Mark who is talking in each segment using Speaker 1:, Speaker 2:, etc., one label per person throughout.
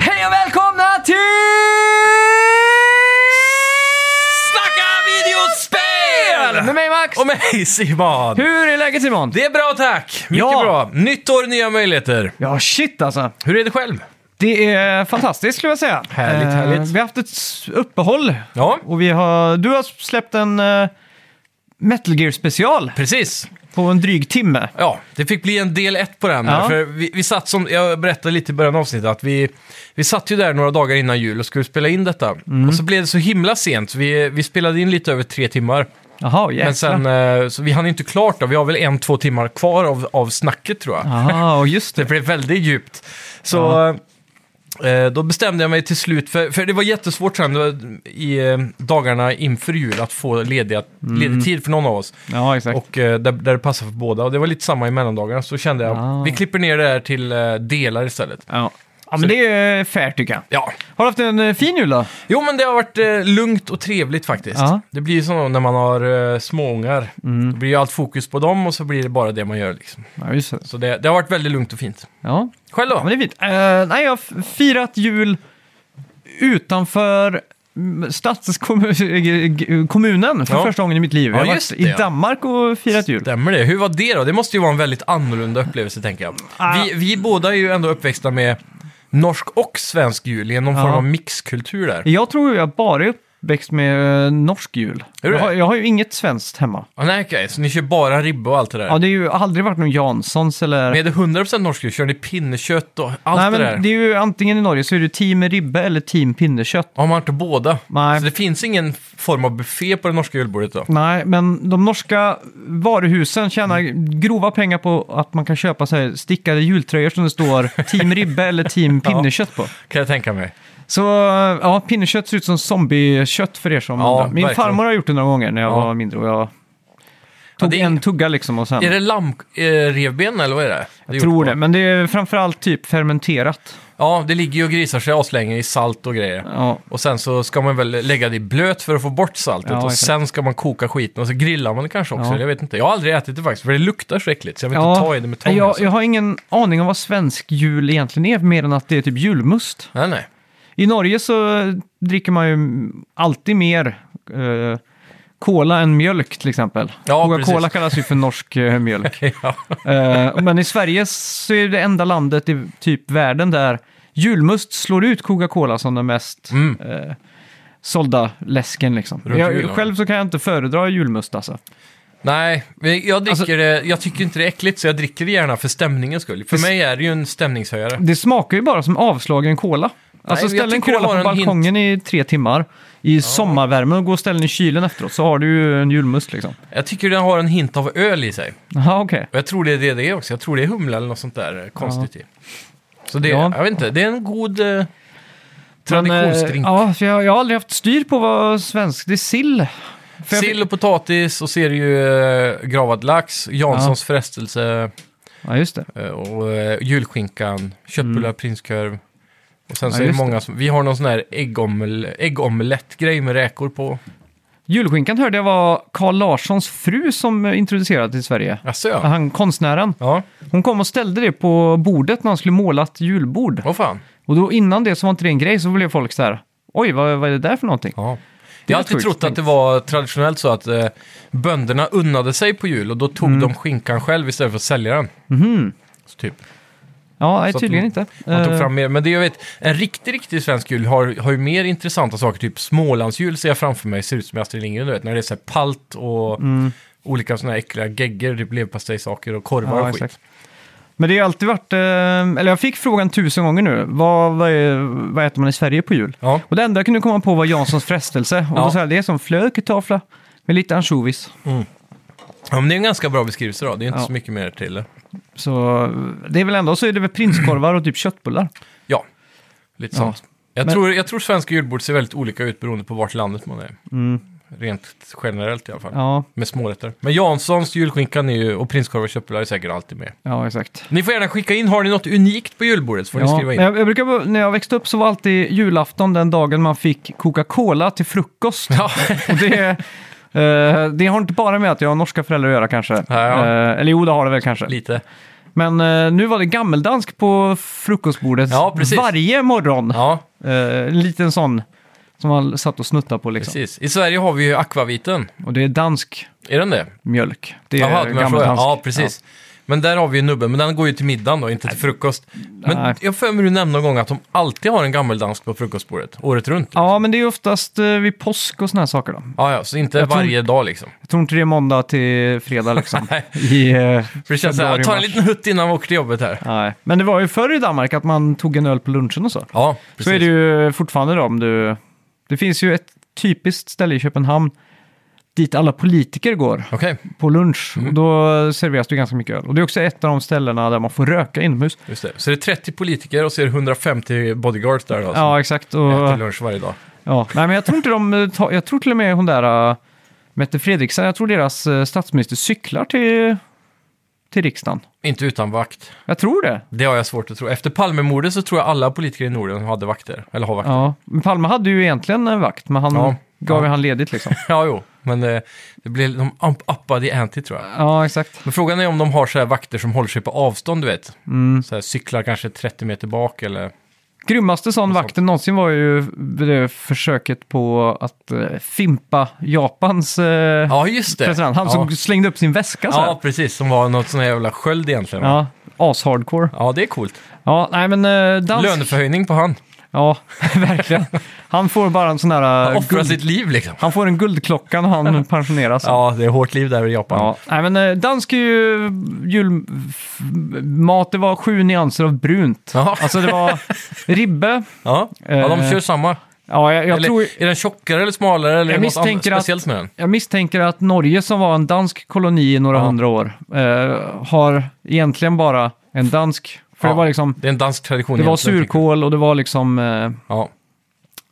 Speaker 1: Hej och välkomna till...
Speaker 2: Snacka videospel!
Speaker 1: Med mig Max!
Speaker 2: Och mig Simon!
Speaker 1: Hur är läget Simon?
Speaker 2: Det är bra tack! Mycket
Speaker 1: Ja.
Speaker 2: bra. Nytt år, nya möjligheter.
Speaker 1: Ja, shit alltså.
Speaker 2: Hur är det själv?
Speaker 1: Det är fantastiskt skulle jag säga.
Speaker 2: Härligt,
Speaker 1: Eh,
Speaker 2: härligt.
Speaker 1: Vi har haft ett s- uppehåll.
Speaker 2: Ja,
Speaker 1: Och vi har, du har släppt en eh, Metal Gear special
Speaker 2: precis.
Speaker 1: på en dryg timme.
Speaker 2: Ja, det fick bli en del ett på den här.
Speaker 1: Ja.
Speaker 2: För vi, vi satt som, jag berättade lite i början av avsnittet att vi, vi satt ju där några dagar innan jul och skulle spela in detta.
Speaker 1: Mm.
Speaker 2: Och så blev det så himla sent. Vi, vi spelade in lite över tre timmar.
Speaker 1: Jaha, jäklar.
Speaker 2: Men sen, eh, så vi hann inte klart då. Vi har väl en, två timmar kvar av, av snacket tror jag.
Speaker 1: Ah, och just
Speaker 2: Det
Speaker 1: det.
Speaker 2: blev väldigt djupt. Så eh, då bestämde jag mig till slut, för, för det var jättesvårt sen det var i eh, dagarna inför jul att få lediga,
Speaker 1: Mm.
Speaker 2: ledig tid för någon av oss.
Speaker 1: Ja, exakt.
Speaker 2: Och eh, där, där det passade för båda. Och det var lite samma i mellandagarna. Så kände jag,
Speaker 1: Ah.
Speaker 2: vi klipper ner det här till eh, delar istället.
Speaker 1: ja. ja, men det är fair tycker jag.
Speaker 2: Ja,
Speaker 1: Har du haft en eh, fin jul då?
Speaker 2: jo men det har varit eh, lugnt och trevligt faktiskt.
Speaker 1: Ja. Mm.
Speaker 2: Det blir ju så när man har eh, småungar. Då blir ju allt fokus på dem och så blir det bara det man gör liksom.
Speaker 1: Ja, just det.
Speaker 2: Så det, det har varit väldigt lugnt och fint.
Speaker 1: Ja,
Speaker 2: Själv då?
Speaker 1: Ja, men det är fint. Eh, nej, jag har f- firat jul utanför mm, stadskommunen för
Speaker 2: Ja.
Speaker 1: första gången i mitt liv.
Speaker 2: Ja,
Speaker 1: jag har
Speaker 2: just
Speaker 1: varit
Speaker 2: det,
Speaker 1: i
Speaker 2: ja.
Speaker 1: Danmark och firat jul.
Speaker 2: Stämmer det? Hur var det då? Det måste ju vara en väldigt annorlunda upplevelse, tänker jag.
Speaker 1: Ah.
Speaker 2: Vi, vi båda är ju ändå uppväxta med norsk och svensk jul i någon
Speaker 1: Ja.
Speaker 2: form av mixkultur där.
Speaker 1: Jag tror ju jag bara är uppväxt med eh, norsk jul.
Speaker 2: Är du
Speaker 1: Jag har,
Speaker 2: det?
Speaker 1: jag har ju inget svenskt hemma.
Speaker 2: Ah, nej, okej, så ni kör bara ribba och allt det där?
Speaker 1: Ja, det har ju aldrig varit någon Janssons eller...
Speaker 2: Men är det 100% norsk jul? Kör ni pinnekött och allt
Speaker 1: nej, men
Speaker 2: det där?
Speaker 1: det är ju antingen i Norge så är det ju team ribbe eller team pinnekött.
Speaker 2: Har man inte båda?
Speaker 1: Nej.
Speaker 2: Så det finns ingen form av buffé på det norska julbordet då?
Speaker 1: Nej, men de norska varuhusen tjänar
Speaker 2: Mm.
Speaker 1: grova pengar på att man kan köpa så här stickade jultröjor som det står Team Ribbe eller Team Pinnekött på.
Speaker 2: Kan jag tänka mig.
Speaker 1: Så ja, pinnekött ser ut som zombiekött för er som
Speaker 2: Ja,
Speaker 1: undrar. Min
Speaker 2: verkligen.
Speaker 1: farmor har gjort det några gånger när jag
Speaker 2: Ja.
Speaker 1: var mindre och jag tog
Speaker 2: det är-
Speaker 1: en tugga liksom och sen...
Speaker 2: Är det lammrevben eller vad är det? det är
Speaker 1: jag
Speaker 2: gjort
Speaker 1: tror
Speaker 2: på?
Speaker 1: det, men det är framförallt typ fermenterat.
Speaker 2: Ja, det ligger ju och grisar sig aslänge i salt och grejer.
Speaker 1: Ja,
Speaker 2: Och sen så ska man väl lägga det i blöt för att få bort saltet.
Speaker 1: Ja,
Speaker 2: och
Speaker 1: exakt.
Speaker 2: sen ska man koka skiten och så grillar man det kanske också.
Speaker 1: Ja.
Speaker 2: Jag vet inte. Jag har aldrig ätit det faktiskt, för det luktar så äckligt. Så jag vill
Speaker 1: ja.
Speaker 2: inte ta i det med tång.
Speaker 1: jag,
Speaker 2: alltså.
Speaker 1: jag har ingen aning om vad svensk jul egentligen är, mer än att det är typ julmust.
Speaker 2: Nej, nej.
Speaker 1: I Norge så dricker man ju alltid mer eh, cola än mjölk till exempel.
Speaker 2: Ja,
Speaker 1: Coca-Cola
Speaker 2: precis.
Speaker 1: kallas ju för norsk eh, mjölk.
Speaker 2: Ja.
Speaker 1: Eh, men i Sverige så är det enda landet i typ världen där julmust slår ut Coca-Cola som den mest
Speaker 2: Mm.
Speaker 1: eh, sålda läsken liksom.
Speaker 2: Runt
Speaker 1: Jag,
Speaker 2: julen.
Speaker 1: själv så kan jag inte föredra julmust alltså.
Speaker 2: nej, men jag dricker
Speaker 1: Alltså-
Speaker 2: det. Jag tycker inte det är äckligt, så jag dricker det gärna för stämningens skull. För
Speaker 1: Det-
Speaker 2: mig är det ju en stämningshöjare.
Speaker 1: Det smakar ju bara som avslagen cola. Alltså
Speaker 2: jag
Speaker 1: ställ en
Speaker 2: tycker det
Speaker 1: cola på
Speaker 2: har en hint.
Speaker 1: balkongen i tre timmar i sommarvärmen och gå och ställ den i kylen efteråt så har du ju en julmust liksom.
Speaker 2: Jag tycker den har en hint av öl i sig.
Speaker 1: Jaha, okej.
Speaker 2: Och jag tror det är det det är också. Jag tror det är humla eller något sånt där eh, konstigt i. Så det,
Speaker 1: Ja.
Speaker 2: jag vet inte, det är en god eh,
Speaker 1: Men, eh,
Speaker 2: traditionsdrink.
Speaker 1: Ja, för jag, jag har aldrig haft styr på vad svensk... Det är sill. För jag-
Speaker 2: Sill och potatis och så är det ju eh, gravad lax, Janssons frestelse
Speaker 1: Ja, just det.
Speaker 2: eh, och eh, julskinkan, köttbullar, prinskorv. Och
Speaker 1: Mm. Ja,
Speaker 2: sen så är det
Speaker 1: just
Speaker 2: många som, vi har någon sån här äggomel, äggomelettgrej med räkor på.
Speaker 1: Julskinkan hörde jag var Carl Larssons fru som eh, introducerade till Sverige.
Speaker 2: Jaså ja.
Speaker 1: Han konstnären.
Speaker 2: Ja,
Speaker 1: Hon kom och ställde det på bordet när han skulle måla ett julbord.
Speaker 2: vad fan.
Speaker 1: Och då innan det så var inte det en grej, så blev folk så här... Oj, vad, vad är det där för någonting?
Speaker 2: Ja. Jag
Speaker 1: är
Speaker 2: har alltid
Speaker 1: sjukt
Speaker 2: trott att
Speaker 1: tänkt.
Speaker 2: det var traditionellt så att eh, bönderna unnade sig på jul och då
Speaker 1: Mm.
Speaker 2: tog de skinkan själv istället för att sälja den. Så typ.
Speaker 1: Mhm. Ja, nej,
Speaker 2: Så att
Speaker 1: tydligen
Speaker 2: man-
Speaker 1: inte.
Speaker 2: Man tog
Speaker 1: Eh,
Speaker 2: fram mer, men det jag vet, en riktig, riktig svensk jul har, har ju mer intressanta saker, typ Smålandsjul ser jag framför mig, ser ut som i Astrid Lindgren, du vet, när det är så här palt och
Speaker 1: Mm.
Speaker 2: olika sådana här äckliga geggor, typ leverpastejsaker och korvar
Speaker 1: Ja,
Speaker 2: och skit.
Speaker 1: exakt. Men det har alltid varit, eh, eller jag fick frågan tusen gånger nu, vad, vad, är, vad äter man i Sverige på jul?
Speaker 2: Ja.
Speaker 1: Och det enda jag kunde komma på var Janssons frestelse. Och
Speaker 2: Ja.
Speaker 1: då sa jag, det är som flöketavla med lite ansjovis.
Speaker 2: ja, men det är en ganska bra beskrivelse då, det är inte
Speaker 1: Ja.
Speaker 2: så mycket mer till det.
Speaker 1: Så det är väl ändå så är det väl prinskorvar och typ köttbullar.
Speaker 2: Ja, lite
Speaker 1: Ja.
Speaker 2: sånt. Jag,
Speaker 1: Men-
Speaker 2: tror, jag tror svenska julbord ser väldigt olika ut beroende på vart i landet man är. Rent generellt i alla fall.
Speaker 1: mm, Ja,
Speaker 2: Med smårätter. Men Janssons julskinkan är ju, och prinskorv och köttbullar är säkert alltid med.
Speaker 1: ja exakt.
Speaker 2: Ni får gärna skicka in, har ni något unikt på julbordet så får ni
Speaker 1: Ja,
Speaker 2: skriva
Speaker 1: men
Speaker 2: in.
Speaker 1: jag, jag brukar, bara- när jag växte upp så var alltid julafton den dagen man fick Coca-Cola till frukost.
Speaker 2: Ja.
Speaker 1: Och det, eh, det har inte bara med att jag har norska föräldrar att göra kanske.
Speaker 2: ja.
Speaker 1: Eh, eller jo, det har det väl kanske.
Speaker 2: Lite.
Speaker 1: Men eh, nu var det gammeldansk på frukostbordet
Speaker 2: Ja, precis.
Speaker 1: varje morgon.
Speaker 2: Ja,
Speaker 1: Eh, en liten sån som man satt och snuttade på liksom.
Speaker 2: precis. I Sverige har vi ju akvaviten.
Speaker 1: Och det är dansk
Speaker 2: Är den det?
Speaker 1: mjölk. Det är
Speaker 2: Jaha, du menar så,
Speaker 1: gammeldansk.
Speaker 2: Ja, precis. Men där har vi ju nubben, men den går ju till middagen då, inte till frukost. Men
Speaker 1: Nej.
Speaker 2: jag får mig du nämnde någon gång att de alltid har en gammeldansk på frukostbordet, året runt. Ja,
Speaker 1: Ja. ja, men det är ju oftast eh, vid påsk och såna här saker då.
Speaker 2: ja, så inte
Speaker 1: Jag tror-
Speaker 2: varje dag liksom.
Speaker 1: Jag tror inte det är måndag till fredag liksom.
Speaker 2: Nej.
Speaker 1: I, eh,
Speaker 2: För det känns så
Speaker 1: februari,
Speaker 2: här, jag tar en
Speaker 1: mars.
Speaker 2: liten hutt innan vi åker till jobbet här.
Speaker 1: Nej. Men det var ju förr i Danmark att man tog en öl på lunchen och så.
Speaker 2: Ja, precis.
Speaker 1: Så är det ju fortfarande då om du... Det finns ju ett typiskt ställe i Köpenhamn dit alla politiker går
Speaker 2: Okej,
Speaker 1: på lunch.
Speaker 2: Mm.
Speaker 1: Och då serveras det ganska mycket öl. Och det är också ett av de ställena där man får röka inomhus.
Speaker 2: just det. Så det är 30 politiker och så är det 150 bodyguards där då, som
Speaker 1: Ja, exakt. Och,
Speaker 2: Alltså. äter lunch varje dag.
Speaker 1: ja. Nej, men jag tror inte de... eh, ta- Jag tror till och med hon där äh, Mette Fredriksen, jag tror deras eh, statsminister cyklar till, till riksdagen.
Speaker 2: Inte utan vakt.
Speaker 1: Jag tror det.
Speaker 2: Det har jag svårt att tro. Efter Palmemordet så tror jag alla politiker i Norden hade vakter. Eller har vakter.
Speaker 1: Ja. Men Palme hade ju egentligen en vakt, men han
Speaker 2: Ja.
Speaker 1: gav ju
Speaker 2: Ja.
Speaker 1: han ledigt liksom.
Speaker 2: Ja, jo. Men eh, det blev, de up- uppade i anti tror jag.
Speaker 1: Ja, exakt.
Speaker 2: Men frågan är om de har så här vakter som håller sig på avstånd, du vet.
Speaker 1: Mm.
Speaker 2: Så här, cyklar kanske 30 meter bak eller...
Speaker 1: Grymmaste sån vakten någonsin var ju det försöket på att eh, fimpa Japans eh,
Speaker 2: Ja, just det.
Speaker 1: president. Han
Speaker 2: ja.
Speaker 1: som slängde upp sin väska så här.
Speaker 2: Ja, precis. Som var något sån här jävla sköld egentligen. va?
Speaker 1: Ja, ashardcore.
Speaker 2: ja det är coolt.
Speaker 1: Ja, nej men eh, dansk...
Speaker 2: Löneförhöjning på han.
Speaker 1: Ja, verkligen. Han får bara en sån här...
Speaker 2: Han
Speaker 1: eh,
Speaker 2: offrar
Speaker 1: guld...
Speaker 2: sitt liv liksom.
Speaker 1: Han får en guldklocka när han pensioneras.
Speaker 2: Ja, det är hårt liv där i Japan.
Speaker 1: Ja, nej men eh, dansk är ju julmat, det var sju nyanser av brunt.
Speaker 2: Ja.
Speaker 1: Alltså det var ribbe,
Speaker 2: Ja, ja de
Speaker 1: Eh,
Speaker 2: kör samma.
Speaker 1: ja jag, jag
Speaker 2: eller,
Speaker 1: tror...
Speaker 2: Är den tjockare eller smalare? Eller
Speaker 1: Jag
Speaker 2: är det något annat
Speaker 1: misstänker att-
Speaker 2: speciellt med den?
Speaker 1: Jag misstänker att Norge som var en dansk koloni i några
Speaker 2: Ja.
Speaker 1: hundra år eh, har egentligen bara en dansk. För
Speaker 2: Ja,
Speaker 1: det var liksom,
Speaker 2: Det är en dansk tradition.
Speaker 1: det var
Speaker 2: egentligen, tänker
Speaker 1: surkål och det var liksom eh,
Speaker 2: jag. Ja,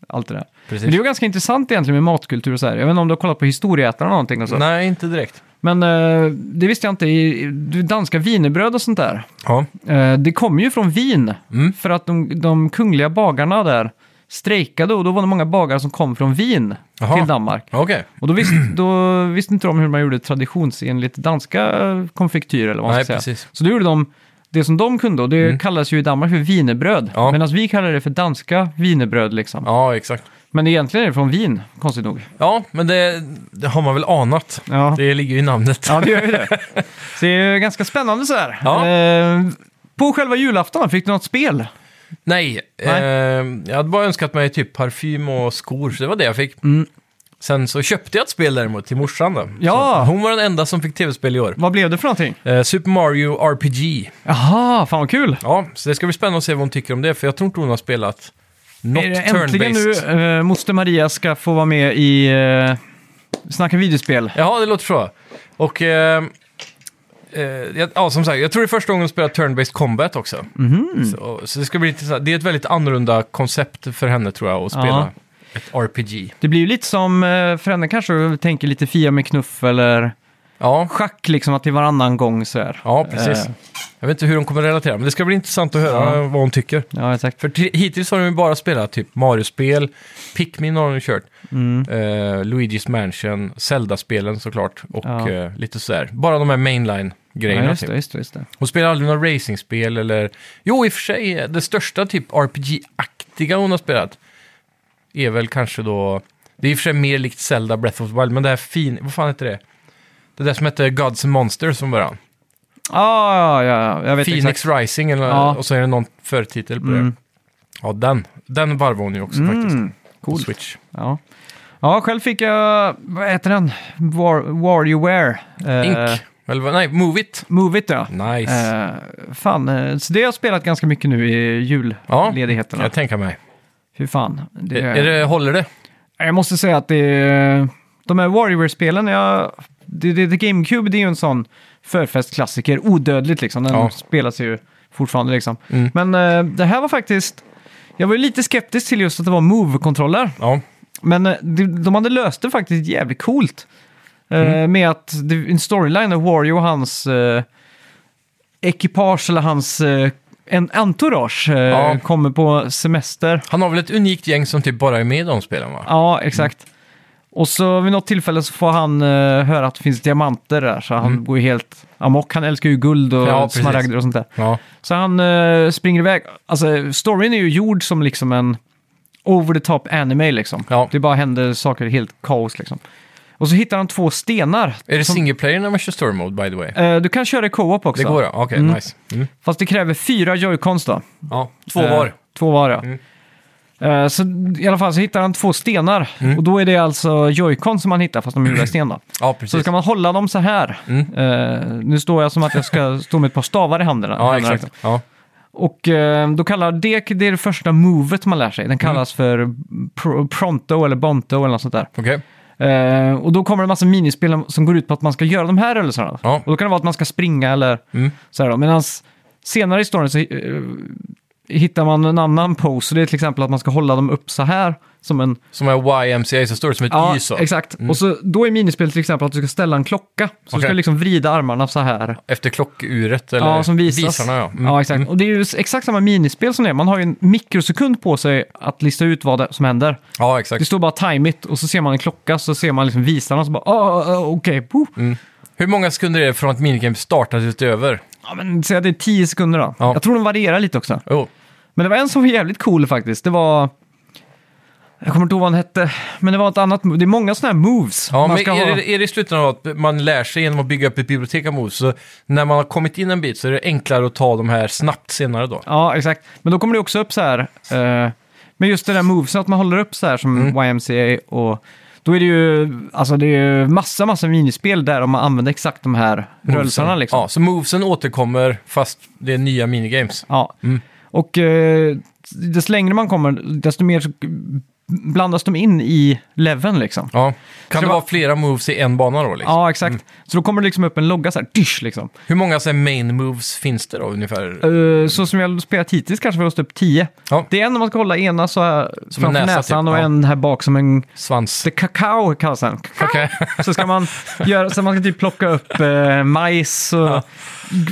Speaker 1: allt det där. Men det är
Speaker 2: precis.
Speaker 1: ju ganska intressant egentligen med matkultur och så här. Jag vet inte om du har kollat på historieätarna eller någonting och så.
Speaker 2: Nej, inte direkt.
Speaker 1: Men eh, det visste jag inte. I, i- danska wienerbröd och sånt där.
Speaker 2: Ja,
Speaker 1: Eh, det kommer ju från Wien.
Speaker 2: Mm.
Speaker 1: För att de, de kungliga bagarna där strejkade och då var det många bagare som kom från Wien
Speaker 2: Jaha.
Speaker 1: till Danmark.
Speaker 2: okej.
Speaker 1: Och då visste, då visste inte de hur man gjorde traditionsenligt danska eh, konfektyr eller vad man
Speaker 2: Nej,
Speaker 1: ska säga.
Speaker 2: precis. Mm.
Speaker 1: Så då gjorde de det som de kunde och det kallas ju i Danmark för wienerbröd.
Speaker 2: Ja.
Speaker 1: Medan vi kallar det för danska wienerbröd liksom.
Speaker 2: Ja, exakt.
Speaker 1: Men egentligen är det från Wien, konstigt nog.
Speaker 2: Ja, men det, det har man väl anat.
Speaker 1: Ja,
Speaker 2: Det ligger ju i namnet.
Speaker 1: ja det gör ju det. Så det är ju ganska spännande så här.
Speaker 2: Ja.
Speaker 1: Eh, på själva julafton, fick du något spel?
Speaker 2: Nej,
Speaker 1: Nej.
Speaker 2: Eh, jag hade bara önskat mig typ parfym och skor, så det var det jag fick.
Speaker 1: Mm.
Speaker 2: Sen så köpte jag ett spel däremot till morsan då.
Speaker 1: Ja.
Speaker 2: Så Hon var den enda som fick tv-spel i år.
Speaker 1: Vad blev det för någonting?
Speaker 2: Eh, Super Mario RPG.
Speaker 1: Jaha, fan vad kul!
Speaker 2: Ja, så det ska bli spännande att se vad hon tycker om det, för jag tror inte hon har spelat något
Speaker 1: är det äntligen nu
Speaker 2: turn-based.
Speaker 1: eh, moster Maria ska få vara med i eh, Snacka videospel?
Speaker 2: Jaha, det låter så. Och... Eh, eh, jag- ja, som sagt, jag tror det är första gången hon spelar turn-based combat också.
Speaker 1: Mm.
Speaker 2: Så, så det ska bli intressant. Det är ett väldigt annorlunda koncept för henne tror jag, att spela
Speaker 1: Ja.
Speaker 2: ett RPG.
Speaker 1: Det blir ju lite som, eh, för henne kanske tänker lite Fia med knuff eller
Speaker 2: Ja,
Speaker 1: schack liksom att det är varannan gång så här.
Speaker 2: Ja, precis.
Speaker 1: Eh.
Speaker 2: Jag vet inte hur de kommer relatera, men det ska bli intressant att höra vad hon tycker.
Speaker 1: Ja, exakt.
Speaker 2: För t- hittills har de ju bara spelat typ Mario-spel, Pikmin har de ju kört,
Speaker 1: Mm.
Speaker 2: eh, Luigi's Mansion, Zelda-spelen såklart och
Speaker 1: Ja.
Speaker 2: eh, lite sådär. Bara de här
Speaker 1: Ja,
Speaker 2: mainline-grejerna.
Speaker 1: just
Speaker 2: typ.
Speaker 1: det, just det, just det.
Speaker 2: Hon spelar aldrig några racingspel eller... Jo, i och för sig, eh, det största typ RPG-aktiga hon har spelat är väl kanske då... Det är i och för sig mer likt Zelda Breath of the Wild, men det här fin... Vad fan heter det? Det där som hette Gods and Monsters från början.
Speaker 1: Ah, ja, ja, jag vet
Speaker 2: Phoenix
Speaker 1: exakt.
Speaker 2: Rising eller,
Speaker 1: Ja.
Speaker 2: och så är det någon förtitel på det.
Speaker 1: Mm.
Speaker 2: Ja, den. Den varvar hon ju också faktiskt.
Speaker 1: Mm,
Speaker 2: På
Speaker 1: coolt.
Speaker 2: Switch.
Speaker 1: Ja. ja, själv fick jag, vad heter den? War, WarioWare. Eh,
Speaker 2: Ink. Eller vad- nej, Move It.
Speaker 1: Move It, ja.
Speaker 2: Nice.
Speaker 1: Eh, fan, eh, så det har jag spelat ganska mycket nu i
Speaker 2: ja,
Speaker 1: julledigheterna.
Speaker 2: jag tänker mig.
Speaker 1: Fy fan. Det,
Speaker 2: Är, är det, håller det?
Speaker 1: Jag måste säga att det är, de här Warrior-spelen, jag, det, det, det GameCube det är ju en sån förfestklassiker, odödligt liksom. Den
Speaker 2: Ja.
Speaker 1: spelas ju fortfarande liksom.
Speaker 2: Mm.
Speaker 1: Men eh, det här var faktiskt, jag var ju lite skeptisk till just att det var Move-kontroller.
Speaker 2: Ja.
Speaker 1: Men eh, de, de hade löst det faktiskt jävligt coolt. Eh,
Speaker 2: Mm.
Speaker 1: Med att det, en storyline där Wario och hans eh, ekipage eller hans eh, en entourage eh,
Speaker 2: Ja.
Speaker 1: kommer på semester.
Speaker 2: Han har väl ett unikt gäng som typ bara är med i de spelen va?
Speaker 1: Ja, exakt.
Speaker 2: Mm.
Speaker 1: Och så vid något tillfälle så får han eh, höra att det finns diamanter där, så han går ju helt amok. Han älskar ju guld och
Speaker 2: Mm. Ja, precis.
Speaker 1: smaragder och sånt där.
Speaker 2: Ja.
Speaker 1: Så han eh, springer iväg. Alltså, storyn är ju gjord som liksom en over the top anime liksom.
Speaker 2: Ja.
Speaker 1: Det bara händer saker helt kaos liksom. Och så hittar han två stenar.
Speaker 2: Är det
Speaker 1: som,
Speaker 2: single player när man kör story mode by the way?
Speaker 1: eh, du kan köra i co-op också.
Speaker 2: Det går ja, okej, nice. Mm.
Speaker 1: Fast det kräver fyra joycons då.
Speaker 2: Ja, två
Speaker 1: Eh,
Speaker 2: var.
Speaker 1: Två var, ja.
Speaker 2: Mm.
Speaker 1: Eh, Så i alla fall så hittar han två stenar.
Speaker 2: Mm.
Speaker 1: Och då är det alltså joycon som man hittar, fast de är gjorda i sten då.
Speaker 2: Ja, precis. Mm.
Speaker 1: Så ska man hålla dem så här. Eh, nu står jag som att jag ska stå med ett par stavar i handen.
Speaker 2: Ja,
Speaker 1: händerna,
Speaker 2: exakt.
Speaker 1: liksom.
Speaker 2: Ja.
Speaker 1: Och eh, då kallar det, det är det första movet man lär sig. Den kallas
Speaker 2: Mm.
Speaker 1: för pro, pronto eller bonto eller något sånt där.
Speaker 2: Okej,
Speaker 1: Eh, och då kommer det en massa minispel som går ut på att man ska göra de här rörelserna.
Speaker 2: Ja.
Speaker 1: Och då kan det vara att man ska springa eller
Speaker 2: Mm.
Speaker 1: så här då. Medan senare i storyn så eh, hittar man en annan pose. Så det är till exempel att man ska hålla dem upp så här. Som en...
Speaker 2: som är YMCA så står det som ett
Speaker 1: Ja,
Speaker 2: Y så. Mm.
Speaker 1: exakt. Och så, då är minispel till exempel att du ska ställa en klocka. Så du ska
Speaker 2: Okej.
Speaker 1: liksom vrida armarna så här.
Speaker 2: Efter klockuret eller
Speaker 1: Ja, som visas.
Speaker 2: visarna ja. Mm.
Speaker 1: Ja, exakt. Och det är ju exakt samma minispel som det. är. Man har ju en mikrosekund på sig att lista ut vad det, som händer.
Speaker 2: ja,
Speaker 1: Det
Speaker 2: exakt.
Speaker 1: står bara time it och så ser man en klocka så ser man liksom visarna och så bara ah, ah, ah, okej. Okay.
Speaker 2: Hur många sekunder är det från att minigame startar tills det är över?
Speaker 1: Ja, men säg att det är 10 sekunder då.
Speaker 2: Ja.
Speaker 1: Jag tror de varierar lite också.
Speaker 2: Oh.
Speaker 1: Men det var en som var jävligt cool faktiskt. Det var... Jag kommer inte ihåg vad han hette, men det var ett annat... mo- Det är många sådana här moves.
Speaker 2: Ja,
Speaker 1: man
Speaker 2: men
Speaker 1: ska
Speaker 2: är,
Speaker 1: ha...
Speaker 2: det, är det i slutändan att man lär sig genom att bygga upp ett bibliotek av moves? Så när man har kommit in en bit så är det enklare att ta de här snabbt senare då?
Speaker 1: ja, exakt. Men då kommer det också upp så här... Eh, men just det där movesen, att man håller upp så här som
Speaker 2: Mm.
Speaker 1: YMCA och... Då är det ju, alltså det är ju massa, massa minispel där om man använder exakt de här rörelserna
Speaker 2: Movesen.
Speaker 1: liksom.
Speaker 2: Ja, så movesen återkommer fast det är nya minigames.
Speaker 1: Ja.
Speaker 2: Mm.
Speaker 1: Och eh, desto längre man kommer, desto mer så blandas de in i leveln liksom.
Speaker 2: Ja. Kan
Speaker 1: det
Speaker 2: det
Speaker 1: vara-
Speaker 2: vara flera moves i en bana då? Liksom?
Speaker 1: Ja, exakt. Så då kommer det liksom upp en logga så här, dysch liksom.
Speaker 2: Hur många så här, main moves finns det då ungefär?
Speaker 1: Eh, så som jag har spelat hittills kanske vi har upp 10.
Speaker 2: Ja.
Speaker 1: Det är en om man ska hålla ena så här
Speaker 2: en
Speaker 1: framför
Speaker 2: näsa,
Speaker 1: näsan
Speaker 2: typ.
Speaker 1: och
Speaker 2: Ja.
Speaker 1: en här bak som en...
Speaker 2: Svans?
Speaker 1: The kakao kallas den. Kakao.
Speaker 2: Okej.
Speaker 1: Så ska man göra, så man ska typ plocka upp eh, majs och...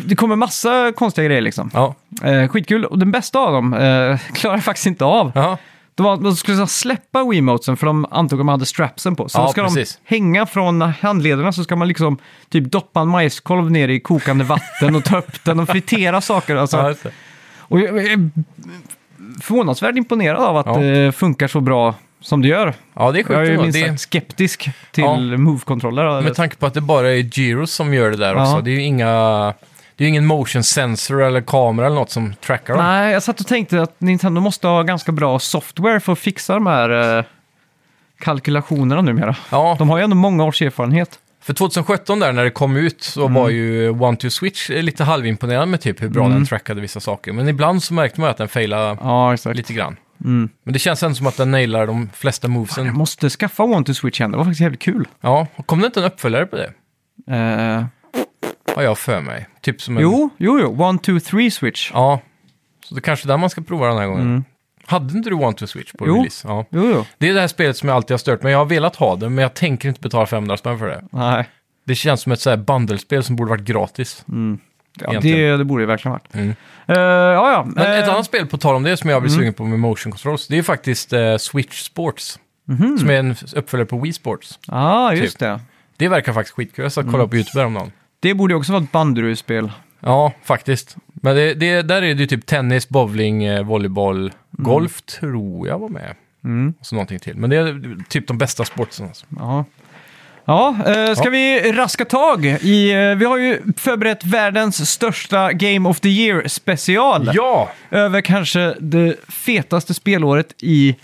Speaker 1: Det kommer massa konstiga grejer liksom.
Speaker 2: ja.
Speaker 1: Eh, skitkul. Och den bästa av dem eh, klarar jag faktiskt inte av.
Speaker 2: Jaha.
Speaker 1: De, var, de skulle släppa Wiimotesen för de antog att man hade strapsen på. Så
Speaker 2: Ja,
Speaker 1: då ska
Speaker 2: precis.
Speaker 1: de hänga från handlederna så ska man liksom typ doppa en majskolv ner i kokande vatten och ta upp den och fritera saker.
Speaker 2: Ja,
Speaker 1: Alltså.
Speaker 2: just det.
Speaker 1: Och jag jag är förvånansvärt imponerad av att
Speaker 2: Ja.
Speaker 1: det funkar så bra som det gör.
Speaker 2: ja, det är sjukt.
Speaker 1: Jag är ju
Speaker 2: ändå.
Speaker 1: minst
Speaker 2: det...
Speaker 1: sagt skeptisk till
Speaker 2: Ja.
Speaker 1: move-kontroller.
Speaker 2: Med tanke på att det bara är Gyros som gör det där
Speaker 1: Ja.
Speaker 2: också. Det är ju inga... Det är ju ingen motion sensor eller kamera eller något som trackar dem.
Speaker 1: Nej, jag satt och tänkte att Nintendo måste ha ganska bra software för att fixa de här eh, kalkylationerna numera.
Speaker 2: Ja,
Speaker 1: De har ju ändå många års erfarenhet.
Speaker 2: för 2017 där när det kom ut så
Speaker 1: Mm.
Speaker 2: var ju One to Switch lite halvimponerande med typ hur bra
Speaker 1: Mm.
Speaker 2: den trackade vissa saker. Men ibland så märkte man att den failade
Speaker 1: Ja, exakt.
Speaker 2: lite grann.
Speaker 1: Mm.
Speaker 2: Men det känns ändå som att den nailar de flesta
Speaker 1: Jag
Speaker 2: movesen.
Speaker 1: måste skaffa One to Switch igen, det var faktiskt jävligt kul.
Speaker 2: Ja, kom det inte en uppföljare på det?
Speaker 1: Eh,
Speaker 2: Har jag för mig. Typ som en...
Speaker 1: jo, jo, jo, One, Two, Three Switch.
Speaker 2: Ja. Så det kanske är där man ska prova den här gången. Hade inte du One to Switch på
Speaker 1: Mm. Jo.
Speaker 2: release? Ja.
Speaker 1: Jo, jo.
Speaker 2: Det är det här spelet som jag alltid har stört mig. Jag har velat ha det, men jag tänker inte betala 500 spänn för det.
Speaker 1: Nej,
Speaker 2: Det känns som ett så här bundlespel som borde varit gratis.
Speaker 1: ja, det,
Speaker 2: Egentligen. Mm.
Speaker 1: det borde det verkligen varit. Eh, ja, ja.
Speaker 2: Men ett
Speaker 1: eh, Mm.
Speaker 2: annat spel, på tal om det, som jag blir sugen på med motion controls, det är faktiskt eh, Switch Sports.
Speaker 1: Mhm.
Speaker 2: Som är en uppföljare på Wii Sports.
Speaker 1: Ja,
Speaker 2: Typ.
Speaker 1: just det.
Speaker 2: Det verkar faktiskt skitkul. Jag satt och kollade
Speaker 1: Mm.
Speaker 2: på YouTube häromdagen.
Speaker 1: Det borde ju också vara ett bandyspel.
Speaker 2: Ja, faktiskt. Men det, det, där är det ju typ tennis, bowling, eh,
Speaker 1: Mm.
Speaker 2: volleyboll, golf tror jag var med. Och så någonting till. Men det är typ de bästa sportsen. Alltså.
Speaker 1: Ja. Ja, eh, ska
Speaker 2: Ja.
Speaker 1: vi raska tag i... eh, vi har ju förberett världens största Game of the Year-special.
Speaker 2: Ja!
Speaker 1: Över kanske det fetaste spelåret i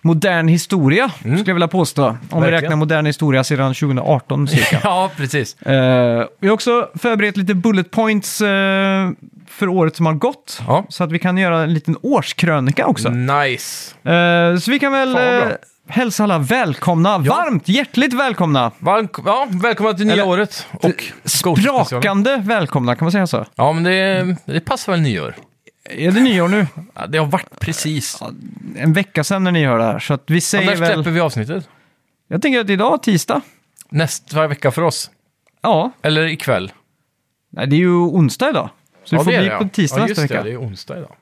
Speaker 1: modern historia, skulle jag vilja påstå. Om vi
Speaker 2: Mm. Verkligen.
Speaker 1: räknar modern historia sedan 2018 cirka.
Speaker 2: Ja, precis.
Speaker 1: Eh, vi har också förberett lite bullet points eh, för året som har gått.
Speaker 2: Ja.
Speaker 1: Så att vi kan göra en liten årskrönika också.
Speaker 2: Nice.
Speaker 1: Eh, så vi kan väl
Speaker 2: Mm. Fan, vad
Speaker 1: eh,
Speaker 2: bra.
Speaker 1: hälsa alla välkomna. Varmt, hjärtligt välkomna.
Speaker 2: Varm- ja, välkomna till nya
Speaker 1: Eller- eh,
Speaker 2: året och Ghost-specialen.
Speaker 1: Brakande välkomna, kan man säga så?
Speaker 2: Ja, men det, det passar väl nyår.
Speaker 1: Är det nyår nu?
Speaker 2: Ja, Det har varit precis.
Speaker 1: Ja, en vecka sedan när ni hör det här. Så att vi
Speaker 2: Ja,
Speaker 1: säger
Speaker 2: när släpper
Speaker 1: väl...
Speaker 2: vi avsnittet?
Speaker 1: Jag tänker att idag, tisdag.
Speaker 2: Nästa vecka för oss.
Speaker 1: Ja,
Speaker 2: Eller ikväll.
Speaker 1: nej, det är ju onsdag idag. Så det
Speaker 2: ja,
Speaker 1: får
Speaker 2: är
Speaker 1: bli
Speaker 2: det,
Speaker 1: på tisdag
Speaker 2: ja, just
Speaker 1: nästa vecka.
Speaker 2: Det, det är onsdag idag.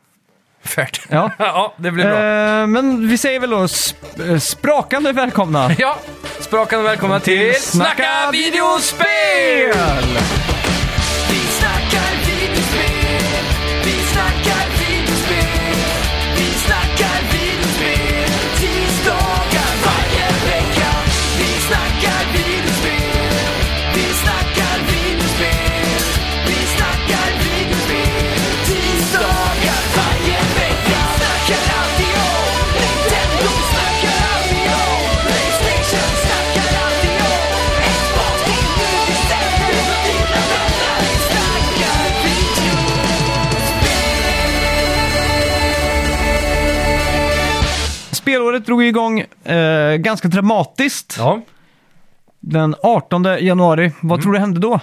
Speaker 2: Färdigt.
Speaker 1: Ja.
Speaker 2: ja, det blir bra.
Speaker 1: Eh, men vi säger väl då sp- eh, sprakande välkomna.
Speaker 2: Ja, sprakande välkomna till Snacka videospel!
Speaker 3: Vi snackar videospel, vi snackar videospel, vi snackar videospel, tisdagar varje vecka. Vi snackar videospel, vi snackar videospel, vi snackar videospel, tisdagar varje vecka. Snackar alltid om Nintendo, snackar alltid om Playstation, snackar alltid om Xbox, till nu december, dina vänner. Vi snackar video.
Speaker 1: Spelåret drog ju igång eh, ganska dramatiskt.
Speaker 2: Ja. Mm.
Speaker 1: Den 18 januari. Vad tror du hände då?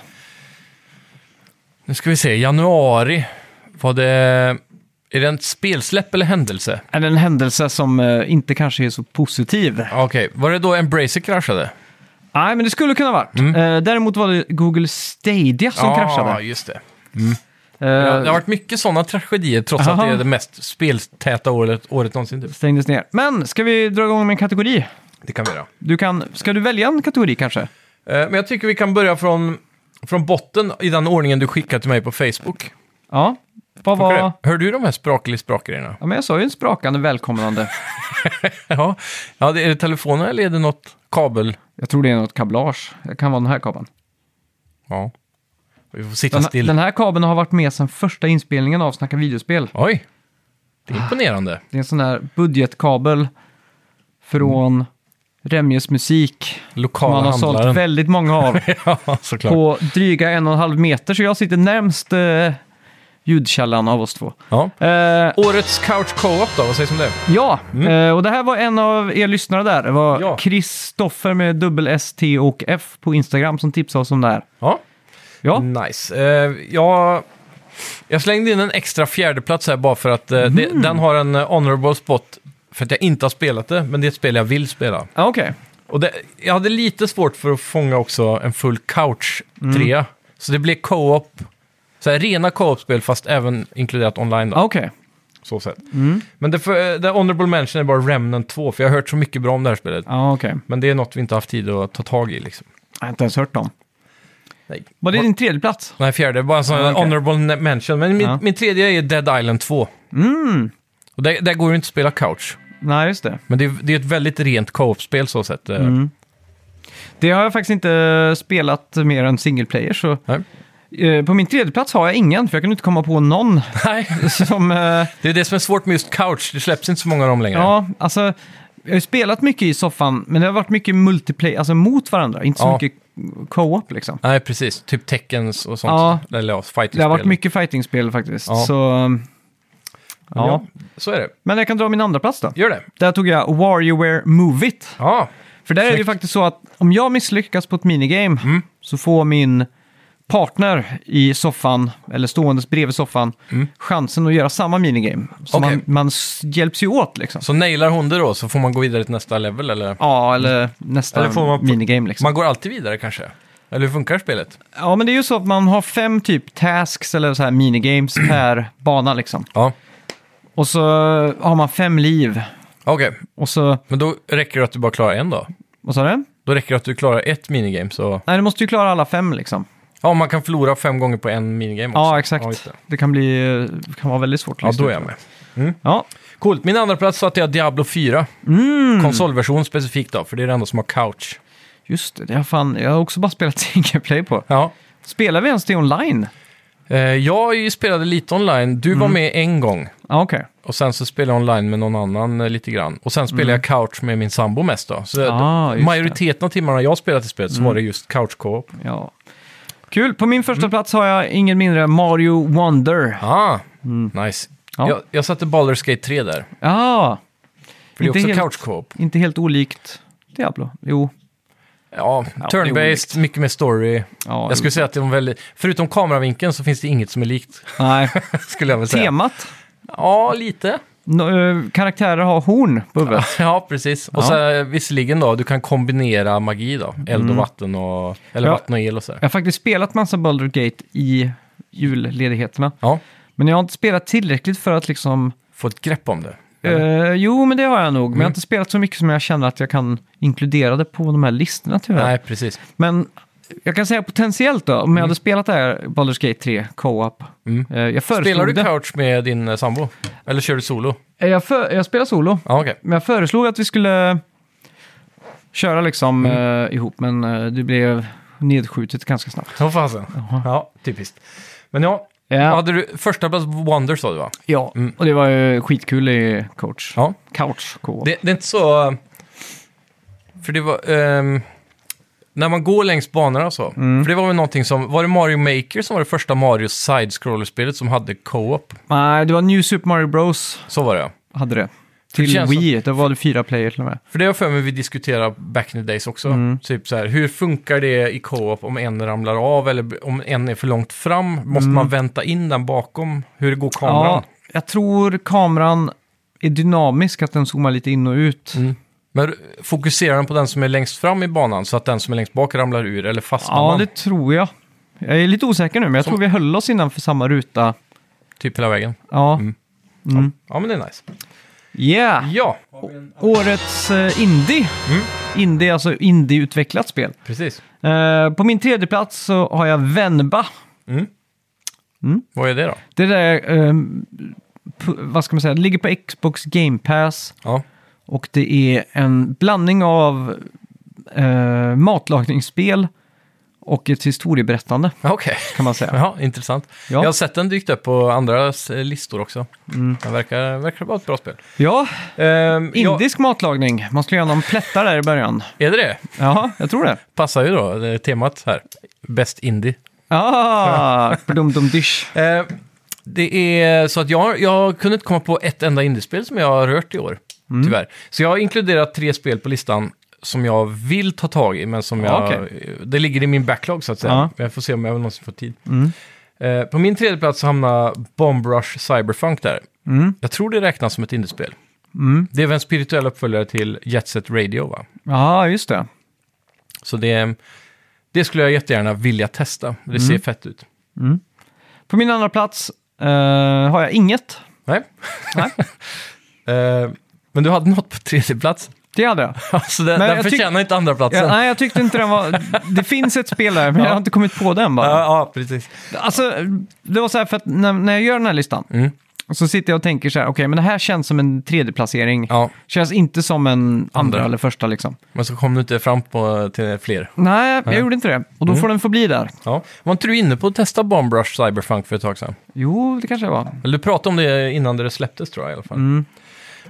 Speaker 2: Nu ska vi se, januari. Var det... Är det ett spelsläpp eller händelse?
Speaker 1: Är det en händelse som eh, inte kanske är så positiv?
Speaker 2: Ja, Okej, var det då Embracer kraschade?
Speaker 1: Nej, men det skulle kunna ha varit. Eh, däremot var det Google Stadia som
Speaker 2: Mm. Ja,
Speaker 1: kraschade.
Speaker 2: just det. Det har, det har
Speaker 1: Eh,
Speaker 2: varit mycket sådana tragedier trots att
Speaker 1: Aha.
Speaker 2: det är det mest speltäta året, året någonsin. Typ.
Speaker 1: stängdes ner. Men ska vi dra igång med en kategori?
Speaker 2: Det kan vi göra.
Speaker 1: Du kan, ska du välja en kategori kanske?
Speaker 2: Eh, Men jag tycker vi kan börja från, från botten i den ordningen du skickade till mig på Facebook.
Speaker 1: Ja. Vad
Speaker 2: Funkar
Speaker 1: var...
Speaker 2: det? Hör du de här sprakelig sprakgrejerna?
Speaker 1: Ja, men jag sa ju en sprakande välkomnande.
Speaker 2: Ja, ja det, är det telefonen eller är det något kabel?
Speaker 1: Jag tror det är något kablage. Det kan vara den här kabeln.
Speaker 2: Ja. Vi får sitta
Speaker 1: Den,
Speaker 2: still.
Speaker 1: den här kabeln har varit med sedan första inspelningen av Snacka videospel.
Speaker 2: Oj, det är imponerande.
Speaker 1: Det är en sån där budgetkabel från Remjes musik.
Speaker 2: Lokala
Speaker 1: Man har
Speaker 2: handlaren.
Speaker 1: sålt väldigt många av
Speaker 2: ja, såklart.
Speaker 1: på dryga en och en halv meter. Så jag sitter närmst eh, ljudkällan av oss två.
Speaker 2: Ja.
Speaker 1: Eh,
Speaker 2: Årets Couch Co-op då, vad sägs om det?
Speaker 1: ja, eh, och det här var en av er lyssnare där. Det
Speaker 2: Mm. Ja.
Speaker 1: var Kristoffer med dubbel S, T och F på Instagram som tipsade oss om det här.
Speaker 2: Ja,
Speaker 1: Ja,
Speaker 2: nice. Eh, jag, jag slängde in en extra fjärdeplats här bara för att eh, det, den har en eh, honorable spot för att jag inte har spelat det, men det är ett spel jag vill spela.
Speaker 1: ja Ah, okej.
Speaker 2: Och det, jag hade lite svårt för att fånga också en full
Speaker 1: Mm.
Speaker 2: couch-trea. Så det blev co-op, så här rena co-op-spel fast även inkluderat online då,
Speaker 1: Ja, Ah, okej.
Speaker 2: så sätt.
Speaker 1: Mm.
Speaker 2: Men det, för, eh, det honorable mention är bara Remnant 2, för jag har hört så mycket bra om det här spelet.
Speaker 1: Ja, Ah, okej.
Speaker 2: Men det är något vi inte haft tid att ta tag i liksom.
Speaker 1: Jag har inte ens hört dem.
Speaker 2: Nej,
Speaker 1: Var det din tredje plats?
Speaker 2: Nej fjärde, bara en sån
Speaker 1: Ja, okej.
Speaker 2: honorable ne- mention. Men min,
Speaker 1: Ja.
Speaker 2: min tredje är Dead Island 2.
Speaker 1: Mm.
Speaker 2: Och där, där går det inte att spela couch.
Speaker 1: Nej, just det.
Speaker 2: Men det är, det är ett väldigt rent co-op-spel så sett. eh.
Speaker 1: Mm. Det har jag faktiskt inte spelat mer än single player, så...
Speaker 2: Nej.
Speaker 1: Eh, På min tredje plats har jag ingen, för jag kan inte komma på någon
Speaker 2: Nej,
Speaker 1: som... eh,
Speaker 2: det är det som är svårt med just couch. Det släpps inte så många av dem längre.
Speaker 1: Ja, alltså... Jag har ju spelat mycket i soffan, men det har varit mycket multiplayer, alltså mot varandra, inte så
Speaker 2: Ja.
Speaker 1: mycket co-op liksom.
Speaker 2: Nej, precis. Typ Tekkens och sånt.
Speaker 1: Ja.
Speaker 2: Eller ja,
Speaker 1: Det har
Speaker 2: fighting
Speaker 1: varit mycket fightingspel faktiskt,
Speaker 2: Ja.
Speaker 1: så... eh, Ja.
Speaker 2: Ja. så är det.
Speaker 1: Men jag kan dra min andra plats då.
Speaker 2: Gör det.
Speaker 1: Där tog jag WarioWare Move It.
Speaker 2: Ja,
Speaker 1: För där är det ju
Speaker 2: Snyggt. Mm.
Speaker 1: faktiskt så att om jag misslyckas på ett minigame så får min partner i soffan, eller ståendes bredvid soffan, chansen att göra samma minigame. Så
Speaker 2: Mm. Okej.
Speaker 1: man, man s- hjälps ju åt liksom.
Speaker 2: så nailar hon det då så får man gå vidare till nästa level eller?
Speaker 1: Ja, eller nästa
Speaker 2: Eller får man-
Speaker 1: minigame liksom.
Speaker 2: Man går alltid vidare kanske? Eller hur funkar spelet?
Speaker 1: Ja, men det är ju så att man har fem typ tasks eller så här minigames per bana liksom.
Speaker 2: Ja.
Speaker 1: Och så har man fem liv.
Speaker 2: Okej,
Speaker 1: Och så,
Speaker 2: men då räcker det att du bara klarar en då?
Speaker 1: vad sa du?
Speaker 2: Då räcker det att du klarar ett minigame så...
Speaker 1: Nej, du måste ju klara alla fem liksom.
Speaker 2: Ja, man kan förlora fem gånger på en minigame också.
Speaker 1: Ja,
Speaker 2: Ja,
Speaker 1: exakt.
Speaker 2: just det.
Speaker 1: det kan bli, det kan vara väldigt svårt.
Speaker 2: ja
Speaker 1: liksom.
Speaker 2: då är jag med.
Speaker 1: Ja,
Speaker 2: Coolt. Min andra plats satte jag Diablo 4.
Speaker 1: Mm.
Speaker 2: Konsolversion specifikt då, för det är det enda som har couch.
Speaker 1: Just det, det har fan, jag har också bara spelat single play på.
Speaker 2: Ja.
Speaker 1: Spelar vi ens det online?
Speaker 2: Eh, Jag spelade lite online. Du
Speaker 1: Mm.
Speaker 2: var med en gång.
Speaker 1: Ja, okej.
Speaker 2: Och sen så spelade jag online med någon annan eh, lite grann. Och sen spelade jag couch med min sambo mest då. Så
Speaker 1: Mm. Ah,
Speaker 2: det-
Speaker 1: just Mm.
Speaker 2: majoriteten av timmarna jag spelat i spelet så var det just couch co-op.
Speaker 1: Ja. Kul, på min
Speaker 2: Mm.
Speaker 1: första plats har jag ingen mindre än Mario Wonder.
Speaker 2: Ah, nice.
Speaker 1: Mm. Ja.
Speaker 2: Jag, jag satte Baldur's Gate 3 där.
Speaker 1: Ja,
Speaker 2: För det är
Speaker 1: Inte
Speaker 2: också
Speaker 1: helt-
Speaker 2: couch co-op.
Speaker 1: inte helt olikt Diablo. Jo,
Speaker 2: Ja,
Speaker 1: det är
Speaker 2: turn-based, mycket mer story.
Speaker 1: ja.
Speaker 2: jag skulle säga att de är väldigt... Förutom kameravinkeln så finns det inget som är likt,
Speaker 1: Nej,
Speaker 2: skulle jag väl säga.
Speaker 1: temat.
Speaker 2: Ja, lite.
Speaker 1: Nå- eh, karaktärer har horn på huvudet.
Speaker 2: Ja, precis. Och
Speaker 1: Ja.
Speaker 2: sen visserligen då, du kan kombinera magi då. Eld och vatten och...
Speaker 1: Mm.
Speaker 2: Eller
Speaker 1: Ja.
Speaker 2: vatten och el och sådär.
Speaker 1: Jag har faktiskt spelat massa Baldur's Gate i julledigheterna.
Speaker 2: Ja,
Speaker 1: Men jag har inte spelat tillräckligt för att liksom...
Speaker 2: få ett grepp om det. Mm.
Speaker 1: Eh, jo, men det har jag nog. Men jag har inte spelat så mycket som jag känner att jag kan inkludera det på de här listorna tyvärr.
Speaker 2: Nej, precis.
Speaker 1: Men jag kan säga potentiellt då, om jag hade spelat det här Baldur's Gate 3 co-op.
Speaker 2: Mm.
Speaker 1: Eh, jag
Speaker 2: Spelar
Speaker 1: föreslog
Speaker 2: du
Speaker 1: det.
Speaker 2: couch med din eh, sambo? Eller kör du solo?
Speaker 1: Eh, Jag, för, jag spelar solo,
Speaker 2: Ja, okej.
Speaker 1: men jag föreslog att vi skulle köra liksom
Speaker 2: Mm.
Speaker 1: eh, ihop, men eh, det blev nedskjutet ganska snabbt.
Speaker 2: Ja, fasen. Ja, typiskt. Men ja,
Speaker 1: Ja,
Speaker 2: hade du första Blood Wonder sa du va?
Speaker 1: ja.
Speaker 2: Mm.
Speaker 1: och det var ju skitkul i coach.
Speaker 2: Ja.
Speaker 1: Couch co-op.
Speaker 2: Det, det är inte så... För det var... ehm, när man går längs banorna och så.
Speaker 1: Mm.
Speaker 2: För det var väl någonting som... Var det Mario Maker som var det första Mario side-scroller-spelet som hade co-op?
Speaker 1: Nej, det var New Super Mario Bros.
Speaker 2: Så var det
Speaker 1: hade det. Till
Speaker 2: känns som-
Speaker 1: Wii, där var det fyra player till och med.
Speaker 2: För det har jag för mig vi diskuterar back in the days också.
Speaker 1: Mm.
Speaker 2: Typ så här, hur funkar det i co-op om en ramlar av eller b- om en är för långt fram? Måste man vänta in den bakom? Hur går kameran?
Speaker 1: Mm. Ja, jag tror kameran är dynamisk, att den zoomar lite in och ut.
Speaker 2: Men fokuserar den på den som är längst fram i banan så att den som är längst bak ramlar ur eller fastnar
Speaker 1: Ja,
Speaker 2: man
Speaker 1: det tror jag. Jag är lite osäker nu, men jag tror vi höll oss innanför samma ruta.
Speaker 2: typ hela vägen?
Speaker 1: Ja.
Speaker 2: Ja, men det är nice.
Speaker 1: Yeah!
Speaker 2: Ja,
Speaker 1: Årets eh, Indie.
Speaker 2: Mm.
Speaker 1: Indie, alltså indie-utvecklat spel.
Speaker 2: precis.
Speaker 1: Eh, på min tredje plats så har jag Venba.
Speaker 2: Vad är det då?
Speaker 1: Det där, eh, pu- vad ska man säga, det ligger på Xbox Game Pass.
Speaker 2: Ja,
Speaker 1: Och det är en blandning av eh, matlagningsspel och ett historieberättande,
Speaker 2: Ja, okej.
Speaker 1: kan man säga.
Speaker 2: Ja, intressant.
Speaker 1: Ja.
Speaker 2: Jag har sett den dykt upp på andra s- listor också. Den verkar, verkar vara ett bra spel.
Speaker 1: Ja,
Speaker 2: Ehm, ja,
Speaker 1: indisk matlagning. Man skulle göra någon plättar där i början.
Speaker 2: är det det?
Speaker 1: Ja, jag tror det.
Speaker 2: Passar ju då eh, temat här. Bäst indie.
Speaker 1: Ah, dum dum dish.
Speaker 2: Eh, det är så att jag, jag kunde inte komma på ett enda indiespel som jag har rört i år,
Speaker 1: Mm.
Speaker 2: tyvärr. Så jag har inkluderat tre spel på listan som jag vill ta tag i, men som jag...
Speaker 1: Ja,
Speaker 2: Det ligger i min backlog så att säga.
Speaker 1: Ja.
Speaker 2: Men jag får se om jag någonsin får tid.
Speaker 1: Mm.
Speaker 2: Eh, på min tredje plats så hamnar Bomb Rush Cyberfunk där.
Speaker 1: Mm.
Speaker 2: Jag tror det räknas som ett indiespel.
Speaker 1: Mm.
Speaker 2: Det är väl en spirituell uppföljare till Jet Set Radio, va?
Speaker 1: Ja, just det.
Speaker 2: Så det, det skulle jag jättegärna vilja testa. Det
Speaker 1: Mm.
Speaker 2: ser fett ut.
Speaker 1: På min andra plats eh, har jag inget.
Speaker 2: Nej.
Speaker 1: Nej.
Speaker 2: Eh, men du hade något på tredje plats.
Speaker 1: Det hade jag.
Speaker 2: Alltså den,
Speaker 1: Men
Speaker 2: den
Speaker 1: jag tyck-
Speaker 2: förtjänar inte andra platsen.
Speaker 1: Ja,
Speaker 2: Ja,
Speaker 1: nej, jag tyckte inte den var... Det finns ett spel där, men jag har inte kommit på den bara.
Speaker 2: ja, precis.
Speaker 1: Alltså, det var så här för att när, när jag gör den här listan
Speaker 2: Mm.
Speaker 1: så sitter jag och tänker så här, okej, men det här känns som en tredje placering.
Speaker 2: Ja,
Speaker 1: Känns inte som en andra, eller första liksom.
Speaker 2: men så kom du inte fram på, till fler.
Speaker 1: Nej, jag gjorde inte det. Och då får den få bli där.
Speaker 2: Ja. Var inte du inne på att testa Bomb Rush Cyberfunk för ett tag sedan?
Speaker 1: Jo, det kanske jag var.
Speaker 2: Eller du pratade om det innan det släpptes tror jag i alla fall.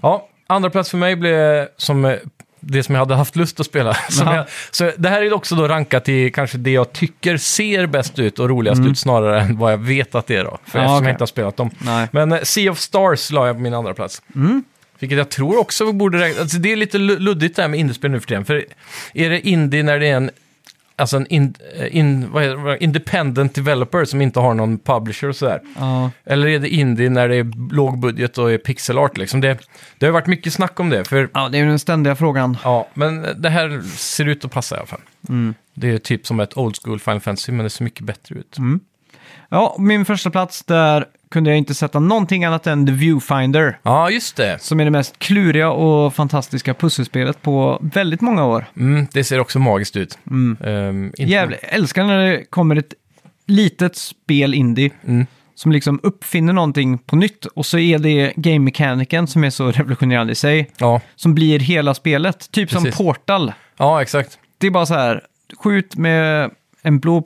Speaker 2: Ja, andra plats för mig blev som eh, det som jag hade haft lust att spela. Som
Speaker 1: Ja.
Speaker 2: jag, så det här är också då rankat till kanske det jag tycker ser bäst ut och roligast ut snarare än vad jag vet att det är då. För
Speaker 1: Ja,
Speaker 2: eftersom
Speaker 1: okej.
Speaker 2: jag inte har spelat dem.
Speaker 1: Nej.
Speaker 2: Men eh, Sea of Stars la jag på min andra plats. Vilket jag tror också borde räknas. Alltså, det är lite lu- luddigt det här med indiespel nu för tiden. För är det indie när det är en, alltså en in, eh, in, vad heter det, independent developer som inte har någon publisher och sådär?
Speaker 1: Ja.
Speaker 2: Eller är det indie när det är låg budget och är pixelart liksom? Det, det har ju varit mycket snack om det. För,
Speaker 1: ja, det är ju den ständiga frågan.
Speaker 2: ja, men det här ser ut att passa i alla fall. Det är typ som ett old school Final Fantasy men det ser mycket bättre ut.
Speaker 1: Ja, min första plats där kunde jag inte sätta någonting annat än The Viewfinder.
Speaker 2: Ja, just det.
Speaker 1: Som är det mest kluriga och fantastiska pusselspelet på väldigt många år.
Speaker 2: Mm, det ser också magiskt ut. Ehm, inte-
Speaker 1: Jävligt. Jag älskar när det kommer ett litet spel indie
Speaker 2: Mm.
Speaker 1: som liksom uppfinner någonting på nytt och så är det game-mekaniken som är så revolutionerande i sig
Speaker 2: Ja,
Speaker 1: som blir hela spelet. Typ
Speaker 2: Precis.
Speaker 1: som Portal.
Speaker 2: ja exakt.
Speaker 1: Det är bara så här, skjut med en blå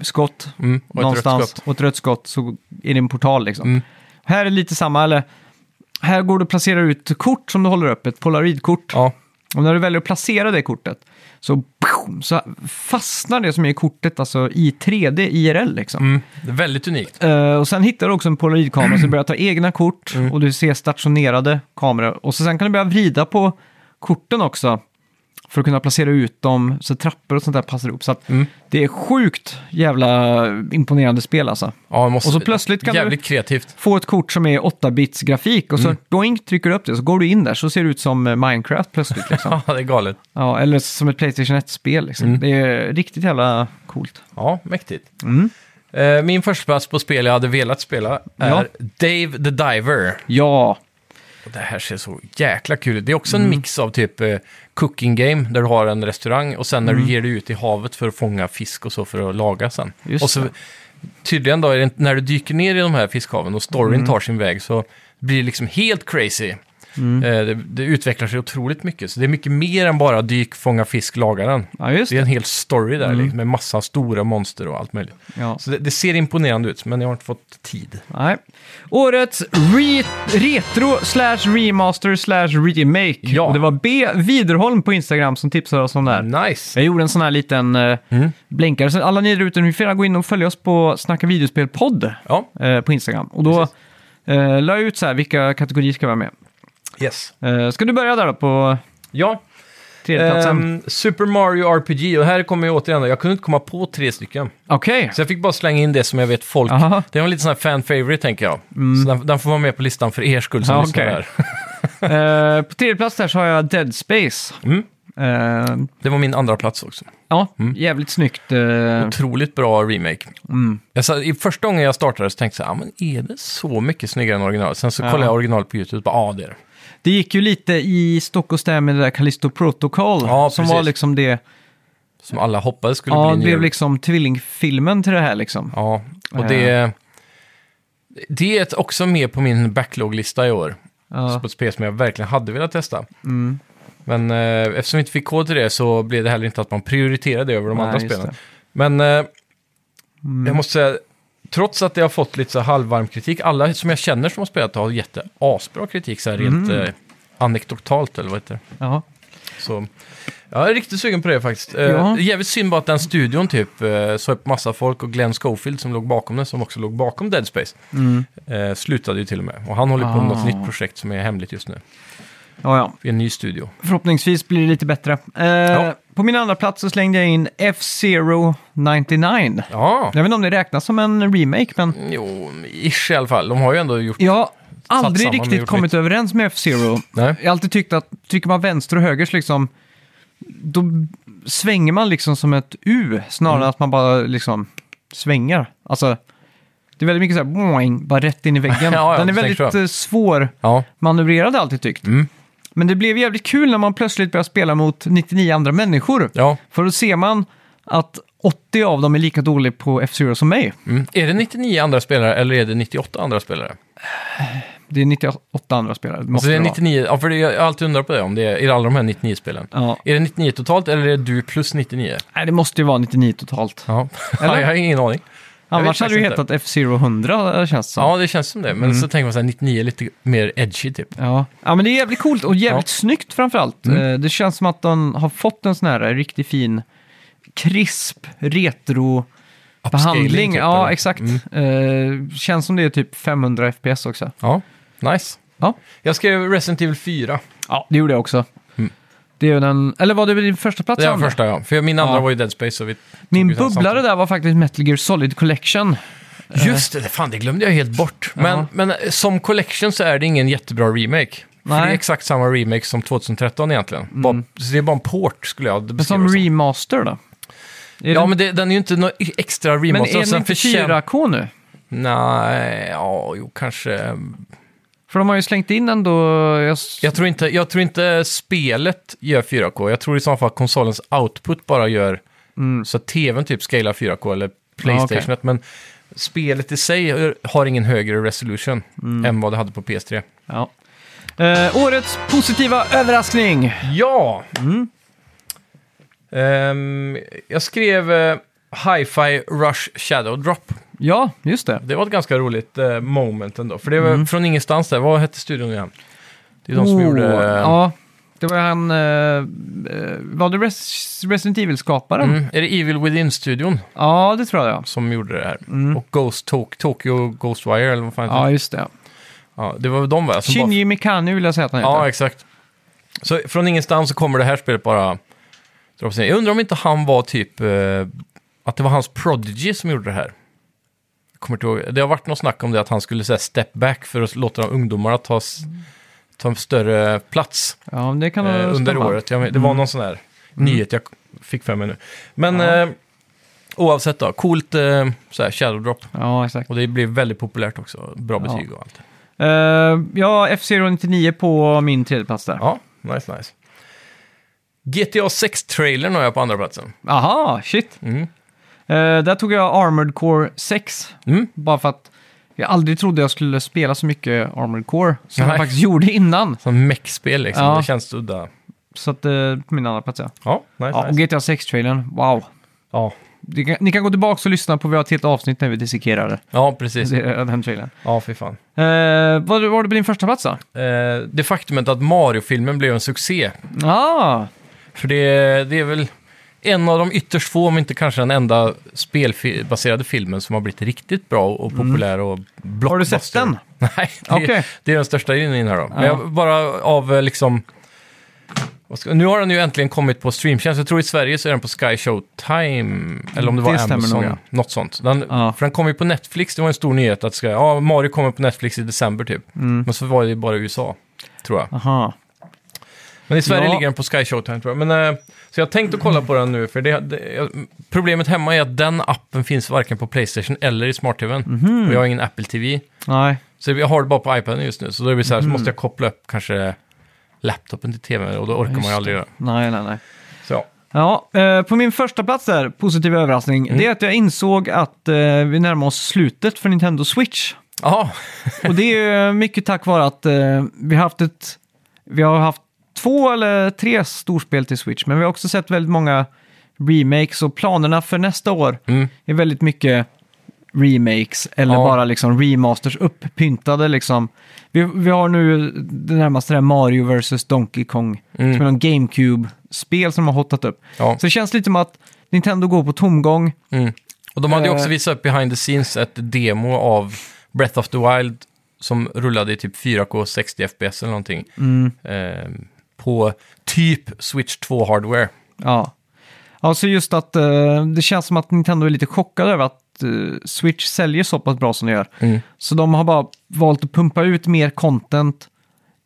Speaker 1: skott
Speaker 2: Mm, och ett
Speaker 1: någonstans
Speaker 2: rött skott.
Speaker 1: och ett rött skott så är det en portal liksom.
Speaker 2: Mm.
Speaker 1: Här är lite samma, eller här går det att placera ut kort som du håller upp, ett polaroidkort.
Speaker 2: Ja,
Speaker 1: Och när du väljer att placera det kortet så, så fastnar det som är i kortet alltså i 3D IRL liksom.
Speaker 2: mm, det är väldigt unikt.
Speaker 1: Eh, och sen hittar du också en polaroidkamera så du börjar ta egna kort
Speaker 2: Mm.
Speaker 1: och du ser stationerade kameror. Och så sen kan du börja vrida på korten också För att kunna placera ut dem så trappor och sånt där passar ihop. Så att
Speaker 2: Mm.
Speaker 1: det är sjukt jävla imponerande spel alltså.
Speaker 2: Ja, måste,
Speaker 1: Och så plötsligt kan du-
Speaker 2: Jävligt Mm. kreativt.
Speaker 1: Få ett kort som är 8-bits grafik och så doink trycker du upp det så går du in där så ser det ut som eh, Minecraft plötsligt. Liksom.
Speaker 2: Ja, det är galet.
Speaker 1: ja, eller som ett Playstation 1-spel. Liksom.
Speaker 2: Mm.
Speaker 1: Det är riktigt jävla coolt.
Speaker 2: Ja, mäktigt.
Speaker 1: Mm.
Speaker 2: Eh, Min första plats på spel jag hade velat spela är
Speaker 1: Ja.
Speaker 2: Dave the Diver.
Speaker 1: Ja,
Speaker 2: Och Det här ser så jäkla kul ut. Det är också
Speaker 1: Mm.
Speaker 2: en mix av typ eh, cooking game, där du har en restaurang och sen när
Speaker 1: Mm.
Speaker 2: du ger dig ut i havet för att fånga fisk och så för att laga sen.
Speaker 1: Just
Speaker 2: och så,
Speaker 1: det.
Speaker 2: tydligen då, är det, när du dyker ner i de här fiskhaven och storyn
Speaker 1: Mm.
Speaker 2: tar sin väg så blir det liksom helt crazy.
Speaker 1: Mm.
Speaker 2: Eh, Det, det utvecklar sig otroligt mycket, så det är mycket mer än bara dyk, fånga fisk, laga den.
Speaker 1: ja just
Speaker 2: Det är
Speaker 1: det. Mm.
Speaker 2: en hel story där liksom, med massa stora monster och allt möjligt.
Speaker 1: Ja.
Speaker 2: Så det, det ser imponerande ut, men jag har inte fått tid.
Speaker 1: Nej. Årets re retro slash remaster slash remake.
Speaker 2: Ja. Mm.
Speaker 1: Och det var B Widerholm på Instagram som tipsade oss om det här.
Speaker 2: Nice!
Speaker 1: Jag gjorde en sån här liten eh,
Speaker 2: Mm.
Speaker 1: blänkare. Så alla ni där ute, ni får gärna gå in och följa oss på Snacka videospel-podd
Speaker 2: Ja,
Speaker 1: eh, på Instagram. Och då eh, la jag ut så här vilka kategorier ska vara med.
Speaker 2: yes.
Speaker 1: Eh, ska du börja där då på
Speaker 2: Ja,
Speaker 1: tredjeplatsen?
Speaker 2: Ehm, Super Mario RPG, och här kommer jag återigen, jag kunde inte komma på tre stycken.
Speaker 1: Okej.
Speaker 2: Så jag fick bara slänga in det som jag vet folk...
Speaker 1: Aha. Mm.
Speaker 2: Det var lite sån här fan favorite tänker jag. Så den, den får vara med på listan för er skull som
Speaker 1: Ja,
Speaker 2: lyssnar
Speaker 1: okej.
Speaker 2: här.
Speaker 1: Eh, på tredje plats där så har jag Dead Space.
Speaker 2: Mm.
Speaker 1: Eh,
Speaker 2: Det var min andra plats också.
Speaker 1: ja, jävligt snyggt. eh,
Speaker 2: Otroligt bra remake.
Speaker 1: Mm.
Speaker 2: Jag sa, I första gången jag startade så tänkte jag, ah, men är det så mycket snyggare än originalet? Sen så
Speaker 1: Ja.
Speaker 2: kollade jag originalet på YouTube och bara, ja ah, det är det.
Speaker 1: Det gick ju lite i stock och stäv med det där Callisto Protocol.
Speaker 2: Ja,
Speaker 1: som
Speaker 2: precis.
Speaker 1: var liksom det.
Speaker 2: Som alla hoppades skulle
Speaker 1: Ja,
Speaker 2: bli
Speaker 1: det
Speaker 2: nya
Speaker 1: blev liksom tvillingfilmen till det här liksom.
Speaker 2: Ja, och det... Det är ett- också med på min backlog-lista i år. Så
Speaker 1: Ja. mm.
Speaker 2: på ett spel som jag verkligen hade velat testa. Men eh, eftersom vi inte fick kod till det så blev det heller inte att man prioriterade det över de
Speaker 1: Nej,
Speaker 2: andra
Speaker 1: just Mm.
Speaker 2: spelen. Men eh, jag måste säga, trots att jag har fått lite så här halvvarm kritik, alla som jag känner som har spelat det har gett det asbra kritik, så här rent
Speaker 1: Mm.
Speaker 2: eh, anekdotalt eller vad heter det?
Speaker 1: Ja.
Speaker 2: Så, jag är riktigt sugen på det faktiskt. Eh,
Speaker 1: Ja.
Speaker 2: Jävligt synd bara att den studion typ eh, sa upp massa folk och Glenn Schofield som låg bakom den, som också låg bakom Dead Space,
Speaker 1: Mm.
Speaker 2: eh, slutade ju till och med. Och han håller på med
Speaker 1: Ah.
Speaker 2: något nytt projekt som är hemligt just nu.
Speaker 1: ja, ja.
Speaker 2: I en ny studio.
Speaker 1: Förhoppningsvis blir det lite bättre. Eh,
Speaker 2: Ja.
Speaker 1: På min andra plats så slängde jag in F-Zero 99.
Speaker 2: Ja,
Speaker 1: Jag vet inte om det räknas som en remake, men
Speaker 2: jo, ish i alla fall. De har ju ändå gjort...
Speaker 1: jag har
Speaker 2: samman
Speaker 1: aldrig
Speaker 2: och
Speaker 1: riktigt
Speaker 2: gjort
Speaker 1: kommit överens med F-Zero.
Speaker 2: Nej.
Speaker 1: Jag har alltid tyckt att trycker man vänster och höger så liksom, då svänger man liksom som ett U snarare
Speaker 2: Mm.
Speaker 1: än att man bara liksom svänger. Alltså, det är väldigt mycket så här, boing, bara rätt in i väggen.
Speaker 2: Ja, ja,
Speaker 1: Den är
Speaker 2: säkert
Speaker 1: väldigt
Speaker 2: så.
Speaker 1: eh, svår
Speaker 2: Ja,
Speaker 1: manövrerad har jag alltid tyckt.
Speaker 2: Mm.
Speaker 1: Men det blev jävligt kul när man plötsligt började spela mot 99 andra människor.
Speaker 2: ja.
Speaker 1: För då ser man att 80 av dem är lika dåliga på F-Zero som mig.
Speaker 2: Mm. Är det 99 andra spelare eller är det 98 andra spelare?
Speaker 1: Det är 98 andra spelare, det måste
Speaker 2: Alltså det är
Speaker 1: det vara.
Speaker 2: 99, ja, för det, jag har alltid undrat på det, om det är, är det alla de här 99 spelen.
Speaker 1: Ja.
Speaker 2: Är det 99 totalt eller är det du plus 99?
Speaker 1: Nej, det måste ju vara 99 totalt.
Speaker 2: Ja,
Speaker 1: Eller?
Speaker 2: ja jag har ingen aning. Jag vet
Speaker 1: Annars hade det ju
Speaker 2: faktiskt
Speaker 1: hetat F-Zero 100 känns det som.
Speaker 2: Ja, det känns som det. Men
Speaker 1: Mm.
Speaker 2: så tänker man så här, 99 är lite mer edgy typ.
Speaker 1: Ja. ja, men det är jävligt coolt och jävligt snyggt framförallt. Mm. Det känns som att de har fått en sån här riktigt fin, krisp, retro behandling.
Speaker 2: typ,
Speaker 1: ja,
Speaker 2: eller? Mm.
Speaker 1: exakt. Eh, känns som det är typ 500 FPS också.
Speaker 2: Ja, nice.
Speaker 1: Ja,
Speaker 2: Jag skrev Resident Evil 4.
Speaker 1: ja det gjorde jag också. Det är ju den, eller var det din första plats?
Speaker 2: Mm. Det var
Speaker 1: Anna?
Speaker 2: första ja. För min andra
Speaker 1: Ja.
Speaker 2: var ju Dead Space. Så vi tog
Speaker 1: Min
Speaker 2: ju den
Speaker 1: bubblare
Speaker 2: samtidigt.
Speaker 1: där var faktiskt Metal Gear Solid Collection.
Speaker 2: Just det, fan det glömde jag helt bort. Men,
Speaker 1: Ja.
Speaker 2: men eh, som collection så är det ingen jättebra remake. För
Speaker 1: Nej.
Speaker 2: det är exakt samma remake som 2013 egentligen. Bara, så det är bara en port skulle jag
Speaker 1: Men
Speaker 2: beskriva
Speaker 1: som
Speaker 2: det
Speaker 1: remaster då? Är
Speaker 2: Ja,
Speaker 1: det-
Speaker 2: men det, den är ju inte någon i- extra
Speaker 1: men
Speaker 2: remaster.
Speaker 1: är den inte
Speaker 2: förtjän-
Speaker 1: 4K nu?
Speaker 2: Nej, ja, jo, kanske.
Speaker 1: För de har ju slängt in ändå... Jag, s-
Speaker 2: Jag tror, inte, jag tror inte spelet gör 4K. Jag tror i så fall att konsolens output bara gör så att tvn typ scalar 4K eller Playstationet.
Speaker 1: Mm. Ja,
Speaker 2: Men spelet i sig har ingen högre resolution
Speaker 1: Mm.
Speaker 2: än vad det hade på PS3.
Speaker 1: ja. Eh, årets positiva överraskning.
Speaker 2: Ja! Ehm, jag skrev eh, Hi-Fi Rush Shadow Drop.
Speaker 1: Ja, just det.
Speaker 2: Det var ett ganska roligt eh, moment ändå. För det var från ingenstans där. Vad hette studion igen? Det är de som
Speaker 1: Mm. Oh,
Speaker 2: gjorde... eh,
Speaker 1: Ja, det var han... eh, eh, var det Res Resident Evil-skaparen?
Speaker 2: mm, är det Evil Within-studion
Speaker 1: Ja, det tror jag.
Speaker 2: som gjorde det här? Och Ghost Tok- Tokyo Ghostwire eller vad fan heter
Speaker 1: Mm. Ja,
Speaker 2: det?
Speaker 1: just det.
Speaker 2: Ja, det var väl de va? Som bara-
Speaker 1: Shinji Mikami vill jag säga att han heter.
Speaker 2: Ja, exakt. Så från ingenstans så kommer det här spelet bara dra på sig. Jag undrar om inte han var typ... Eh, att det var hans Prodigy som gjorde det här. Jag kommer inte ihåg. Det har varit något snack om det att han skulle säga step back för att låta de ungdomarna ta, s- ta en större plats
Speaker 1: Ja, men det kan nog
Speaker 2: eh, under
Speaker 1: stämma. Mm.
Speaker 2: året. Jag men, det var någon sån här nyhet jag fick för mig nu. Men
Speaker 1: Ja.
Speaker 2: eh, oavsett då, coolt eh, så här, shadow drop.
Speaker 1: Ja, exakt.
Speaker 2: Och det blev väldigt populärt också. Bra
Speaker 1: Ja.
Speaker 2: betyg och allt.
Speaker 1: Eh, ja, F-Zero 99 på min tredje plats där.
Speaker 2: Ja, nice, nice. GTA 6-trailern har jag på andra platsen.
Speaker 1: Aha, shit.
Speaker 2: Mm.
Speaker 1: Eh, där tog jag Armored Core 6.
Speaker 2: Mm.
Speaker 1: Bara för att jag aldrig trodde jag skulle spela så mycket Armored Core som jag
Speaker 2: Nej.
Speaker 1: faktiskt gjorde innan.
Speaker 2: Som mech-spel liksom,
Speaker 1: Ja.
Speaker 2: det känns udda.
Speaker 1: Så att, eh, på min andra plats ja.
Speaker 2: Ja, nice,
Speaker 1: ja och
Speaker 2: nice.
Speaker 1: GTA 6-trailern, wow.
Speaker 2: Ja.
Speaker 1: Ni kan, ni kan gå tillbaka och lyssna på, vi har ett helt avsnitt när vi dissekerade
Speaker 2: ja, precis.
Speaker 1: det- den trailern.
Speaker 2: Ja, fy fan.
Speaker 1: Eh, vad var det på din första plats då?
Speaker 2: Eh, det faktumet att Mario-filmen blev en succé,
Speaker 1: Ah,
Speaker 2: för det, det är väl en av de ytterst få, om inte kanske den enda spelbaserade filmen som har blivit riktigt bra och populär och blockbuster.
Speaker 1: Mm. har du sett den?
Speaker 2: Nej, det,
Speaker 1: Okej.
Speaker 2: det är den största in i den här då. Men
Speaker 1: Ja.
Speaker 2: jag, bara av eh, liksom... vad ska- Nu har den ju äntligen kommit på streamtjänst. Jag tror i Sverige så är den på Sky Showtime. Eller om det var
Speaker 1: Det stämmer
Speaker 2: Amazon.
Speaker 1: nog, ja.
Speaker 2: Något sånt. Den,
Speaker 1: Ja.
Speaker 2: För den kom ju på Netflix. Det var en stor nyhet att Sky, ja, Mario kommer på Netflix i december typ.
Speaker 1: Mm.
Speaker 2: Men så var det ju bara i USA, tror jag.
Speaker 1: Aha.
Speaker 2: Men i Sverige
Speaker 1: Ja.
Speaker 2: ligger den på Sky Showtime tror jag. Men, eh, så jag har tänkt att kolla på den nu. För det, det, jag- problemet hemma är att den appen finns varken på Playstation eller i smart-tvn.
Speaker 1: Mhm.
Speaker 2: Och jag har ingen Apple TV.
Speaker 1: Nej,
Speaker 2: Så jag har det bara på iPaden just nu, så då är det så här,
Speaker 1: Mm.
Speaker 2: så måste jag koppla upp kanske laptopen till tvn och då orkar man
Speaker 1: Just
Speaker 2: ju aldrig göra.
Speaker 1: nej, nej, nej.
Speaker 2: Så ja.
Speaker 1: Ja, eh, på min första plats där, positiv överraskning,
Speaker 2: Mm.
Speaker 1: det är att jag insåg att eh, vi närmar oss slutet för Nintendo Switch.
Speaker 2: Jaha,
Speaker 1: Och det är ju mycket tack vare att eh, vi har haft ett... Vi har haft två eller tre storspel till Switch, men vi har också sett väldigt många remakes och planerna för nästa år
Speaker 2: Mm.
Speaker 1: är väldigt mycket remakes eller
Speaker 2: Ja.
Speaker 1: bara liksom remasters upppyntade liksom. Vi, vi har nu det närmaste där Mario vs Donkey Kong,
Speaker 2: Mm.
Speaker 1: som är någon GameCube-spel som har hottat upp.
Speaker 2: Ja.
Speaker 1: Så det känns lite som att Nintendo går på tomgång.
Speaker 2: Mm. Och de hade ju också
Speaker 1: Eh.
Speaker 2: visat upp behind the scenes ett demo av Breath of the Wild som rullade i typ 4K 60 FPS eller någonting.
Speaker 1: Mm.
Speaker 2: Eh, på typ Switch 2-hardware.
Speaker 1: Ja. Ja, så just att eh, det känns som att Nintendo är lite chockade över att eh, Switch säljer så pass bra som det gör.
Speaker 2: Mm.
Speaker 1: Så de har bara valt att pumpa ut mer content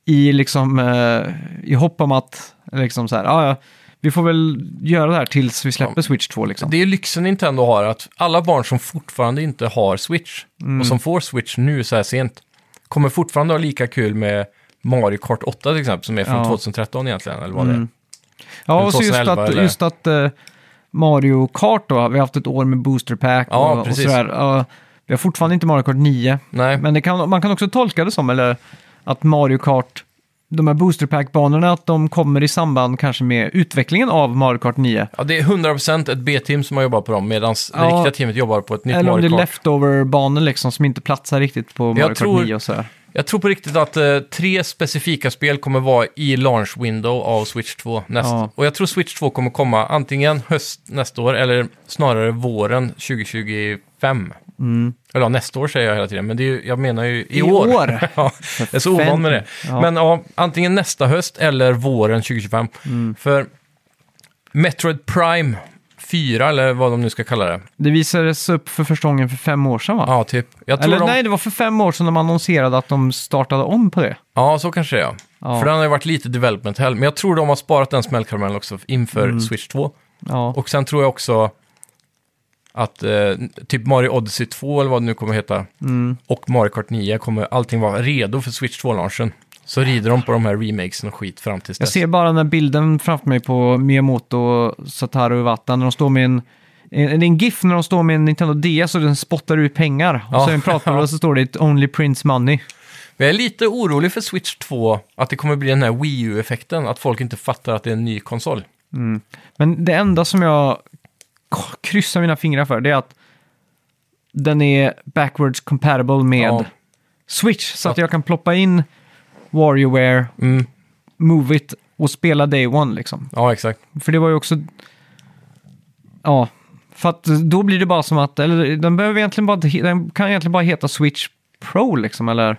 Speaker 1: i, liksom, eh, i hopp om att liksom så här, "Ah, ja, vi får väl göra det här tills vi släpper Switch 2. Liksom.
Speaker 2: Det är ju lyxen Nintendo har, att alla barn som fortfarande inte har Switch och
Speaker 1: Mm.
Speaker 2: som får Switch nu så här sent kommer fortfarande ha lika kul med Mario Kart 8 till exempel, som är från
Speaker 1: Ja. Mm.
Speaker 2: 2013 egentligen, eller vad det är.
Speaker 1: ja, och så just
Speaker 2: 2011
Speaker 1: att,
Speaker 2: eller?
Speaker 1: just att eh, Mario Kart då, vi har haft ett år med Booster Pack
Speaker 2: Ja,
Speaker 1: och, och
Speaker 2: precis.
Speaker 1: sådär. Ja, vi har fortfarande inte Mario Kart 9,
Speaker 2: Nej,
Speaker 1: men det kan, man kan också tolka det som, eller att Mario Kart, de här Booster Pack-banorna, att de kommer i samband kanske med utvecklingen av Mario Kart 9.
Speaker 2: ja, det är 100% ett B-team som har jobbat på dem, medan det
Speaker 1: Ja.
Speaker 2: riktiga teamet jobbar på ett nytt
Speaker 1: Eller om det
Speaker 2: Mario
Speaker 1: är
Speaker 2: Kart.
Speaker 1: leftover-banor liksom som inte platsar riktigt på Mario Kart
Speaker 2: tror-
Speaker 1: 9 och sådär.
Speaker 2: Jag tror på riktigt att eh, tre specifika spel kommer vara i launch window av Switch 2 näst.
Speaker 1: Ja.
Speaker 2: Och jag tror Switch 2 kommer komma antingen höst nästa år eller snarare våren 2025. Eller ja, nästa år säger jag hela tiden, men det är, ju- jag menar ju i,
Speaker 1: Mm. I
Speaker 2: år.
Speaker 1: år.
Speaker 2: ja, jag är så ovan med det.
Speaker 1: Ja.
Speaker 2: Men ja, antingen nästa höst eller våren 2025.
Speaker 1: Mm.
Speaker 2: För Metroid Prime 4, eller vad de nu ska kalla det.
Speaker 1: Det visades upp för första gången för fem år sedan va?
Speaker 2: Ja, typ. Jag tror
Speaker 1: Eller
Speaker 2: de...
Speaker 1: nej, det var för fem år sedan de annonserade att de startade om på det.
Speaker 2: Ja, så kanske det är.
Speaker 1: Ja.
Speaker 2: För den har ju varit lite development hell. Men jag tror de har sparat den smällkaramellen också inför
Speaker 1: Mm.
Speaker 2: Switch 2.
Speaker 1: Ja,
Speaker 2: Och sen tror jag också att eh, typ Mario Odyssey 2 eller vad det nu kommer heta
Speaker 1: Mm.
Speaker 2: och Mario Kart 9 kommer allting vara redo för Switch 2-launchen. Så rider de på de här remakesen och skit fram tills
Speaker 1: jag
Speaker 2: dess.
Speaker 1: ser bara den här bilden framför mig på Miyamoto och Satoru Iwata när de står med en... en- Det är en GIF när de står med en Nintendo DS och den spottar ut pengar. Och
Speaker 2: Ja.
Speaker 1: så är en pratbubbla och så står det "It Only Prints Money.
Speaker 2: Men jag är lite orolig för Switch 2, att det kommer bli den här Wii U-effekten, att folk inte fattar att det är en ny konsol.
Speaker 1: Men det enda som jag k- kryssar mina fingrar för det är att den är backwards compatible med
Speaker 2: Ja.
Speaker 1: Switch. Så att
Speaker 2: Ja.
Speaker 1: jag kan ploppa in WarioWare,
Speaker 2: Mm.
Speaker 1: Move It och spela Day One liksom.
Speaker 2: Ja, exakt.
Speaker 1: För det var ju också... Ja, för att då blir det bara som att... Eller den, behöver egentligen bara, inte he- den kan egentligen bara heta Switch Pro liksom, eller?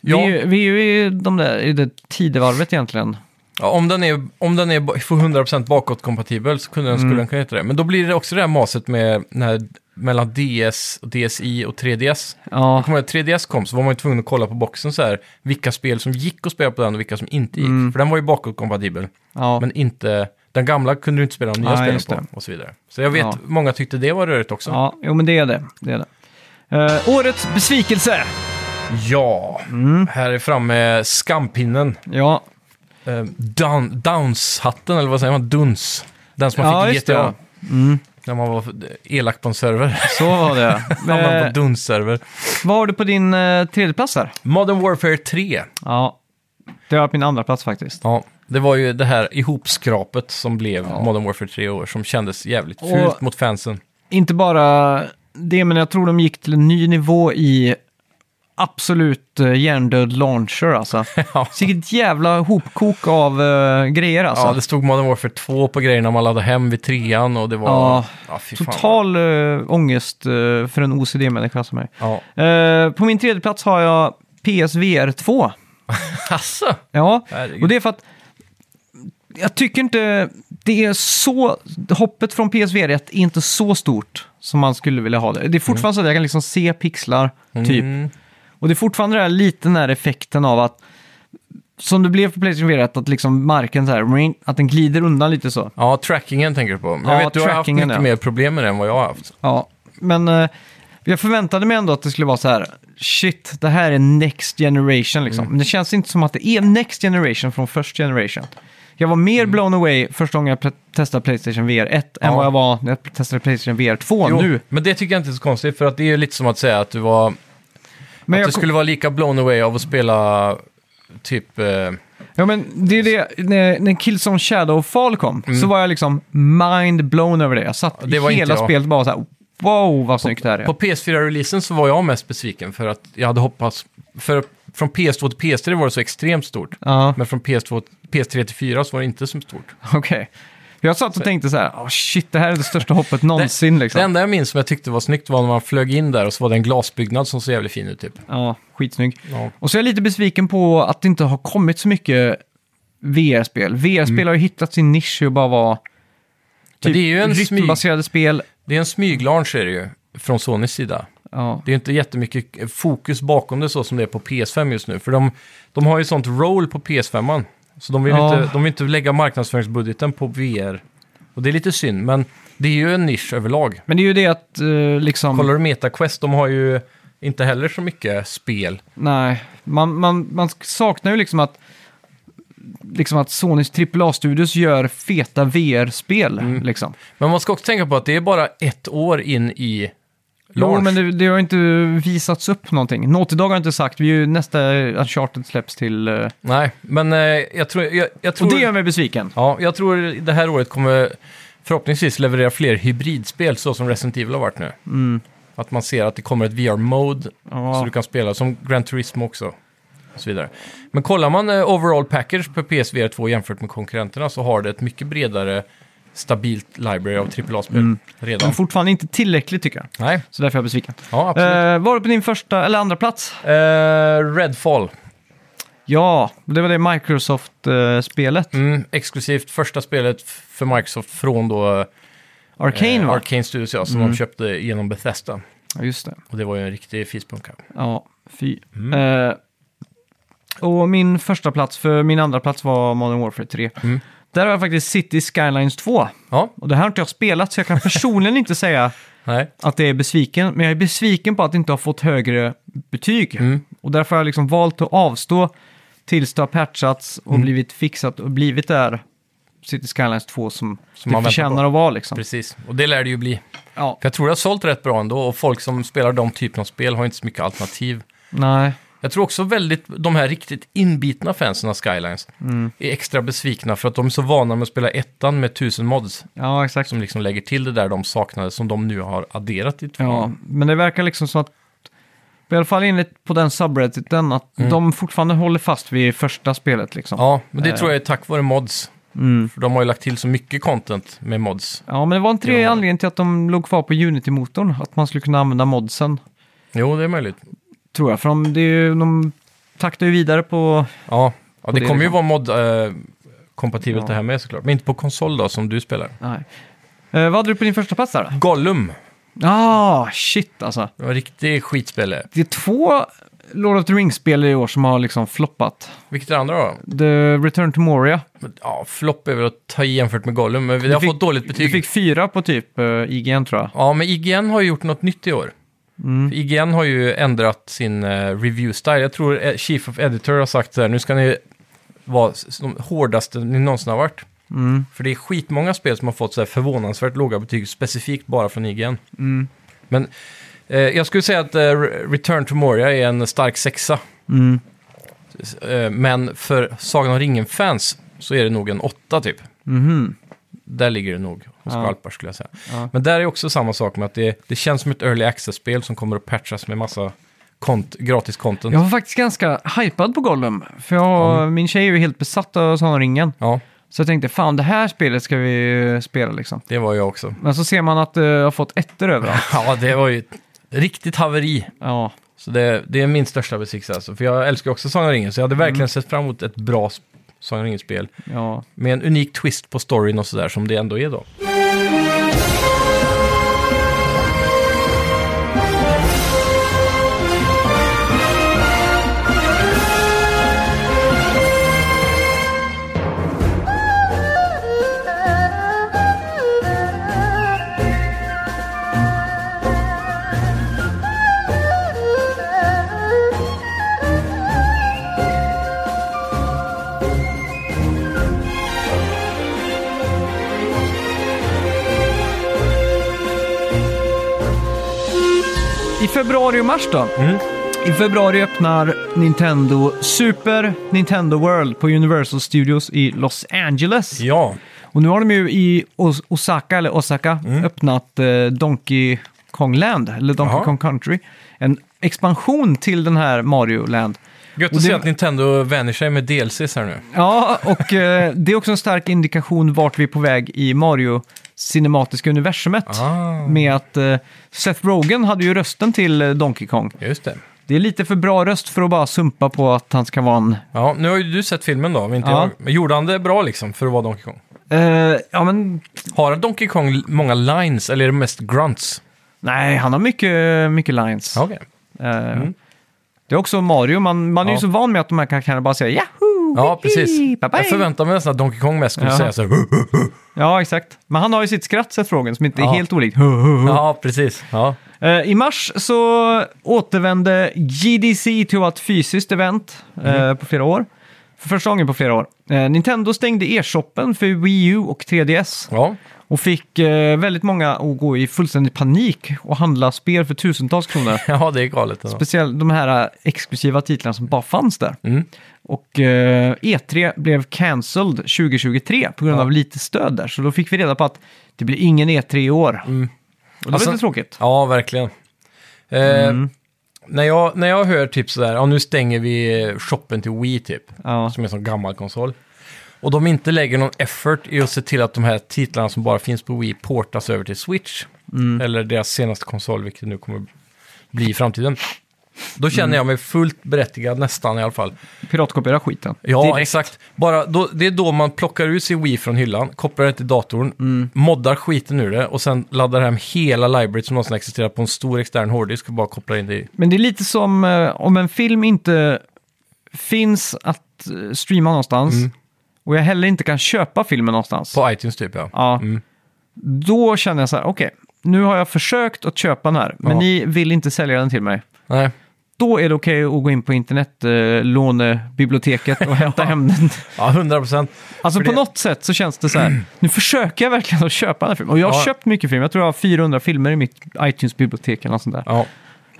Speaker 2: Ja.
Speaker 1: Vi, är ju, vi är ju i, de där, i det tidevarvet egentligen.
Speaker 2: Ja, om den är, om den är ba- för 100% bakåtkompatibel så kunde den,
Speaker 1: Mm.
Speaker 2: skulle den kunna heta det. Men då blir det också det här maset med när, mellan DS, och DSI och 3DS.
Speaker 1: Ja,
Speaker 2: Jag kommer ihåg att 3DS kom så var man ju tvungen att kolla på boxen så här, vilka spel som gick att spela på den och vilka som inte gick.
Speaker 1: Mm.
Speaker 2: För den var ju bakåtkompatibel.
Speaker 1: ja.
Speaker 2: Men inte, den gamla kunde du inte spela de nya
Speaker 1: Nej,
Speaker 2: spelen
Speaker 1: just
Speaker 2: på
Speaker 1: det.
Speaker 2: och så vidare. Så jag vet,
Speaker 1: Ja.
Speaker 2: många tyckte det var rörigt också. Ja.
Speaker 1: ja, jo men det är det. det, är det. Eh, årets besvikelse! Mm.
Speaker 2: Här är framme skampinnen.
Speaker 1: Ja,
Speaker 2: Eh, down, Downs-hatten, eller vad säger man? Duns. Den som man
Speaker 1: Ja,
Speaker 2: fick i
Speaker 1: just det,
Speaker 2: GTA.
Speaker 1: ja. Mm.
Speaker 2: När man var elak på en server.
Speaker 1: så var det.
Speaker 2: Hamnade
Speaker 1: Eh,
Speaker 2: på Duns-server.
Speaker 1: vad har du på din uh, tredje plats där?
Speaker 2: Modern Warfare 3.
Speaker 1: Ja, det har jag på min andra plats faktiskt.
Speaker 2: Ja, det var ju det här ihopskrapet som blev Modern Warfare 3 år som kändes jävligt fult
Speaker 1: Och-
Speaker 2: mot fansen.
Speaker 1: Inte bara det, men jag tror de gick till en ny nivå i absolut eh, hjärndöd launcher alltså.
Speaker 2: Ja.
Speaker 1: Så Vilket jävla hopkok av eh, grejer alltså.
Speaker 2: Ja, det stod Modern Warfare 2 på grejerna man laddade hem vid trean och det var...
Speaker 1: Ja,
Speaker 2: fy fan.
Speaker 1: Total uh, ångest eh, för en OCD-människa som mig.
Speaker 2: Ja.
Speaker 1: Eh, på min tredje plats har jag PSVR 2.
Speaker 2: Asså?
Speaker 1: Ja,
Speaker 2: Herregud.
Speaker 1: och det är för att jag tycker inte det är så, hoppet från PSVR 1 är inte så stort som man skulle vilja ha det. Det är fortfarande så att jag kan liksom se pixlar, typ.
Speaker 2: Mm.
Speaker 1: Och det är fortfarande den här, lite den här effekten av att, som det blev på Playstation VR 1, att liksom marken så här, ring, att den glider undan lite så.
Speaker 2: Ja, trackingen tänker du på. Men jag
Speaker 1: Ja,
Speaker 2: vet, du har haft
Speaker 1: trackingen,
Speaker 2: mycket
Speaker 1: ja.
Speaker 2: mer problem med det än vad jag har haft.
Speaker 1: Ja, men eh, jag förväntade mig ändå att det skulle vara så här, shit, det här är next generation
Speaker 2: Mm.
Speaker 1: liksom. Men det känns inte som att det är next generation från first generation. Jag var mer blown away första gången jag pre- testade Playstation VR 1 än
Speaker 2: Mm. Ja.
Speaker 1: vad jag var när jag testade Playstation VR 2
Speaker 2: Jo,
Speaker 1: nu.
Speaker 2: Men det tycker jag inte är så konstigt, för att det är ju lite som att säga att du var...
Speaker 1: Men,
Speaker 2: att
Speaker 1: jag,
Speaker 2: du skulle vara lika blown away av att spela typ... Eh,
Speaker 1: ja, men det är det, när, när Killzone Shadowfall kom så var jag liksom mind blown över det. Jag satt
Speaker 2: Mm. Det var
Speaker 1: i
Speaker 2: inte
Speaker 1: hela
Speaker 2: jag.
Speaker 1: spelet bara så här, wow vad snyggt det här är.
Speaker 2: På PS4-releasen så var jag mest besviken för att jag hade hoppats... För från PS2 till PS3 var det så extremt stort.
Speaker 1: Ja.
Speaker 2: Men från PS2, PS3 till 4 så var det inte så stort.
Speaker 1: Okej. Jag satt och tänkte så här, oh, shit, det här är det största hoppet någonsin liksom.
Speaker 2: Det enda jag minns som jag tyckte var snyggt var när man flög in där och så var det en glasbyggnad som såg jävligt fin ut typ.
Speaker 1: Ja, skitsnygg.
Speaker 2: Ja.
Speaker 1: Och så är jag lite besviken på att det inte har kommit så mycket VR-spel. VR-spel har ju hittat sin nisch i att bara vara typ
Speaker 2: Mm. det är ju en smyg-
Speaker 1: rytmbaserade spel.
Speaker 2: Det är en smyglaunch är det ju, från Sonys sida.
Speaker 1: Ja.
Speaker 2: Det är ju inte jättemycket fokus bakom det så som det är på PS5 just nu. För de, de har ju sånt roll på PS5. Så de vill,
Speaker 1: Ja.
Speaker 2: inte, de vill inte lägga marknadsföringsbudgeten på VR. Och det är lite synd, men det är ju en nisch överlag.
Speaker 1: Men det är ju det att eh, liksom...
Speaker 2: Kollar du MetaQuest, de har ju inte heller så mycket spel.
Speaker 1: Nej, man, man, man saknar ju liksom att, liksom att Sonys AAA-studios gör feta VR-spel.
Speaker 2: Mm.
Speaker 1: Liksom.
Speaker 2: Men man ska också tänka på att det är bara ett år in i launch.
Speaker 1: Jo, men det, det har ju inte visats upp någonting. Naughty Dog har inte sagt, vi är ju nästa Uncharted släpps till... eh,
Speaker 2: Nej, men eh, jag tror... Jag, jag tror
Speaker 1: och det gör mig besviken.
Speaker 2: Ja, jag tror det här året kommer förhoppningsvis leverera fler hybridspel så som Resident Evil har varit nu. Att man ser att det kommer ett VR-mode
Speaker 1: Mm. Ja.
Speaker 2: så du kan spela, som Gran Turismo också. Och så vidare. Men kollar man eh, overall package på PSVR 2 jämfört med konkurrenterna så har det ett mycket bredare stabilt library av AAA-spel
Speaker 1: Mm.
Speaker 2: redan.
Speaker 1: Men fortfarande inte tillräckligt tycker jag.
Speaker 2: Nej,
Speaker 1: Så därför är jag besviken.
Speaker 2: ja
Speaker 1: Eh,
Speaker 2: absolut.
Speaker 1: var du på din första, eller andra plats?
Speaker 2: Eh, Redfall.
Speaker 1: Ja, det var det Microsoft-spelet.
Speaker 2: Mm, exklusivt första spelet f- för Microsoft från då
Speaker 1: Arcane
Speaker 2: eh,
Speaker 1: va? Mm.
Speaker 2: Arcane Studios, ja, som de köpte genom Bethesda.
Speaker 1: ja, just det.
Speaker 2: Och det var ju en riktig fispunka.
Speaker 1: Ja, fy. Eh, och min första plats, för min andra plats var Modern Warfare 3. Där har jag faktiskt City Skylines 2.
Speaker 2: Ja,
Speaker 1: Och det här har inte jag spelat, så jag kan personligen inte säga
Speaker 2: nej.
Speaker 1: att jag är besviken. Men jag är besviken på att inte ha fått högre betyg.
Speaker 2: Mm.
Speaker 1: Och därför har jag liksom valt att avstå tills det har patchats och
Speaker 2: Mm.
Speaker 1: blivit fixat och blivit där City Skylines 2 som,
Speaker 2: man
Speaker 1: det
Speaker 2: väntar
Speaker 1: förtjänar
Speaker 2: på.
Speaker 1: att vara liksom.
Speaker 2: Precis, och det lär det ju bli.
Speaker 1: Ja,
Speaker 2: För jag tror det har sålt rätt bra ändå och folk som spelar de typen av spel har inte så mycket alternativ.
Speaker 1: nej.
Speaker 2: Jag tror också väldigt, de här riktigt inbitna fansen av Skylines
Speaker 1: Mm.
Speaker 2: är extra besvikna för att de är så vana med att spela ettan med tusen mods
Speaker 1: Ja, exakt.
Speaker 2: som liksom lägger till det där de saknade som de nu har adderat i
Speaker 1: Ja,
Speaker 2: tvåan.
Speaker 1: men det verkar liksom som att, i alla fall enligt på den subredditen, att de fortfarande håller fast vid första spelet liksom. Ja.
Speaker 2: Mm. Ja, men det tror jag är tack vare mods. För de har ju lagt till så mycket content med mods.
Speaker 1: men det var inte det
Speaker 2: Ja.
Speaker 1: anledningen till att de låg kvar på Unity-motorn, att man skulle kunna använda modsen,
Speaker 2: Jo, det är möjligt.
Speaker 1: tror jag. För de, det är ju, de taktar ju vidare på,
Speaker 2: Ja, ja det,
Speaker 1: det
Speaker 2: kommer ju
Speaker 1: liksom.
Speaker 2: vara mod... Eh, kompatibelt
Speaker 1: Ja.
Speaker 2: det här med såklart. Men inte på konsol då, som du spelar.
Speaker 1: Nej. Eh, vad hade du på din första plats där då?
Speaker 2: Gollum.
Speaker 1: Ah, shit alltså.
Speaker 2: Det var riktigt skitspel.
Speaker 1: Det är två Lord of the Rings-spel i år som har liksom floppat.
Speaker 2: Vilket är det andra då?
Speaker 1: The Return to Moria.
Speaker 2: Men, Ja, flopp är väl att ta i jämfört med Gollum, men det
Speaker 1: Du
Speaker 2: har
Speaker 1: fick-
Speaker 2: fått dåligt
Speaker 1: Du
Speaker 2: betyg.
Speaker 1: fick fyra på typ uh, IGN tror jag.
Speaker 2: Ja, men IGN har ju gjort något nytt i år.
Speaker 1: Mm.
Speaker 2: För IGN har ju ändrat sin eh, review-style. Jag tror eh, Chief of Editor har sagt så här, nu ska ni vara s- de hårdaste ni någonsin har varit.
Speaker 1: Mm.
Speaker 2: För det är skitmånga spel som har fått så här förvånansvärt låga betyg specifikt bara från IGN.
Speaker 1: Mm.
Speaker 2: Men eh, jag skulle säga att eh, Re- Return to Moria är en stark sexa.
Speaker 1: Mm.
Speaker 2: Eh, men för Sagan om ringen-fans så är det nog en åtta typ.
Speaker 1: Mhm.
Speaker 2: Där ligger det nog och
Speaker 1: Ja.
Speaker 2: skvalpar skulle jag säga.
Speaker 1: Ja.
Speaker 2: Men där är också samma sak med att det, det känns som ett early access-spel som kommer att patchas med massa kont, gratis content.
Speaker 1: Jag var faktiskt ganska hypad på Gollum. För jag, min tjej är ju helt besatt av sån ringen.
Speaker 2: Ja,
Speaker 1: Så jag tänkte, fan det här spelet ska vi eh, spela liksom.
Speaker 2: det var jag också.
Speaker 1: Men så ser man att eh, jag har fått ettor överallt.
Speaker 2: Ja, det var ju ett riktigt haveri.
Speaker 1: Ja.
Speaker 2: Så det, det är min största besvikelse alltså. För jag älskar också Sagan om ringen, så jag hade verkligen
Speaker 1: Mm.
Speaker 2: sett fram emot ett bra sp- Sagan om ringen-spel.
Speaker 1: ja.
Speaker 2: Med en unik twist på storyn och sådär som det ändå är då.
Speaker 1: I februari och mars då?
Speaker 2: Mm.
Speaker 1: I februari öppnar Nintendo Super Nintendo World på Universal Studios i Los Angeles.
Speaker 2: Ja,
Speaker 1: Och nu har de ju i Os- Osaka, eller Osaka, öppnat eh, Donkey Kong Land, eller Donkey
Speaker 2: Mm. Jaha.
Speaker 1: Kong Country. En expansion till den här Mario Land.
Speaker 2: gött
Speaker 1: Och
Speaker 2: att
Speaker 1: det-
Speaker 2: se att Nintendo vänjer sig med DLCs här nu.
Speaker 1: Ja, och eh, det är också en stark indikation vart vi är på väg i Mario cinematiska universumet.
Speaker 2: Ah.
Speaker 1: Med att eh, Seth Rogen hade ju rösten till eh, Donkey Kong.
Speaker 2: Just det.
Speaker 1: Det är lite för bra röst för att bara sumpa på att han ska vara en...
Speaker 2: Ja, nu har ju du sett filmen då, men inte
Speaker 1: Ja.
Speaker 2: jag. Men gjorde han det bra liksom för att vara Donkey Kong?
Speaker 1: Eh, ja, men...
Speaker 2: Har Donkey Kong l- många lines eller är det mest grunts?
Speaker 1: Nej, han har mycket, mycket lines.
Speaker 2: Okej.
Speaker 1: Eh, Det är också Mario, man, man är ju
Speaker 2: Mm. Ja.
Speaker 1: så van med att de här karaktärerna bara säger Yahoo!
Speaker 2: Ja, precis.
Speaker 1: Bye -bye.
Speaker 2: Jag förväntar mig nästan att Donkey Kong mest skulle
Speaker 1: Ja.
Speaker 2: säga så här.
Speaker 1: Ja, exakt. Men han har ju sitt skratt, sett frågan, som inte
Speaker 2: Ja.
Speaker 1: är helt olikt.
Speaker 2: Ja, precis. Ja.
Speaker 1: Eh, I mars så återvände GDC till att vara ett fysiskt event eh,
Speaker 2: Mm.
Speaker 1: på flera år. För första gången på flera år. Eh, Nintendo stängde e-shoppen för Wii U och 3DS
Speaker 2: ja.
Speaker 1: och fick eh, väldigt många att gå i fullständig panik och handla spel för tusentals kronor.
Speaker 2: Ja, det är galet. ändå.
Speaker 1: Speciellt de här eh, exklusiva titlarna som bara fanns där.
Speaker 2: Mm.
Speaker 1: Och eh, E3 blev cancelled 2023 på grund
Speaker 2: Ja.
Speaker 1: av lite stöd där. Så då fick vi reda på att det blir ingen E3 i år. Och det var
Speaker 2: Alltså-
Speaker 1: lite tråkigt.
Speaker 2: Ja, verkligen. Eh, när, jag, när jag hör typ sådär, ja nu stänger vi eh, shoppen till Wii typ,
Speaker 1: Ja.
Speaker 2: som är en sån gammal konsol. Och de inte lägger någon effort i att se till att de här titlarna som bara finns på Wii portas över till Switch. Eller deras senaste konsol, vilket det nu kommer bli i framtiden. Då känner jag mig fullt berättigad, nästan i alla fall,
Speaker 1: Piratkopiera skiten.
Speaker 2: Ja,
Speaker 1: Direkt.
Speaker 2: exakt. Bara då, det är då man plockar ut sin Wii från hyllan, kopplar det till datorn, moddar skiten ur det och sen laddar hem hela library som någonsin existerat på en stor extern hårddisk och bara kopplar in det i.
Speaker 1: Men det är lite som eh, om en film inte finns att eh, streama någonstans
Speaker 2: Mm.
Speaker 1: och jag heller inte kan köpa filmen någonstans.
Speaker 2: På iTunes typ ja.
Speaker 1: Ja. Då känner jag så här, okej, nu har jag försökt att köpa den här, men
Speaker 2: Ja.
Speaker 1: ni vill inte sälja den till mig.
Speaker 2: Nej,
Speaker 1: Då är det okej att gå in på internetlånebiblioteket och hämta hem den.
Speaker 2: ja 100 procent.
Speaker 1: Alltså
Speaker 2: För
Speaker 1: på
Speaker 2: det-
Speaker 1: något sätt så känns det så här, nu försöker jag verkligen att köpa den här filmen. Och jag har
Speaker 2: Ja.
Speaker 1: köpt mycket film, jag tror jag har 400 filmer i mitt iTunes-bibliotek eller något sånt där.
Speaker 2: Ja.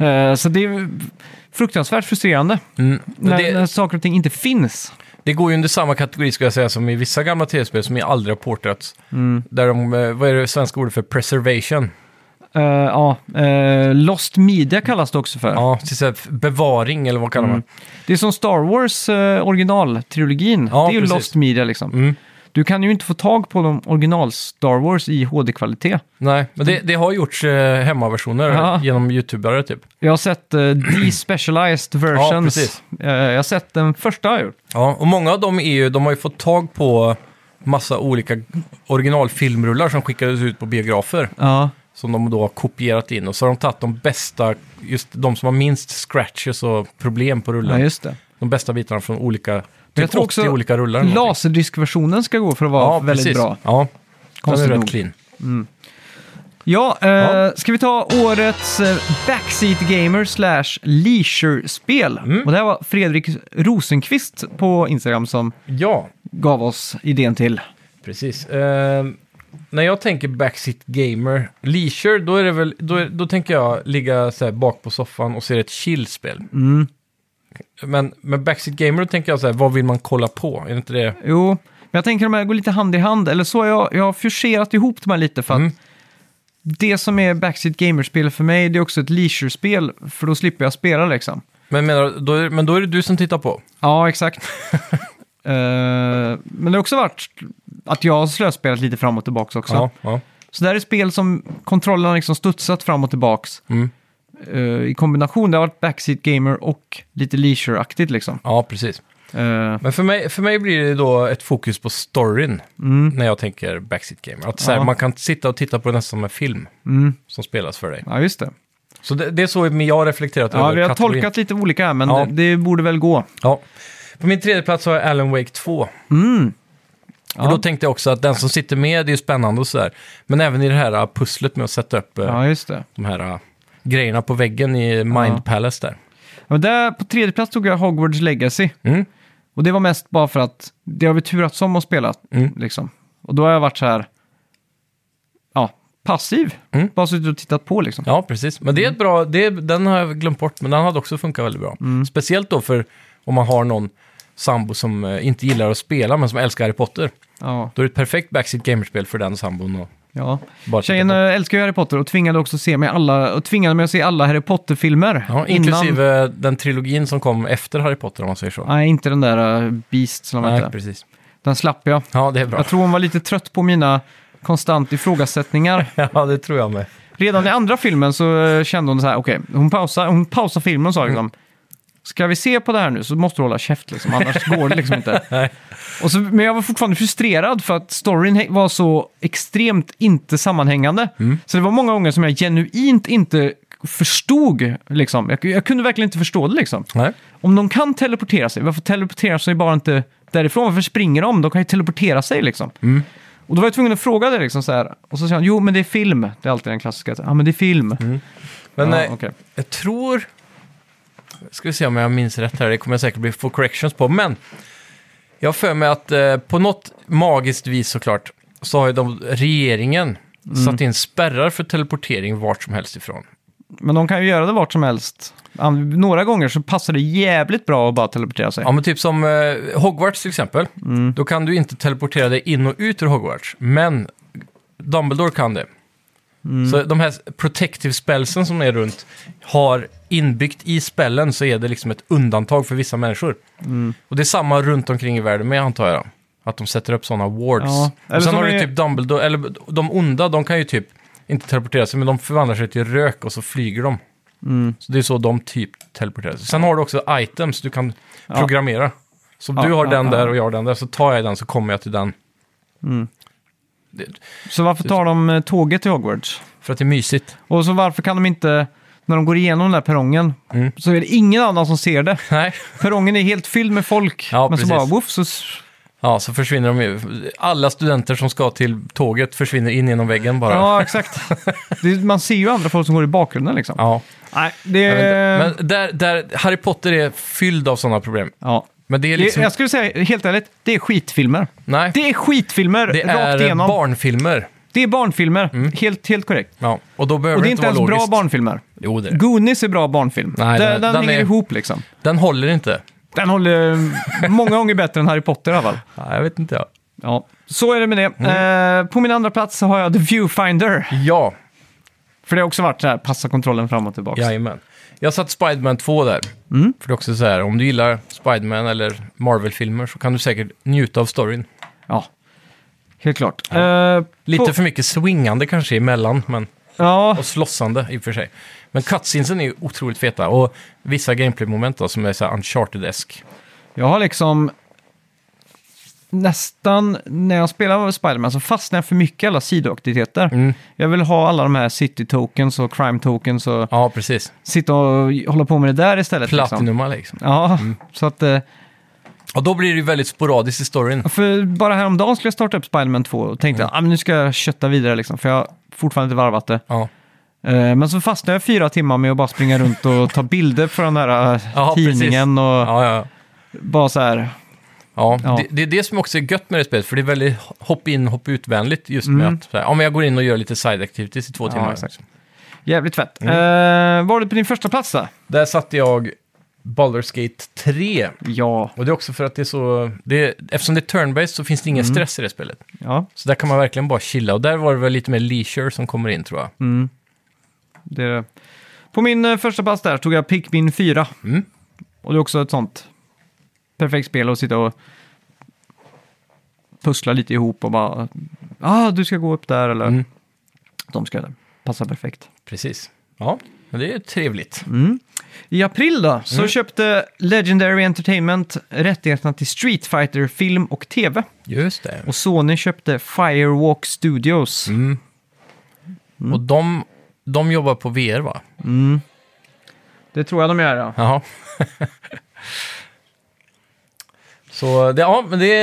Speaker 1: Eh, Så det är fruktansvärt frustrerande
Speaker 2: Mm. Men
Speaker 1: när, när
Speaker 2: Det,
Speaker 1: saker och ting inte finns.
Speaker 2: det går ju under samma kategori ska jag säga som i vissa gamla tv-spel som ju aldrig har portats. Där de, eh, vad är det svenska ordet för preservation?
Speaker 1: Eh, Ja, eh, Lost Media kallas det också för.
Speaker 2: Ja, till så här f- bevaring eller vad kallar man
Speaker 1: Det är som Star Wars eh, originaltrilogin,
Speaker 2: Ja,
Speaker 1: det är ju
Speaker 2: precis.
Speaker 1: Lost Media liksom.
Speaker 2: Mm.
Speaker 1: Du kan ju inte få tag på de original Star Wars i HD-kvalitet.
Speaker 2: Nej, men det, det har gjorts eh, hemmaversioner
Speaker 1: Ja.
Speaker 2: genom youtubare typ.
Speaker 1: Jag har sett uh, despecialized versions.
Speaker 2: precis.
Speaker 1: Eh, jag har sett den första jag har gjort.
Speaker 2: Ja, och många av dem är ju, de har ju fått tag på massa olika originalfilmrullar som skickades ut på biografer.
Speaker 1: Ja,
Speaker 2: Som de då har kopierat in och så har de tagit de bästa, just de som har minst scratches och problem på
Speaker 1: ja
Speaker 2: rullen.
Speaker 1: just det.
Speaker 2: de bästa bitarna från olika,
Speaker 1: jag
Speaker 2: typ
Speaker 1: tror
Speaker 2: 80
Speaker 1: också
Speaker 2: olika rullar. eller någonting.
Speaker 1: Laserdiskversionen ska gå för att vara
Speaker 2: ja,
Speaker 1: väldigt
Speaker 2: precis.
Speaker 1: bra.
Speaker 2: Ja, den är
Speaker 1: Konstigt
Speaker 2: rätt
Speaker 1: nog.
Speaker 2: clean.
Speaker 1: Ja, eh,
Speaker 2: Ja.
Speaker 1: ska vi ta årets eh, Backseat Gamer slash Leisure-spel?
Speaker 2: Mm.
Speaker 1: Och det här var Fredrik Rosenqvist på Instagram som
Speaker 2: Ja,
Speaker 1: gav oss idén till.
Speaker 2: Precis. Eh, när jag tänker backseat gamer, leisure, då, är det väl, då, är, då tänker jag ligga så här bak på soffan och se ett chill-spel.
Speaker 1: Mm.
Speaker 2: Men med backseat gamer då tänker jag så här, vad vill man kolla på? Är det inte det?
Speaker 1: Jo, men jag tänker de här går lite hand i hand, eller så. har Jag, jag har forcerat ihop de här lite för att
Speaker 2: Mm.
Speaker 1: det som är Backseat Gamer-spel för mig, det är också ett leisure-spel, för då slipper jag spela liksom.
Speaker 2: Men, menar, då är, men då är det du som tittar på?
Speaker 1: Ja, exakt. Eh, men det har också varit att jag har slöspelat lite fram och tillbaka också.
Speaker 2: Ja, ja.
Speaker 1: Så det här är spel som kontrollen har liksom studsat fram och tillbaks
Speaker 2: Mm.
Speaker 1: eh, i kombination. Det har varit backseat gamer och lite leisure-aktigt liksom.
Speaker 2: ja, precis.
Speaker 1: Eh,
Speaker 2: Men för mig, för mig blir det då ett fokus på storyn
Speaker 1: mm,
Speaker 2: när jag tänker backseat gamer. Att så här,
Speaker 1: Ja.
Speaker 2: man kan sitta och titta på det nästan som en film
Speaker 1: mm.
Speaker 2: som spelas för dig.
Speaker 1: Ja, just det.
Speaker 2: Så det, det är så jag har reflekterat
Speaker 1: Ja,
Speaker 2: över
Speaker 1: vi har
Speaker 2: kategorin.
Speaker 1: tolkat lite olika här, men
Speaker 2: Ja.
Speaker 1: det, det borde väl gå.
Speaker 2: Ja. På min tredje plats har jag Alan Wake 2.
Speaker 1: Mm.
Speaker 2: Och
Speaker 1: Ja.
Speaker 2: då tänkte jag också att den som sitter med, det är ju spännande och sådär. Men även i det här ah, pusslet med att sätta upp eh,
Speaker 1: Ja, just det.
Speaker 2: de här ah, grejerna på väggen i Mind
Speaker 1: Ja.
Speaker 2: Palace där.
Speaker 1: Men där på tredje plats tog jag Hogwarts Legacy.
Speaker 2: Mm.
Speaker 1: Och det var mest bara för att det har vi turats om att spela.
Speaker 2: Mm.
Speaker 1: Liksom. Och då har jag varit så här, ja, passiv.
Speaker 2: Mm.
Speaker 1: Bara suttit och tittat på liksom.
Speaker 2: Ja, precis. Men det är ett bra, det är, den har jag glömt bort, men den hade också funkat väldigt bra.
Speaker 1: Mm.
Speaker 2: Speciellt då för om man har någon sambo som eh, inte gillar att spela, men som älskar Harry Potter.
Speaker 1: Ja.
Speaker 2: Då är det ett perfekt backseat gamerspel för den sambon. Och
Speaker 1: ja.
Speaker 2: bara titta
Speaker 1: Tjejen
Speaker 2: på.
Speaker 1: eh, älskar ju Harry Potter och tvingade också se mig alla, och tvingade mig att se alla Harry Potter-filmer.
Speaker 2: Ja,
Speaker 1: äh, Innan,
Speaker 2: inklusive den trilogin som kom efter Harry Potter, om man säger så.
Speaker 1: nej, inte den där eh, Beast som
Speaker 2: Nej,
Speaker 1: hette.
Speaker 2: precis.
Speaker 1: Den slapp jag.
Speaker 2: Ja, det är bra.
Speaker 1: Jag tror hon var lite trött på mina konstant ifrågasättningar.
Speaker 2: Ja, det tror jag med.
Speaker 1: Redan i andra filmen så eh, kände hon så här, okej, hon, pausade, hon pausade filmen och sa liksom, ska vi se på det här nu så måste du hålla käft liksom, annars går det liksom inte.
Speaker 2: Nej.
Speaker 1: och så, men jag var fortfarande frustrerad för att storyn he- var så extremt inte sammanhängande. Så det var många gånger som jag genuint inte förstod, liksom. jag, jag kunde verkligen inte förstå det liksom.
Speaker 2: Nej.
Speaker 1: Om de kan teleportera sig, varför teleporterar sig bara inte därifrån? Varför springer de? De kan ju teleportera sig liksom.
Speaker 2: Mm.
Speaker 1: Och då var jag tvungen att fråga det liksom så här. Och så sa han, jo men det är film. Det är alltid den klassiska, ja men det är film.
Speaker 2: Mm. Men
Speaker 1: ja,
Speaker 2: eh,
Speaker 1: okej.
Speaker 2: Jag tror... Ska vi se om jag minns rätt här, det kommer jag säkert bli få corrections på, men... Jag har för mig att eh, på något magiskt vis såklart, så har ju de, regeringen
Speaker 1: Mm.
Speaker 2: satt in spärrar för teleportering vart som helst ifrån.
Speaker 1: Men de kan ju göra det vart som helst. An- Några gånger så passar det jävligt bra att bara teleportera sig. Mm.
Speaker 2: Ja, men typ som eh, Hogwarts till exempel. Då kan du inte teleportera dig in och ut ur Hogwarts, men Dumbledore kan det.
Speaker 1: Mm.
Speaker 2: Så de här protective spellsen som är runt har inbyggt i spellen så är det liksom ett undantag för vissa människor.
Speaker 1: Mm.
Speaker 2: Och det är samma runt omkring i världen med antar jag. Att de sätter upp sådana wards.
Speaker 1: Ja, eller
Speaker 2: Och sen
Speaker 1: som
Speaker 2: har du
Speaker 1: är-
Speaker 2: typ Dumbledore, eller de onda, de kan ju typ inte teleportera sig, men de förvandlar sig till rök och så flyger de.
Speaker 1: Mm.
Speaker 2: Så det är så de typ teleporterar sig. Sen har du också items du kan programmera. Så
Speaker 1: Ja,
Speaker 2: du har
Speaker 1: ja,
Speaker 2: den
Speaker 1: ja.
Speaker 2: där och jag har den där, så tar jag den så kommer jag till den. Det,
Speaker 1: Så varför tar de eh, tåget till Hogwarts?
Speaker 2: för att det är mysigt.
Speaker 1: Och så varför kan de inte, när de går igenom den där perrongen,
Speaker 2: Mm.
Speaker 1: så är det ingen annan som ser det.
Speaker 2: Nej.
Speaker 1: Perrongen är helt fylld med folk.
Speaker 2: Ja,
Speaker 1: men så
Speaker 2: precis.
Speaker 1: bara, woof, så s-
Speaker 2: Ja, så försvinner de ju. Alla studenter som ska till tåget försvinner in genom väggen bara.
Speaker 1: Ja, exakt. Det, man ser ju andra folk som går i bakgrunden liksom.
Speaker 2: Ja,
Speaker 1: Nej, det...
Speaker 2: jag vet inte. Men där, där, Harry Potter är fylld av sådana problem.
Speaker 1: ja.
Speaker 2: Men det är liksom...
Speaker 1: Jag skulle säga, helt ärligt, det är skitfilmer.
Speaker 2: nej, det,
Speaker 1: Det är skitfilmer rakt
Speaker 2: är Mm.
Speaker 1: igenom.
Speaker 2: barnfilmer.
Speaker 1: Det är barnfilmer, helt, helt korrekt.
Speaker 2: Ja, och då behöver
Speaker 1: Och det
Speaker 2: det
Speaker 1: är inte ens
Speaker 2: vara
Speaker 1: bra
Speaker 2: logiskt.
Speaker 1: barnfilmer.
Speaker 2: Jo, det är. det.
Speaker 1: Goonies är bra barnfilm.
Speaker 2: Nej,
Speaker 1: den,
Speaker 2: den-
Speaker 1: den,
Speaker 2: den
Speaker 1: hänger
Speaker 2: är-
Speaker 1: ihop liksom.
Speaker 2: Den håller inte.
Speaker 1: Den håller eh, många gånger bättre än Harry Potter i alla fall.
Speaker 2: Ja, jag vet inte. Ja.
Speaker 1: Ja, så är det med det.
Speaker 2: Mm.
Speaker 1: Eh, på min andra plats så har jag The Viewfinder.
Speaker 2: ja,
Speaker 1: För det har också varit så här, passa kontrollen fram och tillbaka.
Speaker 2: Jajamän. Jag satt Spiderman 2 där.
Speaker 1: Mm.
Speaker 2: För det är också så här, om du gillar Spiderman eller Marvel-filmer så kan du säkert njuta av storyn.
Speaker 1: Ja, helt klart. Eh,
Speaker 2: Lite
Speaker 1: på-
Speaker 2: för mycket swingande kanske emellan, men,
Speaker 1: Ja,
Speaker 2: och slåssande i och för sig. Men cutscenesen är ju otroligt feta och vissa gameplay-moment då, som är så här uncharted-esk.
Speaker 1: Jag har liksom nästan, när jag spelar Spiderman så fastnar jag för mycket i alla sidoaktiviteter.
Speaker 2: Mm.
Speaker 1: Jag vill ha alla de här city tokens och crime tokens och
Speaker 2: Ja, precis.
Speaker 1: sitta och hålla på med det där istället. Liksom.
Speaker 2: Platinuma liksom.
Speaker 1: Ja, så att... eh,
Speaker 2: Och då blir det ju väldigt sporadiskt i storyn.
Speaker 1: För bara häromdagen skulle jag starta upp Spiderman 2 och tänkte
Speaker 2: Mm.
Speaker 1: att ah, men nu ska jag kötta vidare liksom, för jag har fortfarande inte varvat det.
Speaker 2: Ja,
Speaker 1: Eh, Men så fastnade jag fyra timmar med att bara springa runt och ta bilder för den där eh,
Speaker 2: Ja, precis.
Speaker 1: tidningen och
Speaker 2: ja, ja.
Speaker 1: bara så här.
Speaker 2: ja.
Speaker 1: Ja.
Speaker 2: Det, det är det som också är gött med det spelet, för det är väldigt hopp in, hopp ut-vänligt just med
Speaker 1: Mm.
Speaker 2: att så här, ja, men jag går in och gör lite side activities i två
Speaker 1: Ja,
Speaker 2: timmar.
Speaker 1: exakt. Jävligt fett.
Speaker 2: Mm.
Speaker 1: Eh, var det på din första plats då?
Speaker 2: Där satte jag Baldur's Gate 3.
Speaker 1: Ja.
Speaker 2: Och det är också för att det är så... Det är, eftersom det är turn-based så finns det
Speaker 1: Mm.
Speaker 2: ingen stress i det spelet.
Speaker 1: ja.
Speaker 2: Så där kan man verkligen bara chilla. Och där var det väl lite mer leisure som kommer in tror jag.
Speaker 1: Mm. Det är det. På min eh, första plats där tog jag Pikmin 4.
Speaker 2: Mm.
Speaker 1: Och det är också ett sånt perfekt spel att sitta och pussla lite ihop och bara, ah, du ska gå upp där eller
Speaker 2: Mm.
Speaker 1: de ska där. Passa perfekt.
Speaker 2: Precis. Ja, men det är ju trevligt.
Speaker 1: Mm. I april då,
Speaker 2: Mm.
Speaker 1: så köpte Legendary Entertainment rättigheterna till Street Fighter film och tv.
Speaker 2: Just det.
Speaker 1: Och Sony köpte Firewalk Studios.
Speaker 2: Mm.
Speaker 1: Mm.
Speaker 2: Och de, de jobbar på VR va?
Speaker 1: Det tror jag de gör ja.
Speaker 2: Jaha. Så det, ja, men det,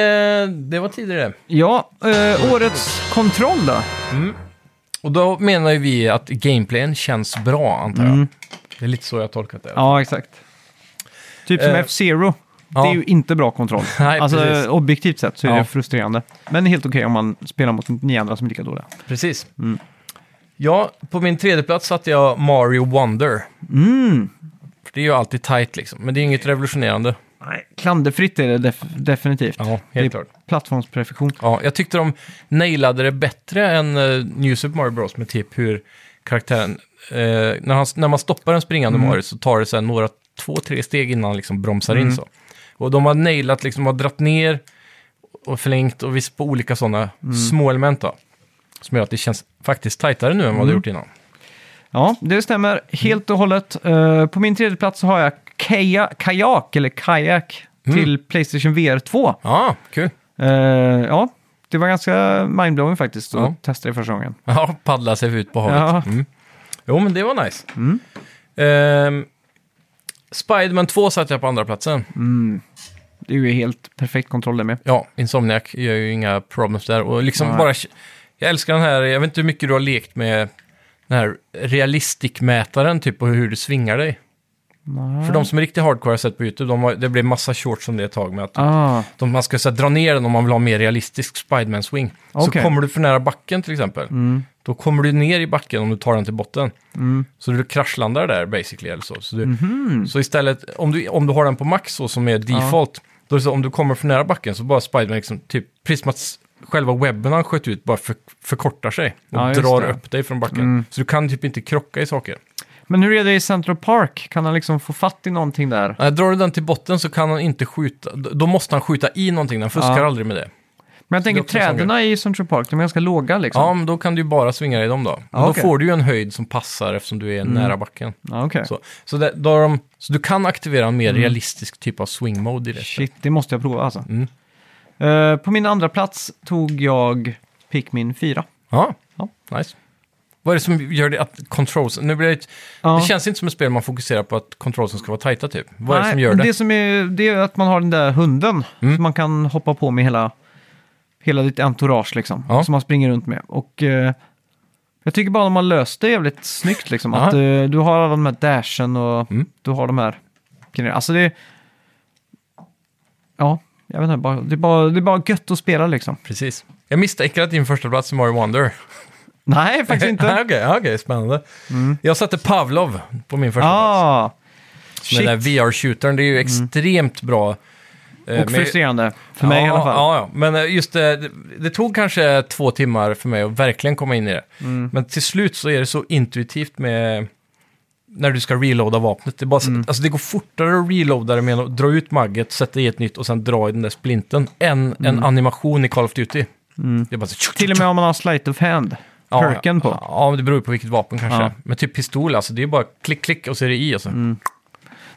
Speaker 2: det var tidigare.
Speaker 1: Ja, eh, årets kontroll då.
Speaker 2: Och då menar ju vi att gameplayen känns bra, antar jag. Det är lite så jag har tolkat det.
Speaker 1: Mm. Ja, exakt. Typ som
Speaker 2: Eh,
Speaker 1: F-Zero. Det
Speaker 2: ja.
Speaker 1: är ju inte bra kontroll.
Speaker 2: Nej,
Speaker 1: alltså
Speaker 2: precis.
Speaker 1: objektivt sett så är
Speaker 2: Ja.
Speaker 1: det frustrerande. Men helt okej om man spelar mot ni andra som är lika dåliga.
Speaker 2: Precis. Ja, på min tredje plats satte jag Mario Wonder.
Speaker 1: Mm.
Speaker 2: För det är ju alltid tight liksom, men det är inget revolutionerande.
Speaker 1: Nej, klanderfritt är det def- definitivt.
Speaker 2: Ja, helt
Speaker 1: det är
Speaker 2: klart.
Speaker 1: Plattformsperfektion.
Speaker 2: Ja, jag tyckte de nailade det bättre än eh, New Super Mario Bros med typ hur karaktären... Eh, när, han, när man stoppar en springande Mario så tar det så här några två, tre steg innan han liksom bromsar in så. Och de har nailat, liksom har dratt ner och förlängt och visst på olika sådana små element då. Som gör att det känns faktiskt tajtare nu än vad det gjort innan.
Speaker 1: Ja, det stämmer helt och hållet. Eh, på min tredje plats så har jag Kaja- Kajak, eller Kajak,
Speaker 2: Mm.
Speaker 1: till Playstation VR 2.
Speaker 2: Ja, kul.
Speaker 1: Eh, ja, det var ganska mindblowing faktiskt att
Speaker 2: Ja.
Speaker 1: testa det första gången.
Speaker 2: Ja, paddla sig ut på havet.
Speaker 1: Ja. Mm.
Speaker 2: Mm. Jo, men det var nice. Ehm, Spiderman 2 satte jag på andra platsen.
Speaker 1: Det är ju helt perfekt kontroll det med.
Speaker 2: Ja, Insomniac gör ju inga problems där. Och liksom
Speaker 1: Nej.
Speaker 2: bara... Jag älskar den här, jag vet inte hur mycket du har lekt med den här realistikmätaren typ och hur du svingar dig. För de som är riktigt hardcore har jag sett på YouTube, de har, det blev massa shorts om det ett tag med att
Speaker 1: Ah,
Speaker 2: de, man ska så här, dra ner den om man vill ha mer realistisk Spiderman-swing. Så
Speaker 1: Okej.
Speaker 2: kommer du för nära backen till exempel,
Speaker 1: mm,
Speaker 2: då kommer du ner i backen om du tar den till botten.
Speaker 1: mm. Mhm.
Speaker 2: Så du kraschlandar där basically. Eller så. Så, du, så istället, om du, om du har den på max så som är default, då är det så, om du kommer för nära backen så bara Spiderman, liksom, typ, precis som att s- själva webben han sköt ut bara för, förkortar sig och
Speaker 1: Ja, just
Speaker 2: drar
Speaker 1: det. Mm.
Speaker 2: upp dig från backen. Så du kan typ inte krocka i saker.
Speaker 1: Men hur är det i Central Park? Kan han liksom få fatt i någonting där?
Speaker 2: Äh, drar du den till botten så kan han inte skjuta, d- då måste han skjuta i någonting, han fuskar
Speaker 1: Ja.
Speaker 2: aldrig med det.
Speaker 1: Men jag tänker
Speaker 2: Det är också en sån
Speaker 1: trädena i Central Park, de är ganska låga liksom.
Speaker 2: Ja, men då kan du ju bara svinga dig i dem då. Men
Speaker 1: Ja,
Speaker 2: då
Speaker 1: okej. Mm.
Speaker 2: får du ju en höjd som passar eftersom du är nära backen.
Speaker 1: Ja, okej.
Speaker 2: Så, så, där, då har de, så du kan aktivera en mer realistisk typ av swing mode i det.
Speaker 1: Shit, det måste jag prova alltså.
Speaker 2: Mm.
Speaker 1: Eh, på min andra plats tog jag Pikmin 4.
Speaker 2: Ja,
Speaker 1: Ja.
Speaker 2: nice. Vad är det som gör det att controls... Nu blir det, ett,
Speaker 1: Ja.
Speaker 2: det känns inte som ett spel man fokuserar på att controlsen ska vara tajta typ. Vad är det som gör
Speaker 1: men
Speaker 2: det? Mm.
Speaker 1: Det, som är, det är att man har den där hunden som man kan hoppa på med hela, hela ditt entourage liksom.
Speaker 2: Ja.
Speaker 1: Som man springer runt med. Och eh, jag tycker bara de har löst det jävligt snyggt liksom.
Speaker 2: Ja.
Speaker 1: Att eh, du har alla de här dashen och
Speaker 2: Mm.
Speaker 1: du har de här grejerna. Alltså det... Ja, jag vet inte. Bara, det, är bara, det är bara gött att spela liksom.
Speaker 2: Precis. Jag misstänker att din första plats är Mario Wonder.
Speaker 1: Nej, faktiskt inte. Mm.
Speaker 2: Okej, okej, spännande. Jag satte Pavlov på min första plats.
Speaker 1: ah,
Speaker 2: Med den
Speaker 1: shit. Mm.
Speaker 2: där VR-shootern, det är ju extremt bra. eh,
Speaker 1: Och
Speaker 2: med-
Speaker 1: frustrerande. För mig i alla fall.
Speaker 2: Ja, ja. men eh, just det, det, det tog kanske två timmar för mig att verkligen komma in i det.
Speaker 1: Mm.
Speaker 2: Men till slut så är det så intuitivt med när du ska reloada vapnet. Det, är bara,
Speaker 1: Mm.
Speaker 2: så- alltså det går fortare att reloada det med att dra ut magget, sätta i ett nytt och sen dra i den där splinten än en animation i Call of Duty. Det är bara så...
Speaker 1: Mm. Till och med om man har sleight of hand.
Speaker 2: Ja,
Speaker 1: Perken på.
Speaker 2: Ja, ja, men det beror ju på vilket vapen kanske.
Speaker 1: Ja.
Speaker 2: alltså.
Speaker 1: Mm.
Speaker 2: Men typ pistol alltså, det är bara klick, klick och så är det i och så.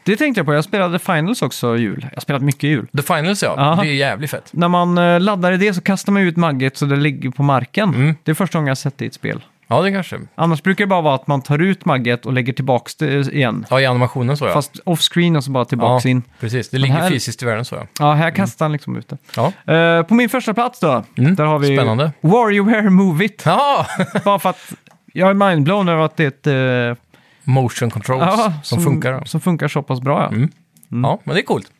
Speaker 1: Det tänkte jag på, jag spelade Finals också i jul. Jag har spelat mycket i jul.
Speaker 2: The Finals ja,
Speaker 1: Ja.
Speaker 2: det är jävligt fett.
Speaker 1: När man eh, laddar i det så kastar man ut magget så det ligger på marken.
Speaker 2: Mm.
Speaker 1: Det är första gången jag har sett det i ett spel.
Speaker 2: Ja, det kanske.
Speaker 1: Annars brukar det bara vara att man tar ut magget och lägger tillbaka det eh, igen.
Speaker 2: Ja, i animationen så ja.
Speaker 1: Fast off-screen och så bara tillbaka in.
Speaker 2: precis. Det ligger
Speaker 1: här-
Speaker 2: fysiskt i världen så ja.
Speaker 1: Ja, här kastar han liksom ut det.
Speaker 2: Ja,
Speaker 1: Eh, på min första plats då,
Speaker 2: Mm,
Speaker 1: där har vi
Speaker 2: spännande.
Speaker 1: Warrior Move It.
Speaker 2: ja.
Speaker 1: Bara för att jag är mindblown över att det är ett... eh,
Speaker 2: motion controls
Speaker 1: ja,
Speaker 2: som, funkar. Ja.
Speaker 1: Som funkar så pass bra, ja.
Speaker 2: Mm. ja, men det är coolt.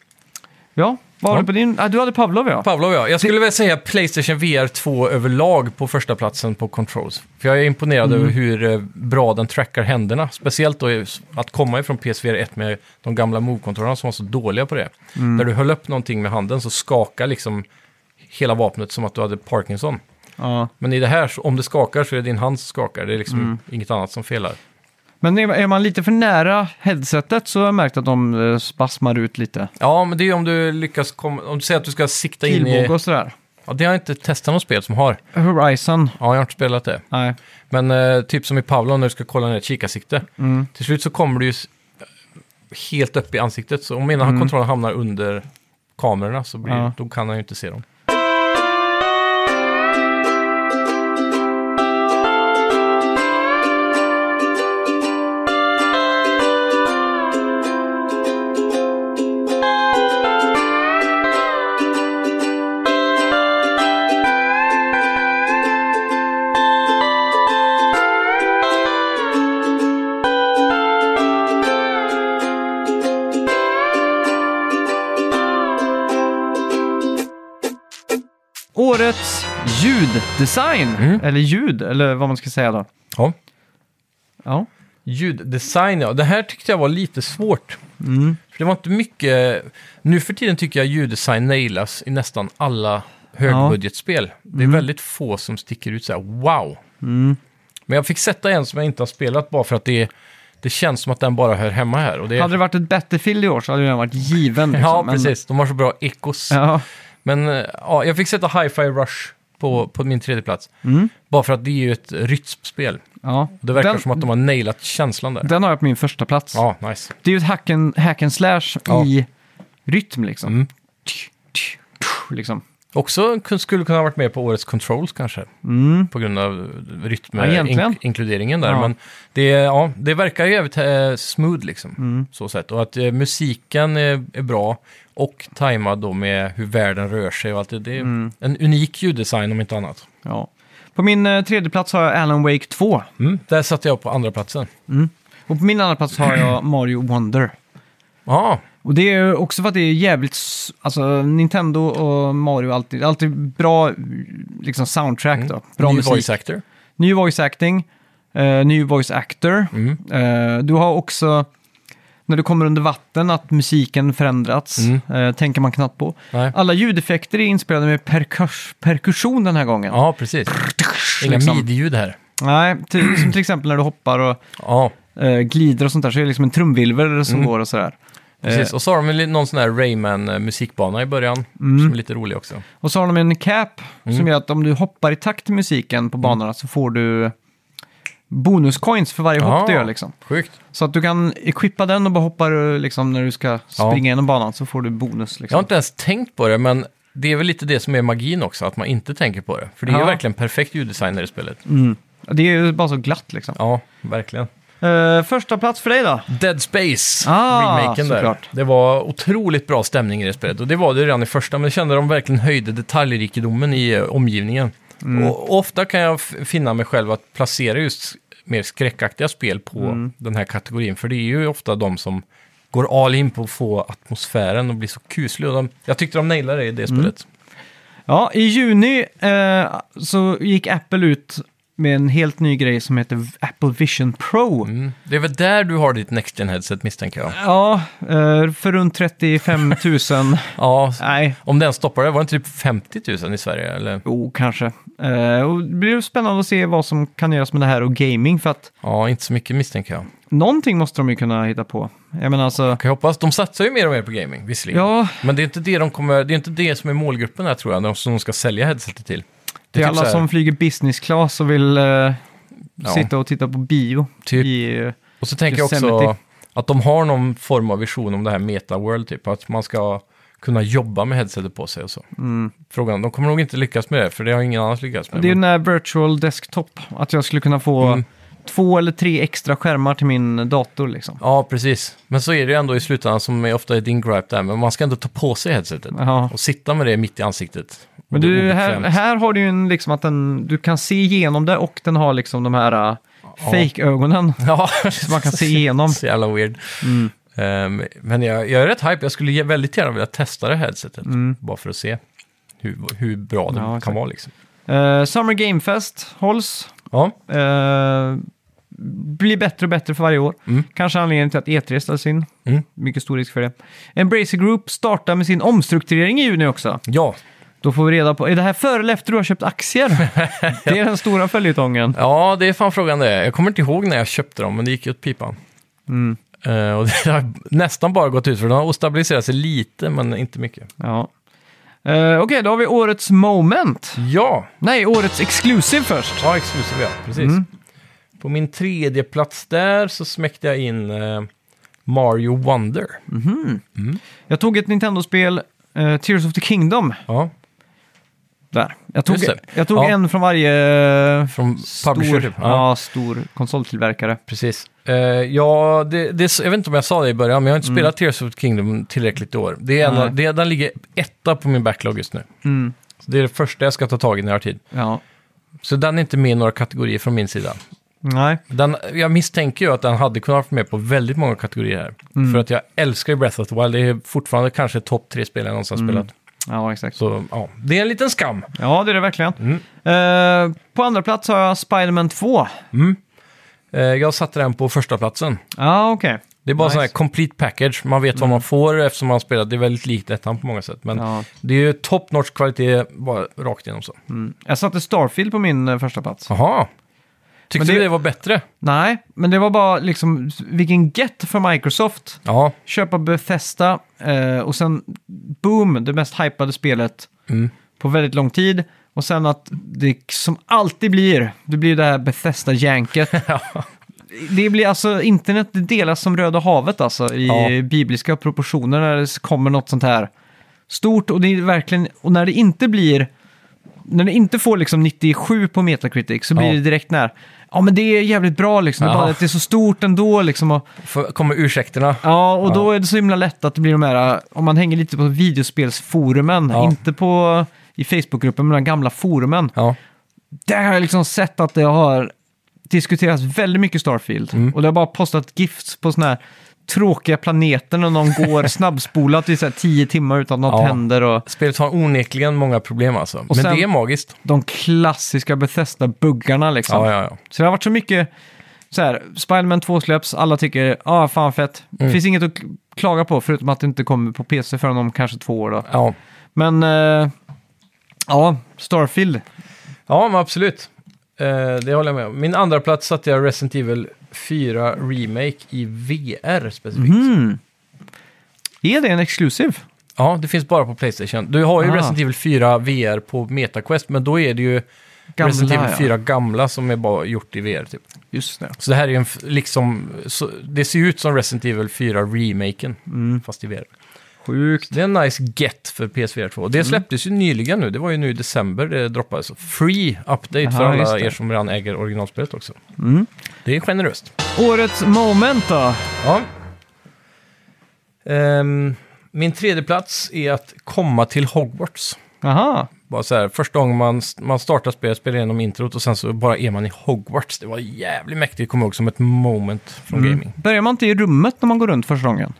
Speaker 1: Ja, vad har
Speaker 2: Ja.
Speaker 1: du på din? Ah, du hade Pavlov, ja.
Speaker 2: Pavlov ja, jag skulle väl säga Playstation VR 2 överlag på första platsen på controls. För jag är imponerad över hur eh, bra den trackar händerna. Speciellt då i- att komma ifrån PSVR 1 med de gamla Move-kontrollerna som var så dåliga på det. När du höll upp någonting med handen så skakar liksom hela vapnet som att du hade Parkinson.
Speaker 1: ja.
Speaker 2: Men i det här, så- om det skakar så är det din hand som skakar. Det är liksom inget annat som felar.
Speaker 1: Men är är man lite för nära headsetet så har jag märkt att de eh, spasmar ut lite.
Speaker 2: Ja, men det är om du lyckas komma... Om du säger att du ska sikta in i...
Speaker 1: Pilbåge och sådär.
Speaker 2: Ja, det har jag inte testat något spel som har.
Speaker 1: Horizon,
Speaker 2: Ja, jag har inte spelat det.
Speaker 1: nej.
Speaker 2: Men eh, typ som i Pavlov när du ska kolla ner ett kikarsikte.
Speaker 1: Mm.
Speaker 2: Till slut så kommer du ju s- helt upp i ansiktet. Så om ena kontrollen hamnar under kamerorna så blir,
Speaker 1: Mm. Ja.
Speaker 2: då kan han ju inte se dem.
Speaker 1: Årets ljuddesign,
Speaker 2: Mm.
Speaker 1: eller ljud, eller vad man ska säga då.
Speaker 2: Ja.
Speaker 1: Ja,
Speaker 2: Ljuddesign, ja. Det här tyckte jag var lite svårt.
Speaker 1: Mm.
Speaker 2: För det var inte mycket... Nu för tiden tycker jag ljuddesign nailas i nästan alla högbudgetspel. Det är
Speaker 1: Mm.
Speaker 2: väldigt få som sticker ut så här, wow. Men jag fick sätta en som jag inte har spelat bara för att det, det känns som att den bara hör hemma här. Och det,
Speaker 1: hade det varit ett Battlefield i år så hade den varit given. liksom,
Speaker 2: ja,
Speaker 1: men-
Speaker 2: precis. De har så bra ekos.
Speaker 1: Ja,
Speaker 2: Men eh, ja, jag fick sätta Hi-Fi Rush på, på min tredje plats. Bara för att det är ju ett rytmspel.
Speaker 1: ja.
Speaker 2: Det verkar
Speaker 1: Mm. den,
Speaker 2: som att de har nailat känslan där.
Speaker 1: den har jag på min första plats.
Speaker 2: Ja, nice.
Speaker 1: Det är ju ett hack and, hack and slash
Speaker 2: Ja.
Speaker 1: i rytm liksom.
Speaker 2: Mm.
Speaker 1: Tch, tch, tch, liksom.
Speaker 2: Också kun- skulle kunna ha varit med på årets Controls kanske.
Speaker 1: Mm.
Speaker 2: På grund av
Speaker 1: Ja, egentligen.
Speaker 2: rytminkluderingen där.
Speaker 1: Ja.
Speaker 2: Men det, ja, det verkar ju jävligt eh, smooth liksom.
Speaker 1: Mm.
Speaker 2: Så sätt. Och att eh, musiken är, är bra och tajmad då med hur världen rör sig och allt det. Det är
Speaker 1: Mm.
Speaker 2: en unik ljuddesign om inte annat.
Speaker 1: Ja. På min eh, tredje plats har jag Alan Wake 2.
Speaker 2: Mm. Där satte jag på andra platsen.
Speaker 1: Och på min andra plats har jag Mario Wonder.
Speaker 2: Ja,
Speaker 1: Och det är ju också för att det är jävligt, s- alltså Nintendo och Mario alltid, alltid bra liksom soundtrack då. Bra
Speaker 2: Mm. ny
Speaker 1: musik.
Speaker 2: voice actor.
Speaker 1: Ny voice acting, eh, ny voice actor.
Speaker 2: Mm.
Speaker 1: Eh, du har också, när du kommer under vatten, att musiken förändrats.
Speaker 2: Mm.
Speaker 1: Eh, tänker man knappt på.
Speaker 2: Nej.
Speaker 1: Alla ljudeffekter är inspelade med perkus- perkussion den här gången.
Speaker 2: Ja, precis. Inga
Speaker 1: liksom.
Speaker 2: midi-ljud här.
Speaker 1: Nej, till, som till exempel när du hoppar och
Speaker 2: Ja,
Speaker 1: eh, glider och sånt där så är det liksom en trumvirvel
Speaker 2: Mm.
Speaker 1: som går och sådär. Eh.
Speaker 2: precis. Och så har de väl li- någon sån här Rayman-musikbana i början,
Speaker 1: Mm.
Speaker 2: som är lite rolig också.
Speaker 1: Och så har de en cap som gör att om du hoppar i takt till musiken på banorna så får du bonuscoins för varje hopp du
Speaker 2: Ah,
Speaker 1: gör. Liksom.
Speaker 2: Sjukt.
Speaker 1: Så att du kan equippa den och bara hoppar eh, liksom, när du ska springa genom banan så får du bonus.
Speaker 2: Jag har
Speaker 1: Liksom.
Speaker 2: inte ens tänkt på det, men det är väl lite det som är magin också, att man inte tänker på det. För det är
Speaker 1: Ja. Mm.
Speaker 2: ju verkligen perfekt ljuddesign i det spelet.
Speaker 1: Det är ju bara så glatt liksom.
Speaker 2: Ja, verkligen.
Speaker 1: Eh, första plats för dig då?
Speaker 2: Dead Space,
Speaker 1: Ah,
Speaker 2: remaken där.
Speaker 1: såklart.
Speaker 2: Det var otroligt bra stämning i det spelet. Och det var det redan i första, men jag kände de verkligen höjde detaljrikedomen i eh, omgivningen.
Speaker 1: Mm.
Speaker 2: Och, och ofta kan jag f- finna mig själv att placera just mer skräckaktiga spel på
Speaker 1: Mm.
Speaker 2: den här kategorin. För det är ju ofta de som går all in på att få atmosfären och bli så kuslig. Och de, jag tyckte de nailade det i det
Speaker 1: Mm.
Speaker 2: spelet.
Speaker 1: Ja, I juni eh, så gick Apple ut med en helt ny grej som heter Apple Vision Pro.
Speaker 2: Mm. Det är väl där du har ditt Next Gen headset misstänker jag.
Speaker 1: Ja, eh, för runt 35 000.
Speaker 2: Ja,
Speaker 1: Nej,
Speaker 2: om den stoppar det, var det inte typ 50 000 i Sverige? Eller?
Speaker 1: Jo, kanske. Eh, och det blir spännande att se vad som kan göras med det här och gaming. För att
Speaker 2: Ja, inte så mycket misstänker jag.
Speaker 1: någonting måste de ju kunna hitta på. Jag menar alltså,
Speaker 2: Kan jag hoppas. De satsar ju mer och mer på gaming, visserligen.
Speaker 1: ja,
Speaker 2: Men det är, inte det, de kommer, det är inte det som är målgruppen här tror jag, de som de ska sälja headsetet till.
Speaker 1: det är
Speaker 2: typ
Speaker 1: alla
Speaker 2: så här,
Speaker 1: som flyger business class och vill eh,
Speaker 2: Ja.
Speaker 1: sitta och titta på bio.
Speaker 2: Typ.
Speaker 1: I, eh,
Speaker 2: Och så tänker jag också,
Speaker 1: Yosemite.
Speaker 2: Att de har någon form av vision om det här meta-world, typ. Att man ska kunna jobba med headsetet på sig och så. Frågan, de kommer nog inte lyckas med det, för det har ingen annan lyckats med.
Speaker 1: Mm. Det är ju
Speaker 2: men-
Speaker 1: den här virtual desktop, att jag skulle kunna få
Speaker 2: Mm.
Speaker 1: två eller tre extra skärmar till min dator liksom.
Speaker 2: Ja, precis. Men så är det ju ändå i slutändan, som är ofta är din gripe där, men man ska ändå ta på sig headsetet.
Speaker 1: Ja.
Speaker 2: Och sitta med det mitt i ansiktet.
Speaker 1: Men
Speaker 2: Och det är
Speaker 1: du, här,
Speaker 2: obekvämt.
Speaker 1: här har du ju en liksom att den, du kan se igenom det och den har liksom de här uh, fake-ögonen.
Speaker 2: Ja,
Speaker 1: man kan se igenom. Mm.
Speaker 2: Så jävla weird. Ehm, men jag, jag är rätt hype. Jag skulle ge- väldigt gärna vilja testa det här headsetet. Bara för att se hur, hur bra det
Speaker 1: Mm. Ja,
Speaker 2: kan
Speaker 1: exakt.
Speaker 2: vara liksom.
Speaker 1: Eh, Summer Game Fest hålls.
Speaker 2: Ja,
Speaker 1: Eh, blir bättre och bättre för varje år.
Speaker 2: Mm.
Speaker 1: Kanske anledningen till att E3 ställs in.
Speaker 2: Mm.
Speaker 1: Mycket stor risk för det. Embracer Group startar med sin omstrukturering i juni också.
Speaker 2: ja.
Speaker 1: Då får vi reda på, är det här före eller efter du har köpt aktier? det är den stora följetongen.
Speaker 2: ja, det är fan frågan det. är. Jag kommer inte ihåg när jag köpte dem, men det gick ju åt pipan.
Speaker 1: Mm.
Speaker 2: Ehm, och det har nästan bara gått ut för de har stabiliserat sig lite, men inte mycket.
Speaker 1: Ja. Eh, Okej, då har vi årets moment.
Speaker 2: Ja,
Speaker 1: Nej, årets exclusive först.
Speaker 2: ja exklusiv ja, precis.
Speaker 1: Mm.
Speaker 2: På min tredje plats där så smäckte jag in eh, Mario Wonder. Mm-hmm.
Speaker 1: Mm. Jag tog ett Nintendo-spel, eh, Tears of the Kingdom.
Speaker 2: Ja,
Speaker 1: Där. Jag tog,
Speaker 2: Just det.
Speaker 1: jag tog
Speaker 2: Ja.
Speaker 1: en från varje eh,
Speaker 2: från
Speaker 1: stor,
Speaker 2: Publisher. typ.
Speaker 1: ja. stor konsoltillverkare.
Speaker 2: Precis. Eh, ja, det, det, jag vet inte om jag sa det i början, men jag har inte spelat Tears of the Kingdom tillräckligt i år. Det är
Speaker 1: Mm.
Speaker 2: en,
Speaker 1: Nej.
Speaker 2: av- det, den ligger etta på min backlog just nu.
Speaker 1: Mm.
Speaker 2: Så det är det första jag ska ta tag i när jag har tid.
Speaker 1: Ja.
Speaker 2: Så den är inte med i några kategorier från min sida.
Speaker 1: Nej.
Speaker 2: Den, jag misstänker ju att den hade kunnat vara med på väldigt många kategorier här.
Speaker 1: Mm.
Speaker 2: För att jag älskar Breath of the Wild. Det är fortfarande kanske topp tre spel jag någonsin har
Speaker 1: Mm.
Speaker 2: spelat.
Speaker 1: Ja, exakt.
Speaker 2: Så ja, det är en liten skam.
Speaker 1: Ja, det är det verkligen. Eh, på andra plats har jag Spider-Man 2.
Speaker 2: Eh, jag satte den på första platsen.
Speaker 1: Ja, okej.
Speaker 2: Det är bara
Speaker 1: Nice. Mm.
Speaker 2: nice. sån här complete package. Man vet vad man får eftersom man spelar. Det är väldigt likt ettan på många sätt. Men
Speaker 1: Ja.
Speaker 2: det är ju top notch kvalitet bara rakt igenom så.
Speaker 1: Mm. Jag satte Starfield på min eh, första plats.
Speaker 2: Jaha. Tyckte
Speaker 1: Men det-
Speaker 2: du det var bättre?
Speaker 1: Nej, men det var bara liksom vilken get för Microsoft.
Speaker 2: Ja.
Speaker 1: Köpa Bethesda eh, och sen boom, det mest hypade spelet
Speaker 2: Mm.
Speaker 1: på väldigt lång tid. Och sen att det som alltid blir, det blir det här Bethesda-janket. Det blir alltså, internet det delas som Röda havet alltså i
Speaker 2: Ja.
Speaker 1: bibliska proportioner när det kommer något sånt här stort. Och det är verkligen, och när det inte blir, när det inte får liksom 97 på Metacritic så blir
Speaker 2: Ja.
Speaker 1: det direkt när, ja men det är jävligt bra liksom, det är
Speaker 2: Ja.
Speaker 1: bara att det är så stort ändå liksom. Och,
Speaker 2: För, kommer ursäkterna?
Speaker 1: Ja, och då är det så himla lätt att det blir de här, äh, om man hänger lite på videospelsforumen,
Speaker 2: Ja.
Speaker 1: inte på i Facebookgruppen, men de gamla forumen.
Speaker 2: Ja.
Speaker 1: Där har jag liksom sett att det har diskuterats väldigt mycket Starfield.
Speaker 2: Mm.
Speaker 1: Och det har bara postat gifts på sådana här tråkiga planeter när någon går snabbspolat i så här tio timmar utan att något
Speaker 2: Ja.
Speaker 1: händer. Och
Speaker 2: Spelet har onekligen många problem alltså. Men
Speaker 1: sen-
Speaker 2: det är magiskt.
Speaker 1: de klassiska Bethesda-buggarna liksom.
Speaker 2: Ja, ja, ja.
Speaker 1: Så det har varit så mycket, så här, Spiderman 2 släpps, alla tycker, ah fan fett.
Speaker 2: Mm.
Speaker 1: Finns inget att klaga på förutom att det inte kommer på PC förrän om kanske två år då.
Speaker 2: Ja,
Speaker 1: Men, eh, ja, Starfield.
Speaker 2: ja men absolut. Eh, det håller jag med om. Min andra plats satte jag Resident Evil 4 Remake i VR specifikt.
Speaker 1: Mm. Är det en exklusiv?
Speaker 2: Ja, det finns bara på Playstation. Du har ju
Speaker 1: Ah.
Speaker 2: Resident Evil 4 VR på MetaQuest, men då är det ju
Speaker 1: Gamla,
Speaker 2: Resident Evil
Speaker 1: ja.
Speaker 2: 4 gamla som är bara gjort i VR. Typ.
Speaker 1: Just det.
Speaker 2: Så det här är ju en, f- liksom, så, det ser ju ut som Resident Evil 4 remaken,
Speaker 1: Mm.
Speaker 2: fast i VR.
Speaker 1: Sjukt.
Speaker 2: Det är en nice get för PSVR 2.
Speaker 1: Mm.
Speaker 2: Det släpptes ju nyligen nu, det var ju nu i december det droppades. Free update för
Speaker 1: Aha,
Speaker 2: alla
Speaker 1: just det. Mm.
Speaker 2: er som redan äger originalspelet också. Det är generöst.
Speaker 1: Årets moment då?
Speaker 2: Ja. Ehm, min tredje plats är att komma till Hogwarts.
Speaker 1: Aha.
Speaker 2: Bara så här, första gången man, man startar spelet, spelar igenom introt och sen så bara är man i Hogwarts. Det var jävligt mäktigt, kommer jag ihåg, som ett moment från gaming.
Speaker 1: Mm. Börjar man inte i rummet när man går runt första gången?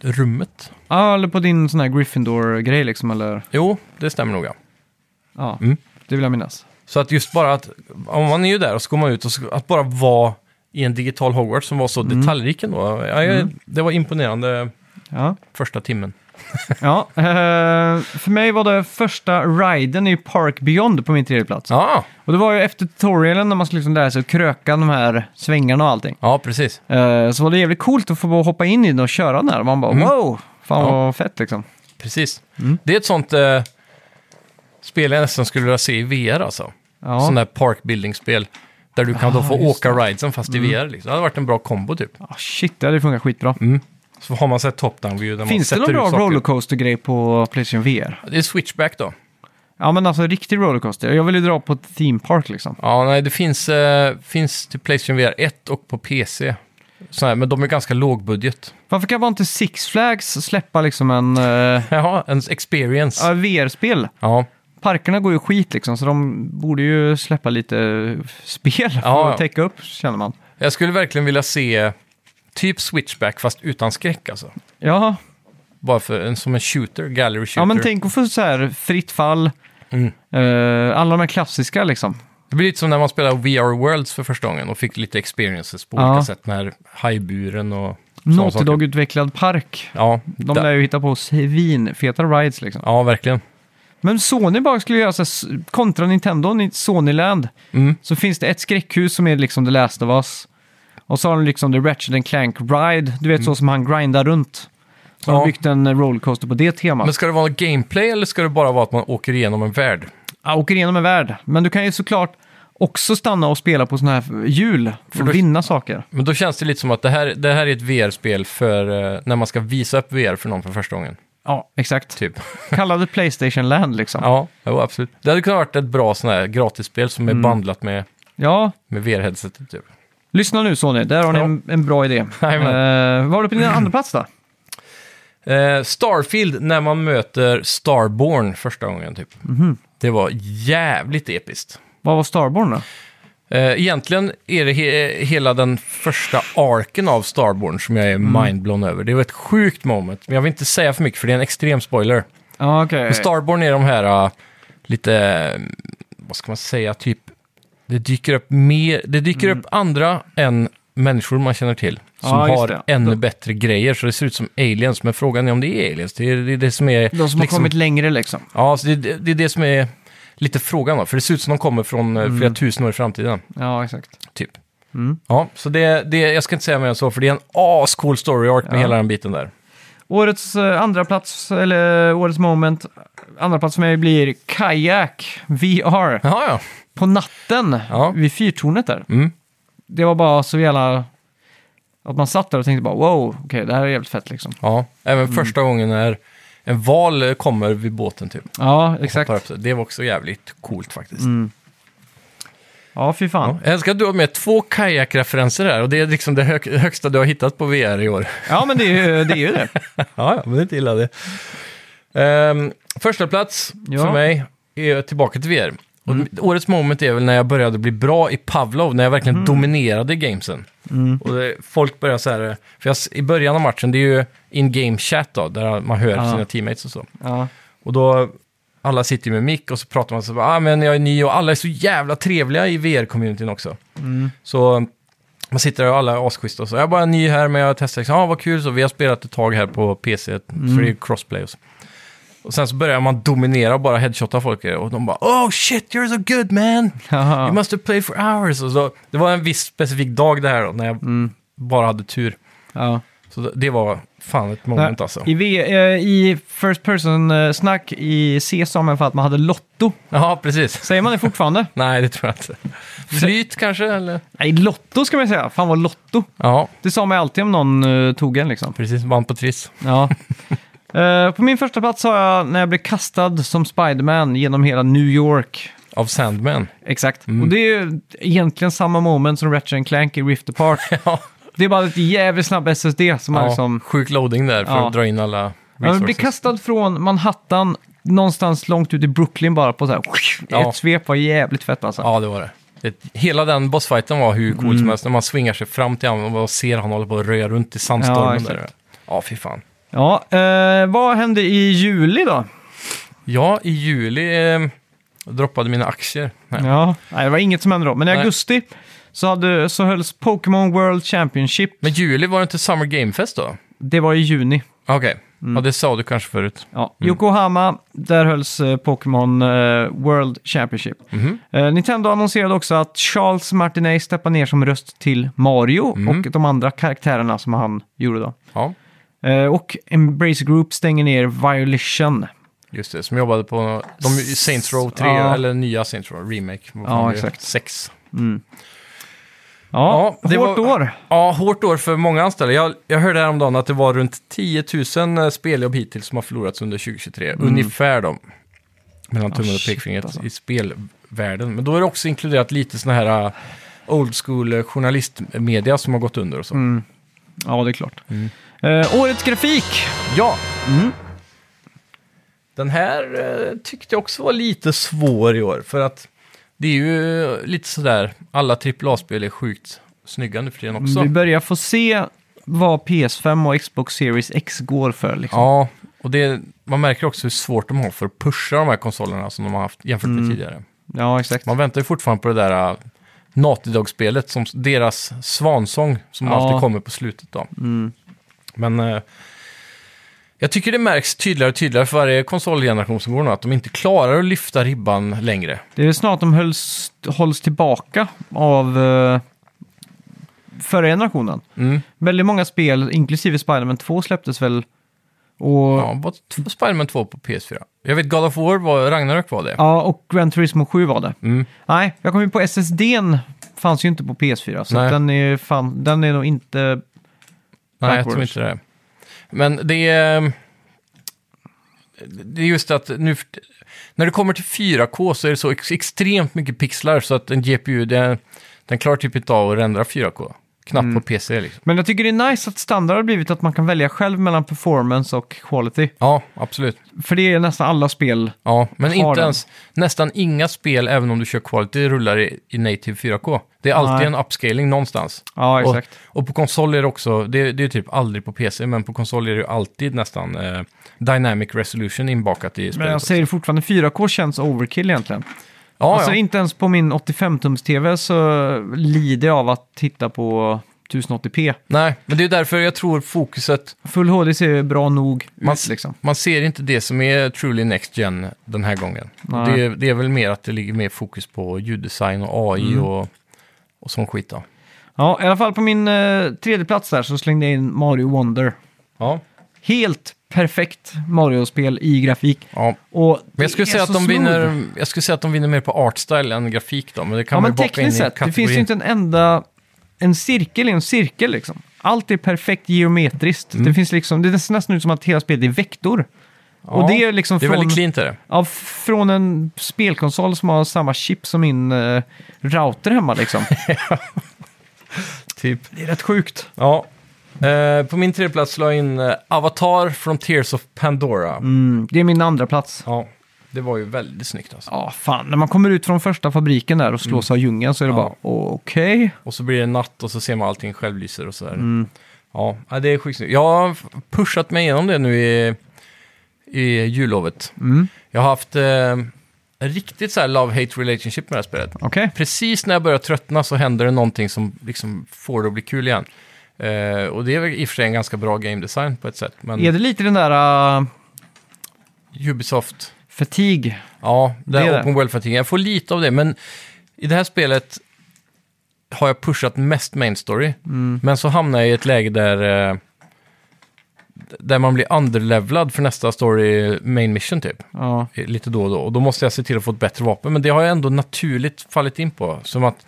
Speaker 2: Rummet?
Speaker 1: Ja, eller på din sån här Gryffindor-grej liksom, eller?
Speaker 2: Jo, det stämmer nog ja.
Speaker 1: Ja,
Speaker 2: Mm.
Speaker 1: det vill jag minnas.
Speaker 2: Så att just bara att, om man är ju där och så går man ut och så, att bara vara i en digital Hogwarts som var så
Speaker 1: Mm.
Speaker 2: detaljrik ändå. Ja, jag, Det var imponerande
Speaker 1: Ja.
Speaker 2: första timmen.
Speaker 1: Ja, eh, för mig var det första riden i Park Beyond på min tredje plats.
Speaker 2: Ja,
Speaker 1: Och det var ju efter tutorialen när man skulle liksom lära sig att kröka de här svängarna och allting.
Speaker 2: ja precis.
Speaker 1: Eh, så var det jävligt coolt att få bara hoppa in i den och köra den här. Man bara
Speaker 2: Mm.
Speaker 1: wow, fan
Speaker 2: Ja.
Speaker 1: vad fett liksom.
Speaker 2: precis.
Speaker 1: Mm.
Speaker 2: Det är ett sånt eh, spel jag nästan skulle vilja se i VR alltså.
Speaker 1: Ja.
Speaker 2: Sån där park building-spel. Där du kan då få
Speaker 1: Ah, just Mm.
Speaker 2: åka ridesen fast i VR. Liksom. Det hade varit en bra kombo typ.
Speaker 1: Ah, shit, det hade funkat skitbra.
Speaker 2: Så har man sett Top Down View där man
Speaker 1: Finns det
Speaker 2: sätter
Speaker 1: någon
Speaker 2: ut
Speaker 1: bra
Speaker 2: saker.
Speaker 1: rollercoaster-grej på Playstation VR?
Speaker 2: Det är Switchback då.
Speaker 1: Ja, men alltså riktig rollercoaster. Jag vill ju dra på ett theme park liksom.
Speaker 2: Ja, nej, det finns, eh, finns till Playstation VR 1 och på PC. Så här, men de är ganska lågbudget.
Speaker 1: Varför kan man inte Six Flags släppa liksom en eh,
Speaker 2: Jaha, en experience.
Speaker 1: ja, VR-spel?
Speaker 2: Ja,
Speaker 1: Parkerna går ju skit liksom, så de borde ju släppa lite spel för
Speaker 2: Ja, ja.
Speaker 1: att täcka upp, känner man.
Speaker 2: jag skulle verkligen vilja se typ Switchback fast utan skräck alltså.
Speaker 1: Ja,
Speaker 2: Bara för, en, som en shooter, gallery shooter.
Speaker 1: ja men tänk att få så här fritt fall.
Speaker 2: Mm.
Speaker 1: Eh, alla de här klassiska liksom.
Speaker 2: Det blir lite som när man spelade VR Worlds för första gången och fick lite experiences på
Speaker 1: Ja.
Speaker 2: olika sätt. Den här hajburen och sådana
Speaker 1: Naughty
Speaker 2: saker.
Speaker 1: Dog-utvecklad park.
Speaker 2: Ja,
Speaker 1: De
Speaker 2: där-
Speaker 1: lär ju hitta på svinfeta rides liksom.
Speaker 2: ja, verkligen.
Speaker 1: Men Sony bara skulle göra så här, s- kontra Nintendo, Ni- Sonyland,
Speaker 2: Mm.
Speaker 1: så finns det ett skräckhus som är liksom The Last of Us. Och så har de liksom The Ratchet and Clank Ride, du vet så som han grindar runt. Så har
Speaker 2: Mm. Ja.
Speaker 1: de byggt en eh, rollercoaster på det temat.
Speaker 2: Men ska det vara gameplay eller ska det bara vara att man åker igenom en värld?
Speaker 1: Ja, åker igenom en värld. Men du kan ju såklart också stanna och spela på sådana här hjul för
Speaker 2: då-
Speaker 1: att vinna saker.
Speaker 2: Men då känns det lite som att det här, det här är ett VR-spel för eh, när man ska visa upp VR för någon för första gången.
Speaker 1: Ja, exakt.
Speaker 2: Typ.
Speaker 1: Kallade Playstation Land liksom. Ja,
Speaker 2: Ja, jo, absolut. Det hade kunnat varit ett bra sån här gratisspel som är bandlat med, med VR-headsetet. Typ.
Speaker 1: lyssna nu Sony, där har ni
Speaker 2: Ja.
Speaker 1: en, en bra idé. Uh,
Speaker 2: Jajamän.
Speaker 1: vad har du på din andra plats då?
Speaker 2: Eh, Starfield när man möter Starborn första gången typ. Det var jävligt episkt.
Speaker 1: Vad var Starborn då?
Speaker 2: Eh, egentligen är det he- hela den första arken av Starborn som jag är mindblown över. Det var ett sjukt moment, men jag vill inte säga för mycket för det är en extrem spoiler.
Speaker 1: Ja, okej.
Speaker 2: Men Starborn är de här ah, lite, eh, vad ska man säga, typ, det dyker upp, mer, det dyker upp andra än människor man känner till. Som
Speaker 1: Mm. Ja, just
Speaker 2: har
Speaker 1: det.
Speaker 2: ännu bättre grejer, så det ser ut som aliens. Men frågan är om det är aliens. Det är det, är det som är...
Speaker 1: De som
Speaker 2: liksom-
Speaker 1: har kommit längre liksom.
Speaker 2: Ja, så det, det det är det som är lite frågan då. För det ser ut som de kommer från eh, flera tusen år i framtiden,
Speaker 1: Ja, exakt.
Speaker 2: typ.
Speaker 1: Mm.
Speaker 2: Ja, så det, det, jag ska inte säga mer än så, för det är en ascool story arc med
Speaker 1: Ja.
Speaker 2: hela den biten där.
Speaker 1: Årets eh, andra plats eller årets moment, andra plats för mig blir Kajak VR.
Speaker 2: Jaha, ja.
Speaker 1: På natten
Speaker 2: Ja.
Speaker 1: vid fyrtornet där.
Speaker 2: Mm.
Speaker 1: det var bara så jävla... Att man satt där och tänkte bara wow, okej det här är jävligt fett liksom.
Speaker 2: ja. Även första gången när en val eh, kommer vid båten, typ.
Speaker 1: Ja,
Speaker 2: Tar
Speaker 1: exakt.
Speaker 2: upp det. det var också jävligt coolt faktiskt.
Speaker 1: Ja, fy fan.
Speaker 2: Ja. Jag älskar att du har med två kajakreferenser här och det är liksom det hög- högsta du har hittat på VR i år.
Speaker 1: Ja, men det är ju det. Är ju det.
Speaker 2: Ja, ja, men det är inte illa det. Ehm, första plats
Speaker 1: Ja.
Speaker 2: för mig är tillbaka till VR. Och Årets moment är väl när jag började bli bra i Pavlov, när jag verkligen dominerade gamesen.
Speaker 1: Mm,
Speaker 2: Och det, folk börjar så här, för jag, s- i början av matchen, det är ju in-game chat då, där man hör
Speaker 1: Ja.
Speaker 2: sina teammates och så.
Speaker 1: Ja.
Speaker 2: Och då, alla sitter ju med mick och så pratar man så bara, ah, men jag är ny och alla är så jävla trevliga i VR-communityn också. Så man sitter där och alla är asschyssta och så, jag är bara ny här men jag testar, liksom, ah, vad kul, så vi har spelat ett tag här på PC, för det är ju crossplay och så. Och sen så börjar man dominera och bara headshotta folk och de bara “Oh shit, you're so good man! You must have played for hours!” och så, Det var en viss specifik dag det här då, när jag bara hade tur.
Speaker 1: Ja.
Speaker 2: Så det var fan ett moment alltså.
Speaker 1: I, v, eh, I first person-snack i C sa man för att man hade lotto.
Speaker 2: Ja, precis.
Speaker 1: Säger man det fortfarande?
Speaker 2: Nej, det tror jag inte. Flyt kanske, eller?
Speaker 1: Nej, lotto ska man ju säga. Fan vad lotto.
Speaker 2: Ja,
Speaker 1: Det sa man ju alltid om någon eh, tog en liksom.
Speaker 2: precis. Vann på Triss.
Speaker 1: Ja. Eh, på min första plats sa jag när jag blev kastad som Spiderman genom hela New York.
Speaker 2: Av Sandman.
Speaker 1: Exakt.
Speaker 2: Mm.
Speaker 1: Och det är ju egentligen samma moment som Ratchet and Clank i Rift Apart.
Speaker 2: Ja,
Speaker 1: Det är bara ett jävligt snabb SSD som man liksom...
Speaker 2: sjuk loading där för
Speaker 1: Ja.
Speaker 2: att dra in alla
Speaker 1: Ja, men blir
Speaker 2: resources.
Speaker 1: kastad från Manhattan någonstans långt ut i Brooklyn bara på så här...
Speaker 2: Ja.
Speaker 1: Ett svep var jävligt fett alltså.
Speaker 2: Ja, det var det. det. Hela den bossfighten var hur cool
Speaker 1: Mm.
Speaker 2: som helst. När man svingar sig fram till honom och ser han håller på att röja runt i
Speaker 1: Ja,
Speaker 2: sandstormen.
Speaker 1: exakt.
Speaker 2: där. Ja, fy fan.
Speaker 1: Ja, eh, vad hände i juli då?
Speaker 2: Ja, i juli eh, droppade mina aktier. Nej.
Speaker 1: Ja. Nej, det var inget som hände då. Men i
Speaker 2: Nej.
Speaker 1: augusti så, hade, så hölls Pokémon World Championship.
Speaker 2: Men juli var det inte Summer Game Fest då?
Speaker 1: Det var i juni.
Speaker 2: Okej,
Speaker 1: Mm.
Speaker 2: ja, det sa du kanske förut.
Speaker 1: Ja, Yokohama, där hölls eh, Pokémon eh, World Championship.
Speaker 2: Mhm.
Speaker 1: Eh, Nintendo annonserade också att Charles Martinet steppar ner som röst till Mario
Speaker 2: Mm.
Speaker 1: och de andra karaktärerna som han gjorde då.
Speaker 2: Ja,
Speaker 1: Eh, och Embrace Group stänger ner Violation.
Speaker 2: just det. Som jobbade på de, Saints Row 3,
Speaker 1: Ja.
Speaker 2: eller nya Saints Row, remake. Vad
Speaker 1: Ja,
Speaker 2: fan blir det?
Speaker 1: exakt.
Speaker 2: Sex.
Speaker 1: Ja,
Speaker 2: det
Speaker 1: hårt
Speaker 2: var-
Speaker 1: år.
Speaker 2: Ja, hårt år för många anställda. Jag, jag hörde häromdagen att det var runt 10 000 speljobb hittills som har förlorats under 2023. Ungefär de. Mellan tummen och
Speaker 1: Mm. shit,
Speaker 2: pekfingret
Speaker 1: alltså.
Speaker 2: i spelvärlden. Men då är det också inkluderat lite sådana här äh, old school eh, journalistmedia som har gått under och så.
Speaker 1: Ja, det är klart.
Speaker 2: Mm.
Speaker 1: Eh, årets grafik.
Speaker 2: Ja! Mm. Den här eh, tyckte jag också var lite svår i år. För att det är ju lite sådär, alla AAA-spel är sjukt snygga nu för tiden också.
Speaker 1: Vi börjar få se vad PS5 och Xbox Series X går för. Liksom.
Speaker 2: Ja, och det, man märker också hur svårt de har för att pusha de här konsolerna som de har haft jämfört med tidigare.
Speaker 1: Ja, exakt.
Speaker 2: Man väntar ju fortfarande på det där uh, Naughty Dog-spelet, som s- deras svansång som
Speaker 1: Ja. Mm.
Speaker 2: alltid kommer på slutet då. Men eh, jag tycker det märks tydligare och tydligare för varje konsolgeneration som går nu att de inte klarar att lyfta ribban längre.
Speaker 1: Det är väl snart de hölls, hålls tillbaka av eh, förra generationen.
Speaker 2: Mm.
Speaker 1: Väldigt många spel, inklusive Spider-Man 2, släpptes väl. Och,
Speaker 2: Ja,
Speaker 1: ja.
Speaker 2: bara två Spiderman 2 på PS4. Jag vet God of War, var, Ragnarök var det.
Speaker 1: och Gran Turismo 7 var det.
Speaker 2: Mm.
Speaker 1: Nej, jag kom ju på SSDn. Fanns ju inte på PS4, så
Speaker 2: Nej.
Speaker 1: att den är, fan, den är nog inte...
Speaker 2: Nej, jag
Speaker 1: Backwards.
Speaker 2: tror inte det. Men det är... Det är just att nu... När det kommer till 4K så är det så ex- extremt mycket pixlar så att en GPU, den, den klarar typ inte av att rendera 4K. Knappt
Speaker 1: Mm.
Speaker 2: på PC liksom.
Speaker 1: Men jag tycker det är nice att standard har blivit att man kan välja själv mellan performance och quality.
Speaker 2: Ja, absolut.
Speaker 1: För det är nästan alla spel.
Speaker 2: Ja, men
Speaker 1: Har
Speaker 2: inte
Speaker 1: den.
Speaker 2: ens... Nästan inga spel, även om du kör quality, rullar i, i native 4K. Det är alltid
Speaker 1: Nej.
Speaker 2: en upscaling någonstans.
Speaker 1: Ja,
Speaker 2: Och,
Speaker 1: exakt.
Speaker 2: och på konsol är det också, det, det är typ aldrig på PC, men på konsol är det ju alltid nästan eh, dynamic resolution inbakat i spelet. Ah,
Speaker 1: Men jag säger fortfarande, 4K känns overkill egentligen.
Speaker 2: ja,
Speaker 1: alltså
Speaker 2: ja.
Speaker 1: inte ens på min 85-tums-tv så lider jag av att titta på 1080p.
Speaker 2: Nej, men det är därför jag tror fokuset,
Speaker 1: Full HD ser ju bra nog
Speaker 2: Man-
Speaker 1: ut liksom.
Speaker 2: man ser inte det som är truly next gen den här gången.
Speaker 1: Nej.
Speaker 2: Det, är- det är väl mer att det ligger mer fokus på ljuddesign och AI
Speaker 1: Mm.
Speaker 2: och, och sån skit då.
Speaker 1: Ja, i alla fall på min eh, tredje plats där så slängde jag in Mario Wonder.
Speaker 2: Ja.
Speaker 1: Helt perfekt Mario-spel i grafik.
Speaker 2: ja.
Speaker 1: Och
Speaker 2: Men jag skulle,
Speaker 1: det är
Speaker 2: säga att
Speaker 1: så
Speaker 2: de
Speaker 1: smooth.
Speaker 2: vinner, jag skulle säga att de vinner mer på artstyle än grafik då, men det kan
Speaker 1: Ja,
Speaker 2: man
Speaker 1: men
Speaker 2: ju baka in i
Speaker 1: tekniskt sett. Det finns
Speaker 2: kategorin.
Speaker 1: ju inte en enda... En cirkel är en cirkel liksom. Allt är perfekt geometriskt.
Speaker 2: Mm.
Speaker 1: Det finns liksom... Det ser nästan ut som att hela spelet är vektor.
Speaker 2: Ja,
Speaker 1: och det är liksom
Speaker 2: Det är
Speaker 1: från...
Speaker 2: väldigt cleant är det.
Speaker 1: Ja, f- från en spelkonsol som har samma chip som min eh, router hemma liksom.
Speaker 2: Typ.
Speaker 1: det är rätt sjukt.
Speaker 2: Ja. Eh, på min tredje plats la jag in eh, Avatar from Tears of Pandora.
Speaker 1: Mm, det är min andra plats.
Speaker 2: Ja, det var ju väldigt snyggt alltså.
Speaker 1: Ja, fan. När man kommer ut från första fabriken där och slås av djungeln så är det
Speaker 2: Mm. Ja.
Speaker 1: bara okej.
Speaker 2: Och så blir det natt och så ser man allting självlyser och sådär. Ja, ja, det är sjukt snyggt. Jag har f- pushat mig igenom det nu i, i jullovet. Jag har haft eh, en riktigt så här love-hate relationship med det här spelet.
Speaker 1: Okej.
Speaker 2: Precis när jag börjar tröttna så händer det någonting som liksom får det att bli kul igen. Eh, och det är väl i och för sig en ganska bra game design på ett sätt. Men
Speaker 1: Är det lite den där uh,
Speaker 2: Ubisoft,
Speaker 1: fatig?
Speaker 2: ja, det
Speaker 1: Det är
Speaker 2: är
Speaker 1: det.
Speaker 2: open world fatigue. Jag får lite av det, men i det här spelet har jag pushat mest main story. Men så hamnar jag i ett läge där, eh, där man blir underlevelad för nästa story main mission typ.
Speaker 1: Ja.
Speaker 2: eh, Lite då och då. Och då måste jag se till att få ett bättre vapen. Men det har jag ändå naturligt fallit in på. Som att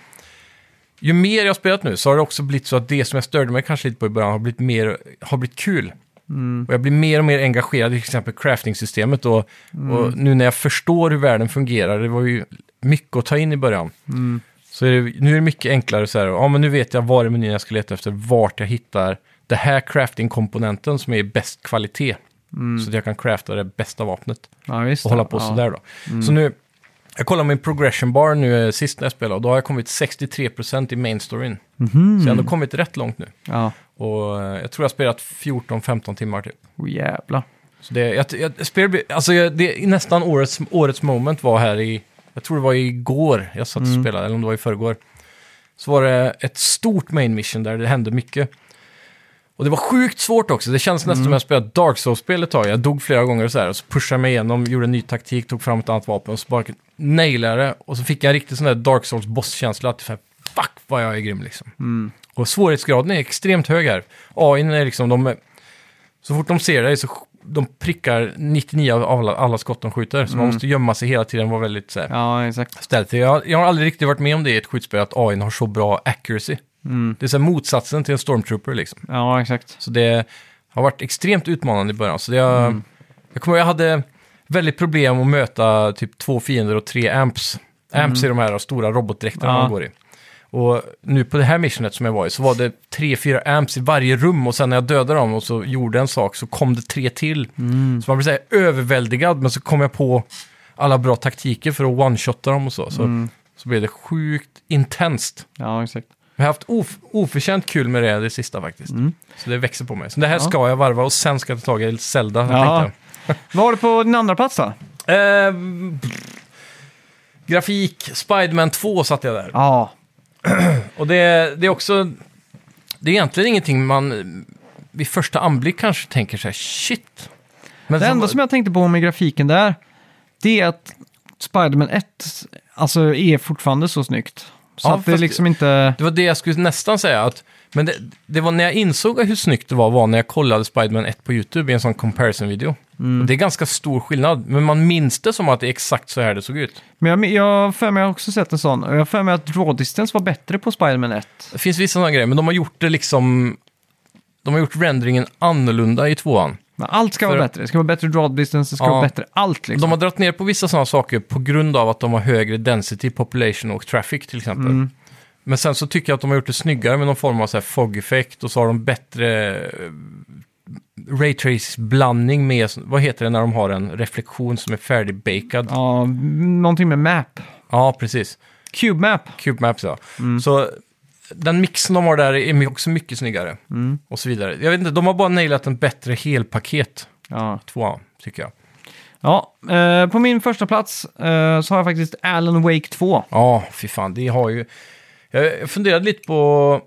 Speaker 2: ju mer jag har spelat nu så har det också blivit så att det som jag störde mig kanske lite på i början har blivit, mer, har blivit kul. Och jag blir mer och mer engagerad i till exempel crafting-systemet. Och, och nu när jag förstår hur världen fungerar, det var ju mycket att ta in i början. Så är det, nu är det mycket enklare så här, ja men nu vet jag var i menyn jag ska leta efter, vart jag hittar det här crafting-komponenten som är bäst kvalitet. Så att jag kan crafta det bästa vapnet
Speaker 1: Ja, visst.
Speaker 2: och hålla på
Speaker 1: ja.
Speaker 2: sådär då. Så nu, jag kollar min progression bar nu eh, sist när jag spelade och då har jag kommit 63% i main storyn. Så jag har ändå kommit rätt långt nu.
Speaker 1: Mhm. Ja.
Speaker 2: Och eh, jag tror jag har spelat 14-15 timmar typ.
Speaker 1: Oh, jävlar.
Speaker 2: Så det, jag, jag, spel, blir- alltså jag, det, nästan årets, årets moment var här i, jag tror det var igår jag satt och spelade, eller om det var i förrgår. Så var det ett stort main mission där det hände mycket. Och det var sjukt svårt också, det kändes nästan som jag spelat Dark Souls-spel ett tag. Jag dog flera gånger och så här, och så pushade jag mig igenom, gjorde en ny taktik, tog fram ett annat vapen och så bara nailade jag det. Och så fick jag en riktig sån där Dark Souls-bosskänsla, att så här, fuck vad jag är grym liksom. Och svårighetsgraden är extremt hög här. AI är liksom, de så fort de ser dig så sk- de prickar 99 av alla, alla skott de skjuter. Så man måste gömma sig hela tiden och vara väldigt så här,
Speaker 1: Ja, exakt.
Speaker 2: stealthy. Jag, jag har aldrig riktigt varit med om det i ett skjutspel, att AI n har så bra accuracy. Det är så här motsatsen till en stormtrooper liksom.
Speaker 1: Mm. Ja, exakt.
Speaker 2: Så det har varit extremt utmanande i början. Så det har, Jag kommer ihåg, jag hade väldigt problem att möta typ två fiender och tre amps. Amps är de här stora robotdräkterna
Speaker 1: Ja.
Speaker 2: man går i. Och nu på det här missionet som jag var i så var det tre, fyra amps i varje rum och sen när jag dödade dem och så gjorde en sak så kom det tre till. Så man blir så här överväldigad men så kom jag på alla bra taktiker för att one-shotta dem och så. Så,
Speaker 1: Mm.
Speaker 2: så blev det sjukt intenst.
Speaker 1: Ja, exakt.
Speaker 2: Jag har haft of oförtjänt kul med det, det sista faktiskt.
Speaker 1: Mm.
Speaker 2: Så det växer på mig. Så det här ska jag varva och sen ska jag ta tag i Zelda.
Speaker 1: Ja.
Speaker 2: Ja.
Speaker 1: Vad har du på din andra plats då?
Speaker 2: Eh, grafik, Spiderman 2 satt jag där.
Speaker 1: Ja,
Speaker 2: Och det, det är också... Det är egentligen ingenting man eh, vid första anblick kanske tänker så här, shit. Men
Speaker 1: det
Speaker 2: så-
Speaker 1: enda som jag tänkte på med grafiken där, det är att Spider-Man 1 alltså, är fortfarande så snyggt. Så
Speaker 2: Ja,
Speaker 1: att det
Speaker 2: fast-
Speaker 1: liksom inte...
Speaker 2: Det var det jag skulle nästan säga. Att, men det, det var när jag insåg hur snyggt det var, var när jag kollade Spiderman 1 på YouTube i en sån comparison-video. Och det är ganska stor skillnad, men man minns det som att det är exakt så här det såg ut.
Speaker 1: Men jag, jag har för mig jag har också sett en sån. Och jag har för mig att draw distance var bättre på Spider-Man 1.
Speaker 2: Det finns vissa sådana grejer, men de har gjort det liksom... De har gjort renderingen annorlunda i tvåan.
Speaker 1: Men allt ska
Speaker 2: För-
Speaker 1: vara bättre. Det ska vara bättre draw distance, det ska
Speaker 2: Ja.
Speaker 1: vara bättre allt liksom.
Speaker 2: De har dragit ner på vissa sådana saker på grund av att de har högre density, population och traffic till exempel. Men sen så tycker jag att de har gjort det snyggare med någon form av så här fog-effekt och så har de bättre eh, raytrace-blandning med, vad heter det när de har en reflektion som är färdigbakad? Ja,
Speaker 1: Ja, någonting med map.
Speaker 2: precis.
Speaker 1: Cube map.
Speaker 2: Cube Maps ja. Så den mixen de har där är my- också mycket snyggare. Och så vidare. Jag vet inte, de har bara nailat en bättre helpaket,
Speaker 1: Ja.
Speaker 2: tvåan, tycker jag.
Speaker 1: Ja, eh, på min första plats eh, så har jag faktiskt Alan Wake 2.
Speaker 2: Ja, fy fan, det har ju... Jag jag funderade lite på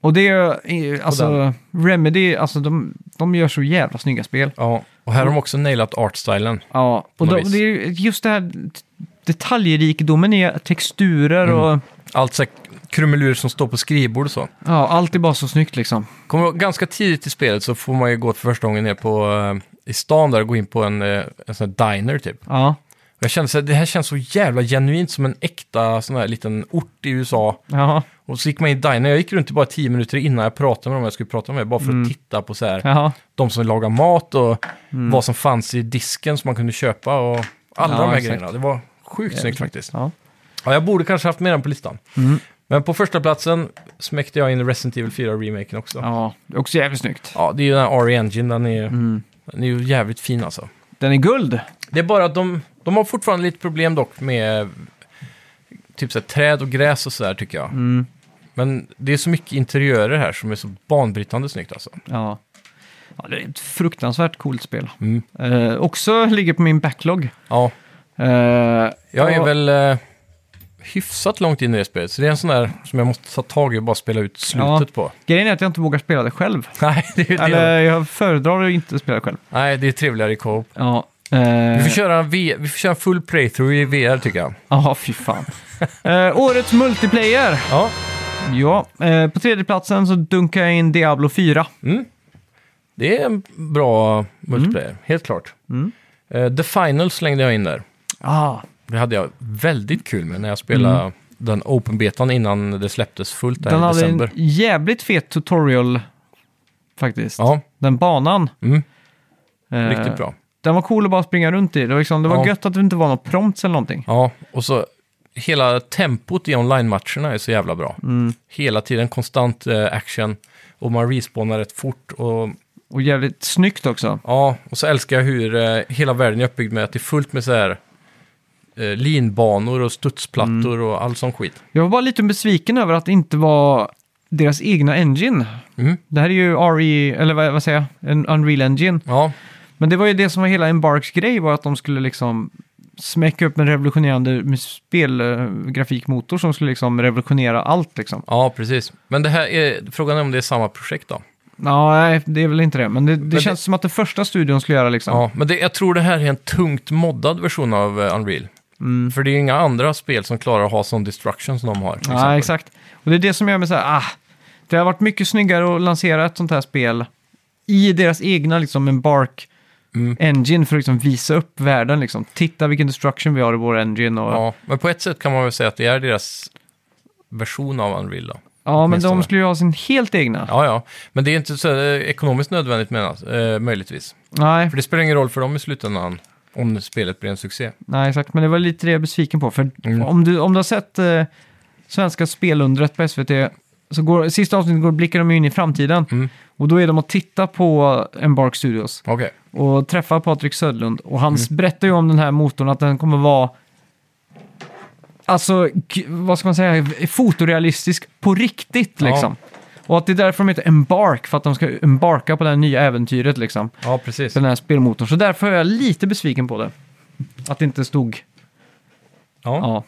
Speaker 1: Och det är eh, alltså Remedy, alltså de, de gör så jävla snygga spel.
Speaker 2: Ja, och här har de också nailat artstylen.
Speaker 1: Ja, och
Speaker 2: något
Speaker 1: då,
Speaker 2: vis.
Speaker 1: det är ju just det här t- detaljrikedomen i texturer och
Speaker 2: Allt så här krumelur som står på skrivbord och så.
Speaker 1: ja, allt är bara så snyggt liksom.
Speaker 2: Kommer ihåg, ganska tidigt i spelet så får man ju gå för första gången ner på, eh, i stan där och gå in på en, eh, en sån här diner typ.
Speaker 1: Ja,
Speaker 2: Och Jag kände så här, det här känns så jävla genuint som en äkta sån här liten ort i USA.
Speaker 1: ja,
Speaker 2: Och så gick man in i diner, jag gick runt i bara tio minuter innan jag pratade med dem jag skulle prata med, bara för
Speaker 1: Mm.
Speaker 2: att titta på så här,
Speaker 1: ja.
Speaker 2: de som lagar mat och vad som fanns i disken som man kunde köpa och alla
Speaker 1: Mm. Ja,
Speaker 2: de här
Speaker 1: exakt.
Speaker 2: grejerna. Det var sjukt snyggt faktiskt.
Speaker 1: ja. Mm.
Speaker 2: Ja, jag borde kanske haft med den på listan. Men på första platsen smäckte jag in Resident Evil 4-remaken också. Ja.
Speaker 1: ja. Mm. Det är också jävligt snyggt.
Speaker 2: det är ju den här RE-engine, den är, den är ju jävligt fin alltså.
Speaker 1: Den är guld.
Speaker 2: Det är bara att de, de har fortfarande lite problem dock med typ så här, träd och gräs och sådär tycker jag.
Speaker 1: Mm.
Speaker 2: Men det är så mycket interiörer här som är så banbrytande snyggt alltså.
Speaker 1: Ja. ja, det är ett fruktansvärt coolt spel.
Speaker 2: Mm.
Speaker 1: Eh, också ligger på min backlog.
Speaker 2: Ja,
Speaker 1: Eh,
Speaker 2: jag är
Speaker 1: och-
Speaker 2: väl eh, hyfsat långt in i det spelet, så det är en sån där som jag måste ta tag i och bara spela ut slutet
Speaker 1: Ja.
Speaker 2: på.
Speaker 1: Grejen är att jag inte vågar spela det själv.
Speaker 2: Nej, det, är- det, är-
Speaker 1: Eller jag föredrar att inte spela själv.
Speaker 2: nej, det är trevligare i co-op.
Speaker 1: Ja,
Speaker 2: Vi
Speaker 1: eh,
Speaker 2: får, köra en v- vi får köra en full playthrough i VR tycker jag.
Speaker 1: aha, fy fan. eh, årets multiplayer.
Speaker 2: Ja.
Speaker 1: Ja, eh, på tredje platsen så dunkar jag in Diablo 4.
Speaker 2: Det är en bra multiplayer,
Speaker 1: Mm.
Speaker 2: helt klart. Eh, The Final slängde jag in där.
Speaker 1: Ah,
Speaker 2: Det hade jag väldigt kul med när jag spelade den open-betan innan det släpptes fullt där
Speaker 1: Mm. den
Speaker 2: i
Speaker 1: hade
Speaker 2: december.
Speaker 1: en jävligt fet tutorial faktiskt.
Speaker 2: Ja,
Speaker 1: Den banan.
Speaker 2: mm,
Speaker 1: eh,
Speaker 2: riktigt bra.
Speaker 1: Den var cool att bara springa runt i. Det var, liksom, det var
Speaker 2: Ja.
Speaker 1: gött att det inte var något prompts eller någonting.
Speaker 2: Ja, och så hela tempot i online-matcherna är så jävla bra.
Speaker 1: Mm.
Speaker 2: Hela tiden konstant eh, action och man respawnar rätt fort. Och
Speaker 1: Och jävligt snyggt också.
Speaker 2: Ja, och så älskar jag hur eh, hela världen är uppbyggd med att det är fullt med så här eh, linbanor och studsplattor
Speaker 1: Mm.
Speaker 2: och all sån skit.
Speaker 1: Jag var bara lite besviken över att det inte var deras egna engine.
Speaker 2: Mm.
Speaker 1: Det här är ju RE, eller vad, vad säger jag, en Unreal Engine.
Speaker 2: Ja,
Speaker 1: Men det var ju det som var hela Embarks grej var att de skulle liksom smäcka upp en revolutionerande spelgrafikmotor som skulle liksom revolutionera allt liksom.
Speaker 2: ja, precis. Men det här är, frågan är om det är samma projekt då?
Speaker 1: Ja, nej, det är väl inte det. Men det, det
Speaker 2: det-
Speaker 1: känns som att det första studion skulle göra liksom.
Speaker 2: Ja, men det, jag tror det här är en tungt moddad version av eh, Unreal. För det är ju inga andra spel som klarar att ha sån destruction som de har. till
Speaker 1: Ja,
Speaker 2: exempel.
Speaker 1: exakt. Och det är det som gör mig så här, ah, det har varit mycket snyggare att lansera ett sånt här spel i deras egna liksom Embark
Speaker 2: Mm.
Speaker 1: Engine för att liksom visa upp världen liksom. Titta vilken destruction vi har i vår engine och...
Speaker 2: Ja, men på ett sätt kan man väl säga att det är deras version av Unreal då.
Speaker 1: Ja, men de
Speaker 2: Åtminstone.
Speaker 1: skulle ju ha sin helt egna.
Speaker 2: Ja, ja. Men det är inte så eh, ekonomiskt nödvändigt menas, eh, möjligtvis.
Speaker 1: Nej,
Speaker 2: För det spelar ingen roll för dem i slutändan om spelet blir en succé.
Speaker 1: nej, exakt. Men det var lite det jag är besviken på. För
Speaker 2: Mm.
Speaker 1: om, du, om du har sett eh, Svenska spelundret på SVT, så går, sista avsnittet går, blickar de ju in i framtiden.
Speaker 2: Mm.
Speaker 1: Och då är de och tittar på Embark Studios
Speaker 2: Okej.
Speaker 1: och träffar Patrik Södlund. Och han
Speaker 2: Mm.
Speaker 1: berättar ju om den här motorn, att den kommer vara... Alltså, k- vad ska man säga? Fotorealistisk på riktigt
Speaker 2: Ja.
Speaker 1: liksom. Och att det är därför de heter Embark, för att de ska embarka på det här nya äventyret liksom.
Speaker 2: Ja, precis.
Speaker 1: den här spelmotorn. Så därför är jag lite besviken på det. Att det inte stod...
Speaker 2: Ja.
Speaker 1: Ja.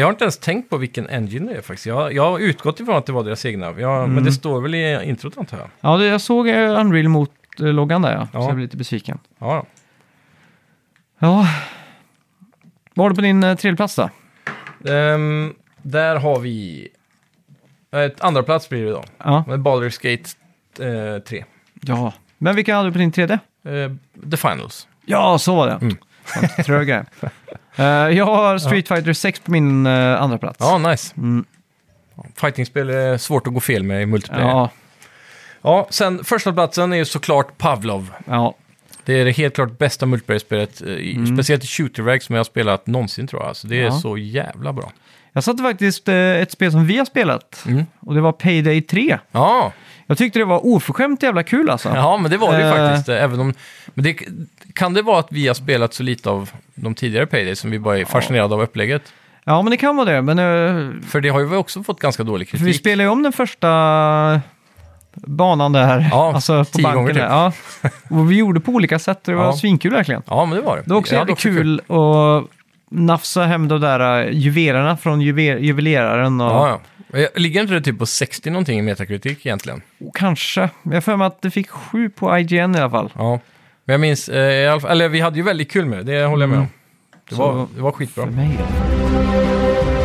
Speaker 2: Jag har inte ens tänkt på vilken engine det är faktiskt. Jag, jag har utgått ifrån att det var deras egna. Jag, Men det står väl i introt antar jag.
Speaker 1: Ja, det, jag såg eh, Unreal mot eh, loggan där ja.
Speaker 2: Ja.
Speaker 1: Så jag blev lite besviken.
Speaker 2: Ja,
Speaker 1: Ja. Vad har du på din eh, tredje plats då?
Speaker 2: Ehm, där har vi... eh, Ett andra plats blir det då.
Speaker 1: Ja.
Speaker 2: Med Baldur's Gate eh, 3.
Speaker 1: ja. Men vilka hade du på din tredje?
Speaker 2: Eh, The Finals.
Speaker 1: Ja, så var det.
Speaker 2: Mm.
Speaker 1: Fan, Trög grej. Eh, jag har Street Fighter 6 på min eh, andra plats.
Speaker 2: Ja, nice.
Speaker 1: Mm.
Speaker 2: Fightingspel är svårt att gå fel med i multiplayer. Ja.
Speaker 1: ja,
Speaker 2: sen första platsen är ju såklart Pavlov.
Speaker 1: ja.
Speaker 2: Det är det helt klart bästa multiplayer-spelet, eh, i- speciellt i Shooterväg som jag har spelat någonsin tror jag. Alltså, det är
Speaker 1: Ja.
Speaker 2: så jävla bra.
Speaker 1: Jag satte faktiskt eh, ett spel som vi har spelat.
Speaker 2: Mm.
Speaker 1: Och det var Payday 3.
Speaker 2: Ja,
Speaker 1: Jag tyckte det var oförskämt jävla kul alltså.
Speaker 2: ja men det var det ju
Speaker 1: Eh.
Speaker 2: faktiskt. eh, Även om, men det, kan det vara att vi har spelat så lite av de tidigare Payday som vi bara är fascinerade av upplägget?
Speaker 1: Ja, men det kan vara det. Men eh,
Speaker 2: För det har ju också fått ganska dålig
Speaker 1: För vi
Speaker 2: kritik.
Speaker 1: spelade ju om den första banan där.
Speaker 2: Ja,
Speaker 1: alltså på
Speaker 2: tio
Speaker 1: banken
Speaker 2: gånger typ.
Speaker 1: där. Ja. Och vi gjorde på olika sätt och det var
Speaker 2: Ja.
Speaker 1: svinkul verkligen.
Speaker 2: Ja, men det var det.
Speaker 1: Det var också
Speaker 2: Jag hade
Speaker 1: jävligt kul att nafsa hem de där eh, juvelerna från juve- juveleraren. Och,
Speaker 2: Ja, ja. Ligger inte det typ på 60 någonting i metakritik egentligen?
Speaker 1: och kanske. Jag har för mig att det fick sju på IGN i alla fall.
Speaker 2: Ja. Men jag minns, eh, i alla fall, eller vi hade ju väldigt kul med det, det håller jag med om. Det
Speaker 1: Mm. Så-
Speaker 2: var, det var
Speaker 1: För
Speaker 2: skitbra.
Speaker 1: mig. i alla fall.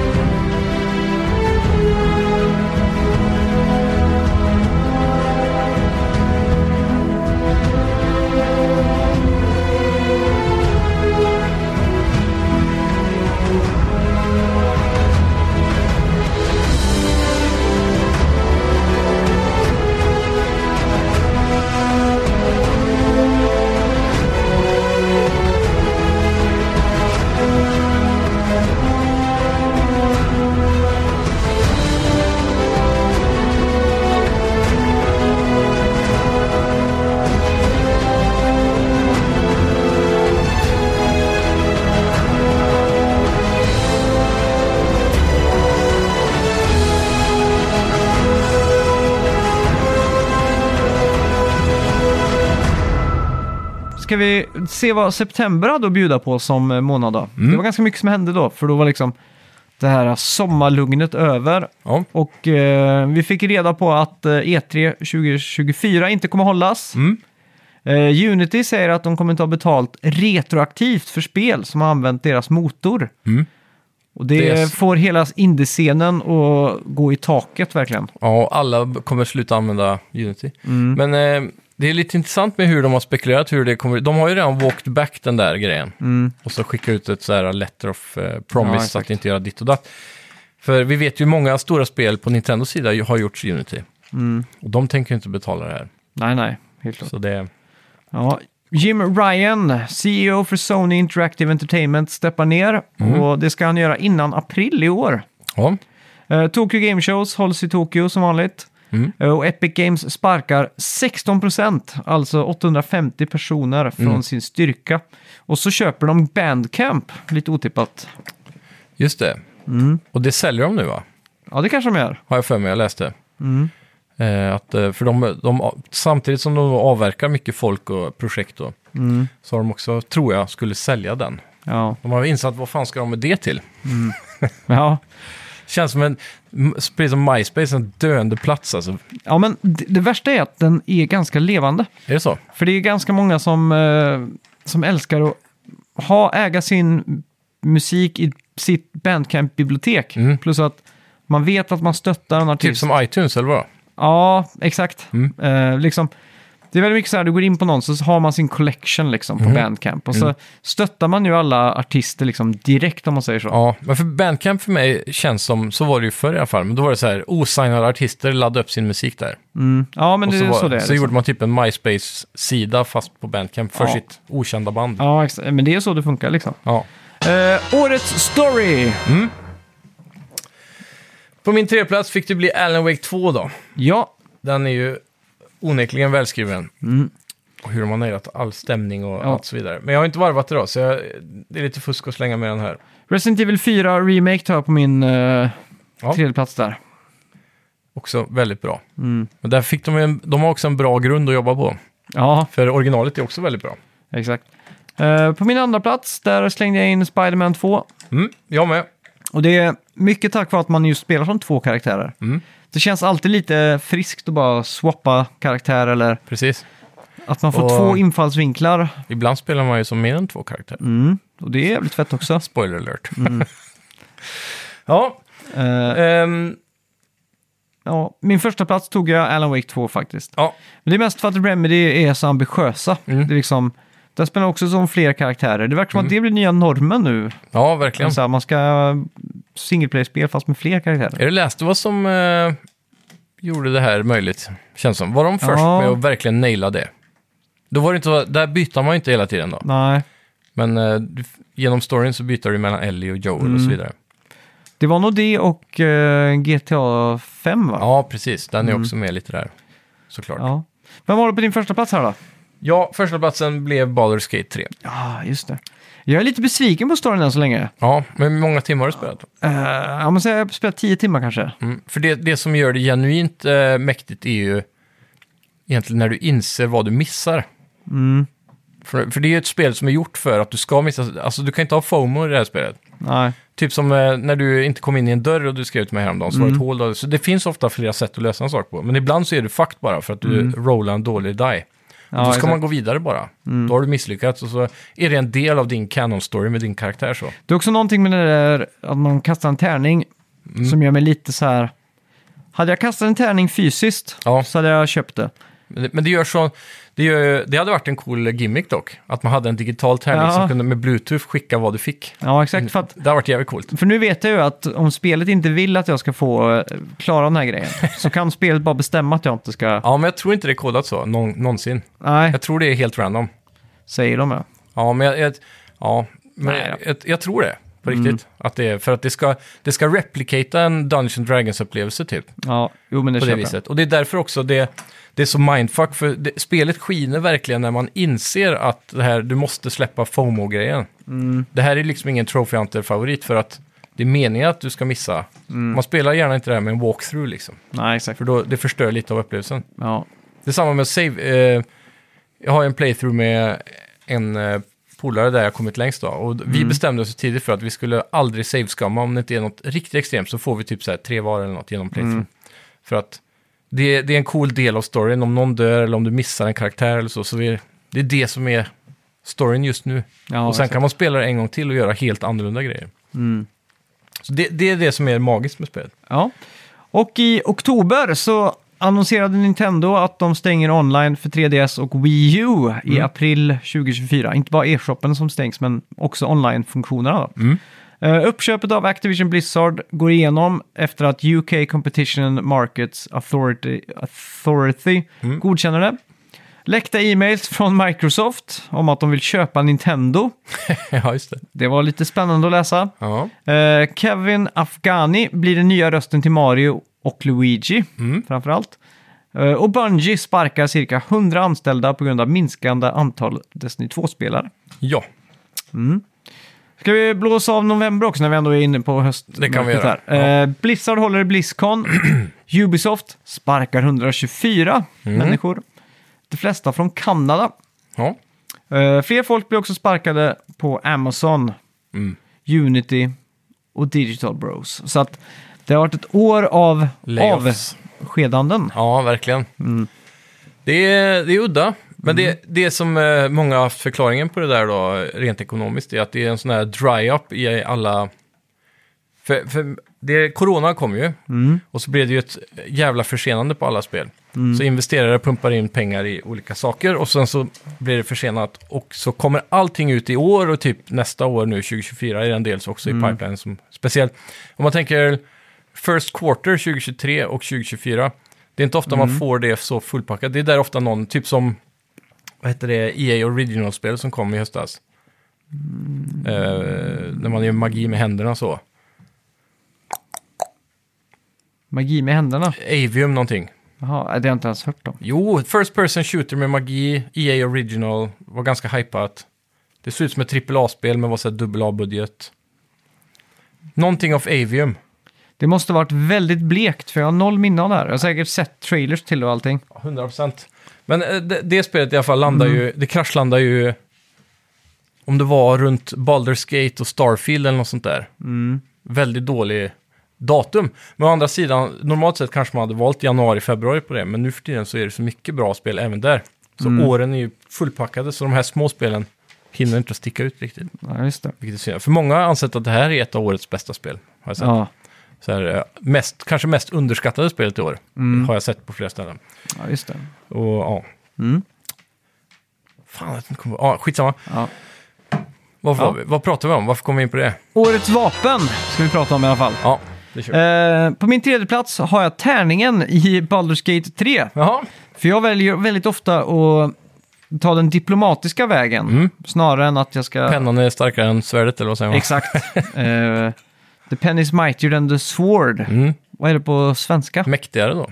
Speaker 1: Ska vi se vad september hade att bjuda på som eh, månad då?
Speaker 2: Mm.
Speaker 1: Det var ganska mycket som hände då, för då var liksom det här sommarlugnet över
Speaker 2: Ja.
Speaker 1: Och eh, vi fick reda på att eh, E3 2024 inte kommer hållas.
Speaker 2: Mm.
Speaker 1: Eh, Unity säger att de kommer ta betalt retroaktivt för spel som har använt deras motor.
Speaker 2: Mm.
Speaker 1: Och det
Speaker 2: Det är-
Speaker 1: får hela indiescenen att gå i taket verkligen.
Speaker 2: ja, och alla b- kommer sluta använda Unity.
Speaker 1: Mm.
Speaker 2: Men eh, det är lite intressant med hur de har spekulerat hur det kommer... De har ju redan walked back den där grejen.
Speaker 1: Mm.
Speaker 2: Och så skicka ut ett så här letter of eh,
Speaker 1: Ja,
Speaker 2: promise
Speaker 1: exakt.
Speaker 2: så att inte göra ditt och datt. För vi vet ju många stora spel på Nintendos sida ju- har gjorts i Unity.
Speaker 1: Mm.
Speaker 2: Och de tänker ju inte betala det här.
Speaker 1: Nej, nej, helt klart.
Speaker 2: Så det...
Speaker 1: Ja. Jim Ryan, CEO för Sony Interactive Entertainment, steppar ner. Och det ska han göra innan april i år.
Speaker 2: Ja.
Speaker 1: Eh, Tokyo Game Shows hålls i Tokyo som vanligt.
Speaker 2: Mm.
Speaker 1: Eh, och Epic Games sparkar 16 procent, alltså 850 personer från
Speaker 2: Mm.
Speaker 1: sin styrka. Och så köper de Bandcamp, lite otippat.
Speaker 2: Just det.
Speaker 1: Mm.
Speaker 2: Och det säljer de nu va?
Speaker 1: Ja, det kanske de gör.
Speaker 2: Har jag för mig, jag läste.
Speaker 1: Mm.
Speaker 2: Eh, att, eh, för de, de, samtidigt som de avverkar mycket folk och projekt då,
Speaker 1: Mm.
Speaker 2: så har de också, tror jag, skulle sälja den.
Speaker 1: Ja.
Speaker 2: De har insett vad fan ska de med det till?
Speaker 1: Ja.
Speaker 2: Känns som en, m- precis som MySpace, en döende plats alltså.
Speaker 1: ja, men det, det värsta är att den är ganska levande.
Speaker 2: Är det så? Typ
Speaker 1: För det är ganska många som, eh, som älskar att ha, äga sin musik i sitt Bandcamp-bibliotek.
Speaker 2: Mm.
Speaker 1: Plus att man vet att man stöttar en artist.
Speaker 2: Typ som iTunes eller vad?
Speaker 1: Ja, exakt. Eh, liksom, Det är väldigt mycket så här, du går in på någon så har man sin collection liksom
Speaker 2: Mm.
Speaker 1: på Bandcamp. Och så stöttar man ju alla artister liksom direkt om man säger så.
Speaker 2: Ja, men för Bandcamp för mig känns som, så var det ju förr i alla fall, men då var det så här, osignade artister laddade upp sin musik där.
Speaker 1: Mm. Ja, men
Speaker 2: och
Speaker 1: det
Speaker 2: så,
Speaker 1: är
Speaker 2: var,
Speaker 1: så det är.
Speaker 2: så
Speaker 1: liksom.
Speaker 2: gjorde man typ en MySpace-sida fast på Bandcamp för
Speaker 1: Ja.
Speaker 2: sitt okända band. Ja.
Speaker 1: liksom. Ja, exakt. men det är så det funkar liksom. Eh, årets story!
Speaker 2: På min treplats fick det bli Alan Wake 2 då.
Speaker 1: Ja,
Speaker 2: Den är ju onekligen välskriven. Och hur de har nailat all stämning och allt så vidare. Men jag har inte varvat idag, så jag, det är lite fusk att slänga med den här.
Speaker 1: Resident Evil 4 Remake tar jag på min uh,
Speaker 2: Ja.
Speaker 1: tredje plats där.
Speaker 2: Också väldigt bra. Men där fick de, en, de har också en bra grund att jobba på.
Speaker 1: Ja,
Speaker 2: För originalet är också väldigt bra.
Speaker 1: exakt. Eh, på min andra plats där slängde jag in Spider-Man 2.
Speaker 2: Mm, jag med.
Speaker 1: Och det är mycket tack vare att man just spelar som två karaktärer.
Speaker 2: Mm.
Speaker 1: Det känns alltid lite friskt att bara swappa karaktär eller
Speaker 2: Precis.
Speaker 1: att man får
Speaker 2: Och-
Speaker 1: två infallsvinklar.
Speaker 2: Ibland spelar man ju som mer än två karaktärer.
Speaker 1: Mm. Och det är jävligt fett också.
Speaker 2: Spoiler alert. ja,
Speaker 1: Eh,
Speaker 2: ehm,
Speaker 1: ja. Min första plats tog jag Alan Wake 2 faktiskt.
Speaker 2: ja,
Speaker 1: Men det är mest för att Remedy är så ambitiösa.
Speaker 2: Mm.
Speaker 1: Det är liksom, där spelar också som fler karaktärer. Det verkar som att det blir nya normen nu.
Speaker 2: ja, verkligen.
Speaker 1: Så här, man ska single player-spel fast med fler karaktärer.
Speaker 2: Är det läst vad som eh, gjorde det här möjligt? Känns som. Var de först
Speaker 1: Ja.
Speaker 2: med att verkligen naila det? Då var det inte, så- där byter man ju inte hela tiden då.
Speaker 1: Nej,
Speaker 2: Men eh, du- genom storyn så byter du mellan Ellie och Joel och så vidare.
Speaker 1: det var nog det och eh, GTA 5 va?
Speaker 2: Ja, precis. Den är också med lite där. Såklart. Ja,
Speaker 1: Ja. Vem var det på din första plats här då?
Speaker 2: första platsen blev Baldur's Gate 3.
Speaker 1: Ja, just det. Jag är lite besviken på storyn än så länge.
Speaker 2: Ja, men hur många timmar har du spelat?
Speaker 1: Uh, jag måste säga, jag har spelat tio timmar kanske.
Speaker 2: Mm. För det, det som gör det genuint eh, mäktigt är ju egentligen när du inser vad du missar.
Speaker 1: Mm.
Speaker 2: För, för det är ju ett spel som är gjort för att du ska missa, alltså du kan inte ha FOMO i det här spelet.
Speaker 1: Nej.
Speaker 2: Typ som eh, när du inte kom in i en dörr och du skrev till mig häromdagen, så var det ett
Speaker 1: Mm.
Speaker 2: hål där. Så det finns ofta flera sätt att lösa en sak på. Men ibland så är du fucked bara för att du rollar en dålig die.
Speaker 1: Mm. Ja,
Speaker 2: då ska
Speaker 1: exakt. Mm.
Speaker 2: man gå vidare bara. Då har du misslyckats och så är det en del av din canon-story med din karaktär så.
Speaker 1: Det är också någonting med det där att man kastar en tärning
Speaker 2: Mm.
Speaker 1: som gör mig lite så här... Hade jag kastat en tärning fysiskt
Speaker 2: Ja.
Speaker 1: så hade jag köpt det.
Speaker 2: Men det, men det gör så... Det, gör, det hade varit en cool gimmick dock. Att man hade en digital tärning
Speaker 1: Ja.
Speaker 2: som kunde med bluetooth skicka vad du fick.
Speaker 1: Ja, exakt. För, att,
Speaker 2: Det hade varit jävligt coolt.
Speaker 1: för nu vet jag ju att om spelet inte vill att jag ska få eh, klara den här grejen så kan spelet bara bestämma att jag inte ska...
Speaker 2: Ja, men jag tror inte det är kodat så, någon, någonsin.
Speaker 1: Nej,
Speaker 2: Jag tror det är helt random.
Speaker 1: säger de ja.
Speaker 2: Ja, men jag, jag, ja, men
Speaker 1: Nej Mm. då.
Speaker 2: jag, jag tror det. På riktigt. Att det är, för att det ska, det ska replicata en Dungeons Dragons-upplevelse typ.
Speaker 1: Ja, jo men det
Speaker 2: På det
Speaker 1: köper jag.
Speaker 2: viset. Och det är därför också det, det är så mindfuck. För det, spelet skiner verkligen när man inser att det här, du måste släppa FOMO-grejen.
Speaker 1: Mm.
Speaker 2: Det här är liksom ingen Trophy Hunter-favorit för att det är meningen att du ska missa.
Speaker 1: Mm.
Speaker 2: Man spelar gärna inte det här med en walkthrough liksom.
Speaker 1: Nej, exakt.
Speaker 2: För då, det förstör lite av upplevelsen.
Speaker 1: Ja.
Speaker 2: Det är samma med save. Eh, jag har en playthrough med en eh, polare där jag kommit längst då. Och vi
Speaker 1: Mm.
Speaker 2: bestämde oss tidigt för att vi skulle aldrig save-skamma. Om det inte är något riktigt extremt så får vi typ så här tre var eller något genom playthrough.
Speaker 1: Mm.
Speaker 2: För att det, det är en cool del av storyn. Om någon dör eller om du missar en karaktär eller så. så vi, det är det som är storyn just nu.
Speaker 1: Ja,
Speaker 2: och
Speaker 1: exakt.
Speaker 2: sen
Speaker 1: Mm.
Speaker 2: kan man spela det en gång till och göra helt annorlunda grejer. Så det, det är det som är magiskt med spelet.
Speaker 1: Ja. Och i oktober så annonserade Nintendo att de stänger online för 3DS och Wii U i april 2024. Inte bara e-shoppen som stängs, men också online-funktionerna. Då. Eh, uppköpet av Activision Blizzard går igenom efter att UK Competition Markets Authority, Authority godkänner det. Läckta e-mails från Microsoft om att de vill köpa Nintendo.
Speaker 2: ja, just det.
Speaker 1: Det var lite spännande att läsa.
Speaker 2: Ja.
Speaker 1: Eh, Kevin Afghani blir den nya rösten till Mario och Luigi,
Speaker 2: Mm.
Speaker 1: framförallt. Eh, och Bungie sparkar cirka 100 anställda på grund av minskande antal Destiny 2-spelare.
Speaker 2: ja.
Speaker 1: Mm. Ska vi blåsa av november också när vi ändå är inne på höst?
Speaker 2: Det kan vi göra,
Speaker 1: Eh, Blizzard håller i Blizzcon. Ubisoft sparkar 124
Speaker 2: Mm.
Speaker 1: människor. De flesta från Kanada.
Speaker 2: ja.
Speaker 1: Eh, fler folk blir också sparkade på Amazon,
Speaker 2: Mm.
Speaker 1: Unity och Digital Bros. Så att det har varit ett år av
Speaker 2: Layoffs.
Speaker 1: avskedanden.
Speaker 2: Ja, verkligen. Det, är, det är udda. Men det, det som eh, många har haft förklaringen på det där då, rent ekonomiskt, är att det är en sån här dry-up i alla... För, för det, corona kom ju, och så blev det ju ett jävla försenande på alla spel. Så investerare pumpar in pengar i olika saker och sen så blir det försenat. Och så kommer allting ut i år och typ nästa år nu, 2024, är den dels också i pipeline som speciellt. Om man tänker first quarter 2023 och 2024, det är inte ofta man får det så fullpackat. Det är där ofta någon, typ som, vad heter det, EA Original-spel som kom i höstas. Eh, när man gör magi med händerna så.
Speaker 1: Magi med händerna?
Speaker 2: Avium någonting.
Speaker 1: Jaha, det har jag inte ens hört om.
Speaker 2: Jo, First Person Shooter med magi, EA Original, var ganska hypat. Det såg ut som ett AAA-spel men var så här dubbel A-budget. Någonting av Avium.
Speaker 1: Det måste varit väldigt blekt, för jag har noll minne av det här. Jag har säkert sett trailers till och allting.
Speaker 2: Ja, 100%. Men eh, det, det spelet i alla fall landar ju, det kraschlandar ju om det var runt Baldur's Gate och Starfield eller något sånt där. Väldigt dålig datum. Men å andra sidan, normalt sett kanske man hade valt januari, februari på det, men nu för tiden så är det så mycket bra spel även där. Så åren är ju fullpackade, så de här små spelen hinner inte att sticka ut riktigt.
Speaker 1: Ja, just det.
Speaker 2: Vilket är synd. För många har ansett att det här är ett av årets bästa spel. Har jag sett.
Speaker 1: Ja,
Speaker 2: Så här, eh, mest, kanske mest underskattade spelet i år. Har jag sett på flera ställen.
Speaker 1: ja just det.
Speaker 2: Och ja.
Speaker 1: Mm.
Speaker 2: Fan, jag vet inte kommer... Ja, skitsamma.
Speaker 1: Ja.
Speaker 2: Varför,
Speaker 1: Ja.
Speaker 2: var vi- Vad pratar vi om? Varför kom vi in på det?
Speaker 1: Årets vapen ska vi prata om i alla fall.
Speaker 2: Ja, det kör vi.
Speaker 1: Eh, på min tredje plats har jag tärningen i Baldur's Gate 3.
Speaker 2: Jaha.
Speaker 1: För jag väljer väldigt ofta att ta den diplomatiska vägen.
Speaker 2: Mm.
Speaker 1: Snarare än att jag ska...
Speaker 2: Pennan är starkare än svärdet, eller vad säger man?
Speaker 1: Exakt. Eh, the pen is mightier than the sword.
Speaker 2: Mm.
Speaker 1: Vad är det på svenska?
Speaker 2: Mäktigare då.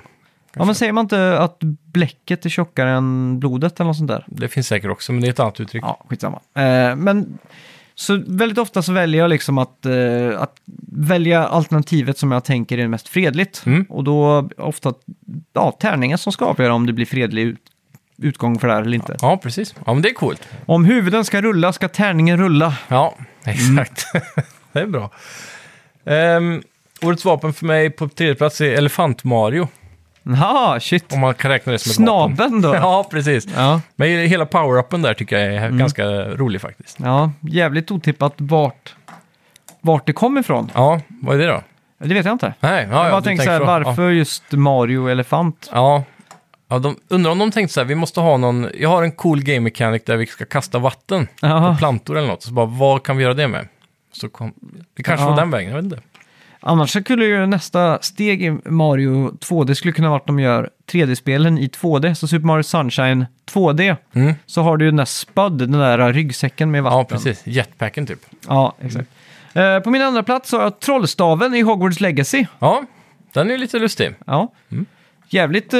Speaker 1: Ja, men säger man inte att bläcket är tjockare än blodet eller något sånt där?
Speaker 2: Det finns säkert också, men det är ett annat uttryck.
Speaker 1: Ja, skitsamma. Eh, men så väldigt ofta så väljer jag liksom att, eh, att välja alternativet som jag tänker är mest fredligt.
Speaker 2: Mm.
Speaker 1: Och då ofta ja, tärningar som ska avgöra om det blir fredlig ut- utgång för det här eller inte.
Speaker 2: Ja, precis. Ja, men det är coolt.
Speaker 1: Om huvuden ska rulla ska tärningen rulla.
Speaker 2: Ja,
Speaker 1: Mm.
Speaker 2: exakt. det är bra. Ehm, årets vapen för mig på tredje plats är Elefant-Mario.
Speaker 1: Jaha, shit.
Speaker 2: Om man kan räkna det som ett vapen.
Speaker 1: Snabeln då?
Speaker 2: Ja, precis.
Speaker 1: ja.
Speaker 2: Men hela power-upen där tycker jag är
Speaker 1: Mm.
Speaker 2: ganska rolig faktiskt.
Speaker 1: Ja, jävligt otippat vart, vart det kom ifrån.
Speaker 2: Ja, vad är det då?
Speaker 1: Det vet jag inte.
Speaker 2: Nej, ja,
Speaker 1: jag
Speaker 2: ja,
Speaker 1: bara
Speaker 2: du
Speaker 1: tänkte så här,
Speaker 2: så.
Speaker 1: varför just Mario Elefant?
Speaker 2: Ja. ja de, undrar om de tänkte så här, vi måste ha någon, jag har en cool game mechanic där vi ska kasta vatten
Speaker 1: Jaha.
Speaker 2: på plantor eller något. Så bara, vad kan vi göra det med? Så kom, det kanske
Speaker 1: Ja.
Speaker 2: var den vägen, jag vet inte.
Speaker 1: Annars så skulle ju nästa steg i Mario 2D skulle kunna vara att de gör 3D-spelen i 2D, så Super Mario Sunshine 2D.
Speaker 2: Mm.
Speaker 1: Så har du ju den där Spud, den där ryggsäcken med vatten.
Speaker 2: Ja, precis. Jetpacken typ.
Speaker 1: Ja, exakt. Eh, på min andra plats så har jag Trollstaven i Hogwarts Legacy.
Speaker 2: Ja, den är ju lite lustig.
Speaker 1: Ja.
Speaker 2: Mm.
Speaker 1: Jävligt eh,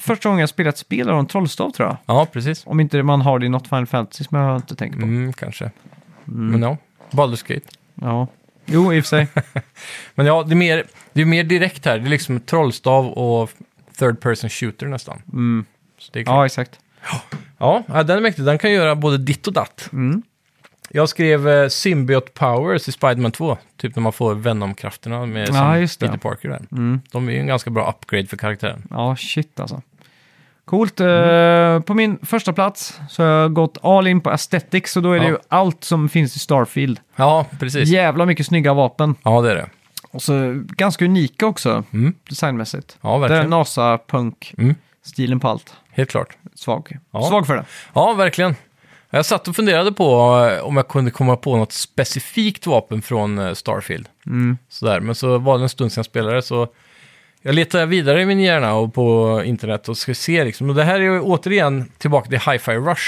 Speaker 1: första gången jag spelat spel av en trollstav tror jag.
Speaker 2: Ja, precis.
Speaker 1: Om inte man har det i något Final Fantasy som jag inte tänker på.
Speaker 2: Mm, kanske.
Speaker 1: Mm.
Speaker 2: Men ja, Baldur's Gate.
Speaker 1: Ja. Jo, i och för sig.
Speaker 2: Men ja, det är mer, det är mer direkt här. Det är liksom trollstav och third person shooter nästan. Så det är klart.
Speaker 1: Mm. ja, exakt.
Speaker 2: Ja, ja, den är mäktig. Den kan göra både ditt och datt.
Speaker 1: Mm.
Speaker 2: Jag skrev eh, Symbiote Powers i Spiderman 2, typ när man får Venom-krafterna med
Speaker 1: Ja,
Speaker 2: som
Speaker 1: just det. Mm.
Speaker 2: Peter Parker där. De är ju en ganska bra upgrade för karaktären.
Speaker 1: Ja, shit alltså. Coolt.
Speaker 2: Mm.
Speaker 1: Eh, på min första plats så har jag gått all in på aesthetics och då är det
Speaker 2: Ja.
Speaker 1: ju allt som finns i Starfield.
Speaker 2: Ja, precis.
Speaker 1: Jävla mycket snygga vapen.
Speaker 2: Ja, det är det.
Speaker 1: Och så ganska unika också, designmässigt.
Speaker 2: Ja,
Speaker 1: Det är
Speaker 2: Mm. verkligen. Mm.
Speaker 1: NASA-punk-stilen på allt.
Speaker 2: Helt klart.
Speaker 1: Svag.
Speaker 2: Ja.
Speaker 1: Svag för det.
Speaker 2: Ja, verkligen. Jag satt och funderade på eh, om jag kunde komma på något specifikt vapen från eh, Starfield.
Speaker 1: Mm.
Speaker 2: Sådär, men så var det en stund sedan jag spelade så jag letade vidare i min hjärna och på internet och ska se liksom. Och det här är ju återigen tillbaka till Hi-Fi Rush.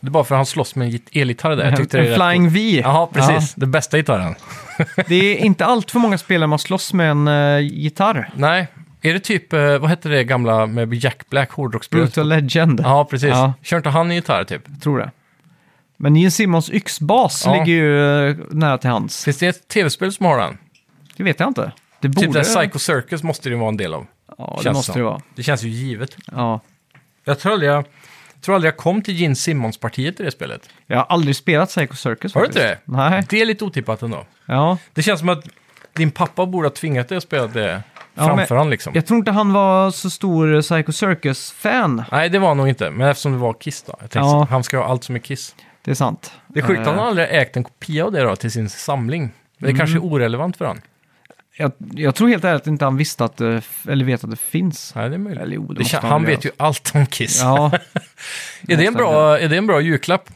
Speaker 2: Det är bara för att han slåss med en git- elgitarr där. Jag tyckte det
Speaker 1: en
Speaker 2: är rätt
Speaker 1: Mm. Flying
Speaker 2: coolt.
Speaker 1: V.
Speaker 2: Ja, precis. Den bästa gitarren.
Speaker 1: Ja. Det är inte allt för många spelare man slåss med en eh, gitarr.
Speaker 2: Nej, är det typ, eh, vad hette det gamla med Jack Black, hårdrocksspelet?
Speaker 1: Brutal Legend.
Speaker 2: Ja, precis.
Speaker 1: Ja.
Speaker 2: Kör inte han i gitarr typ?
Speaker 1: tror det. Men Gene Simmons yxbas
Speaker 2: Ja.
Speaker 1: ligger ju eh, nära till hands.
Speaker 2: Finns det ett tv-spel som har den?
Speaker 1: Det vet jag inte. Det borde...
Speaker 2: Typ där Psycho Circus måste det ju vara en del av.
Speaker 1: ja, det
Speaker 2: känns
Speaker 1: måste
Speaker 2: som.
Speaker 1: det vara.
Speaker 2: Det känns ju givet.
Speaker 1: Ja.
Speaker 2: Jag tror aldrig jag, jag, tror aldrig jag kom till Gene Simmons-partiet i det spelet.
Speaker 1: Jag har aldrig spelat Psycho Circus
Speaker 2: Har du inte
Speaker 1: faktiskt.
Speaker 2: det?
Speaker 1: Nej.
Speaker 2: Det är lite otippat ändå.
Speaker 1: Ja.
Speaker 2: Det känns som att din pappa borde ha tvingat dig att spela det
Speaker 1: Ja,
Speaker 2: framför
Speaker 1: men-
Speaker 2: han liksom.
Speaker 1: Jag tror inte han var så stor eh, Psycho Circus-fan.
Speaker 2: Nej, det var han nog inte. Men eftersom det var Kiss då. Jag tänkte,
Speaker 1: Ja.
Speaker 2: så, Han ska ha allt som är Kiss.
Speaker 1: Det är sant.
Speaker 2: Det är sjukt,
Speaker 1: Eh, Mm.
Speaker 2: han har aldrig ägt en kopia av det då till sin samling. Men det kanske är orelevant för han.
Speaker 1: Jag, jag tror helt ärligt att inte han visste att det, f- eller vet att det finns.
Speaker 2: Nej, det är möjligt.
Speaker 1: Eller jo, det
Speaker 2: det
Speaker 1: måste
Speaker 2: kan- han
Speaker 1: väl
Speaker 2: vet ju
Speaker 1: göra.
Speaker 2: allt om Kiss.
Speaker 1: Ja,
Speaker 2: är, det en bra, är det en bra julklapp?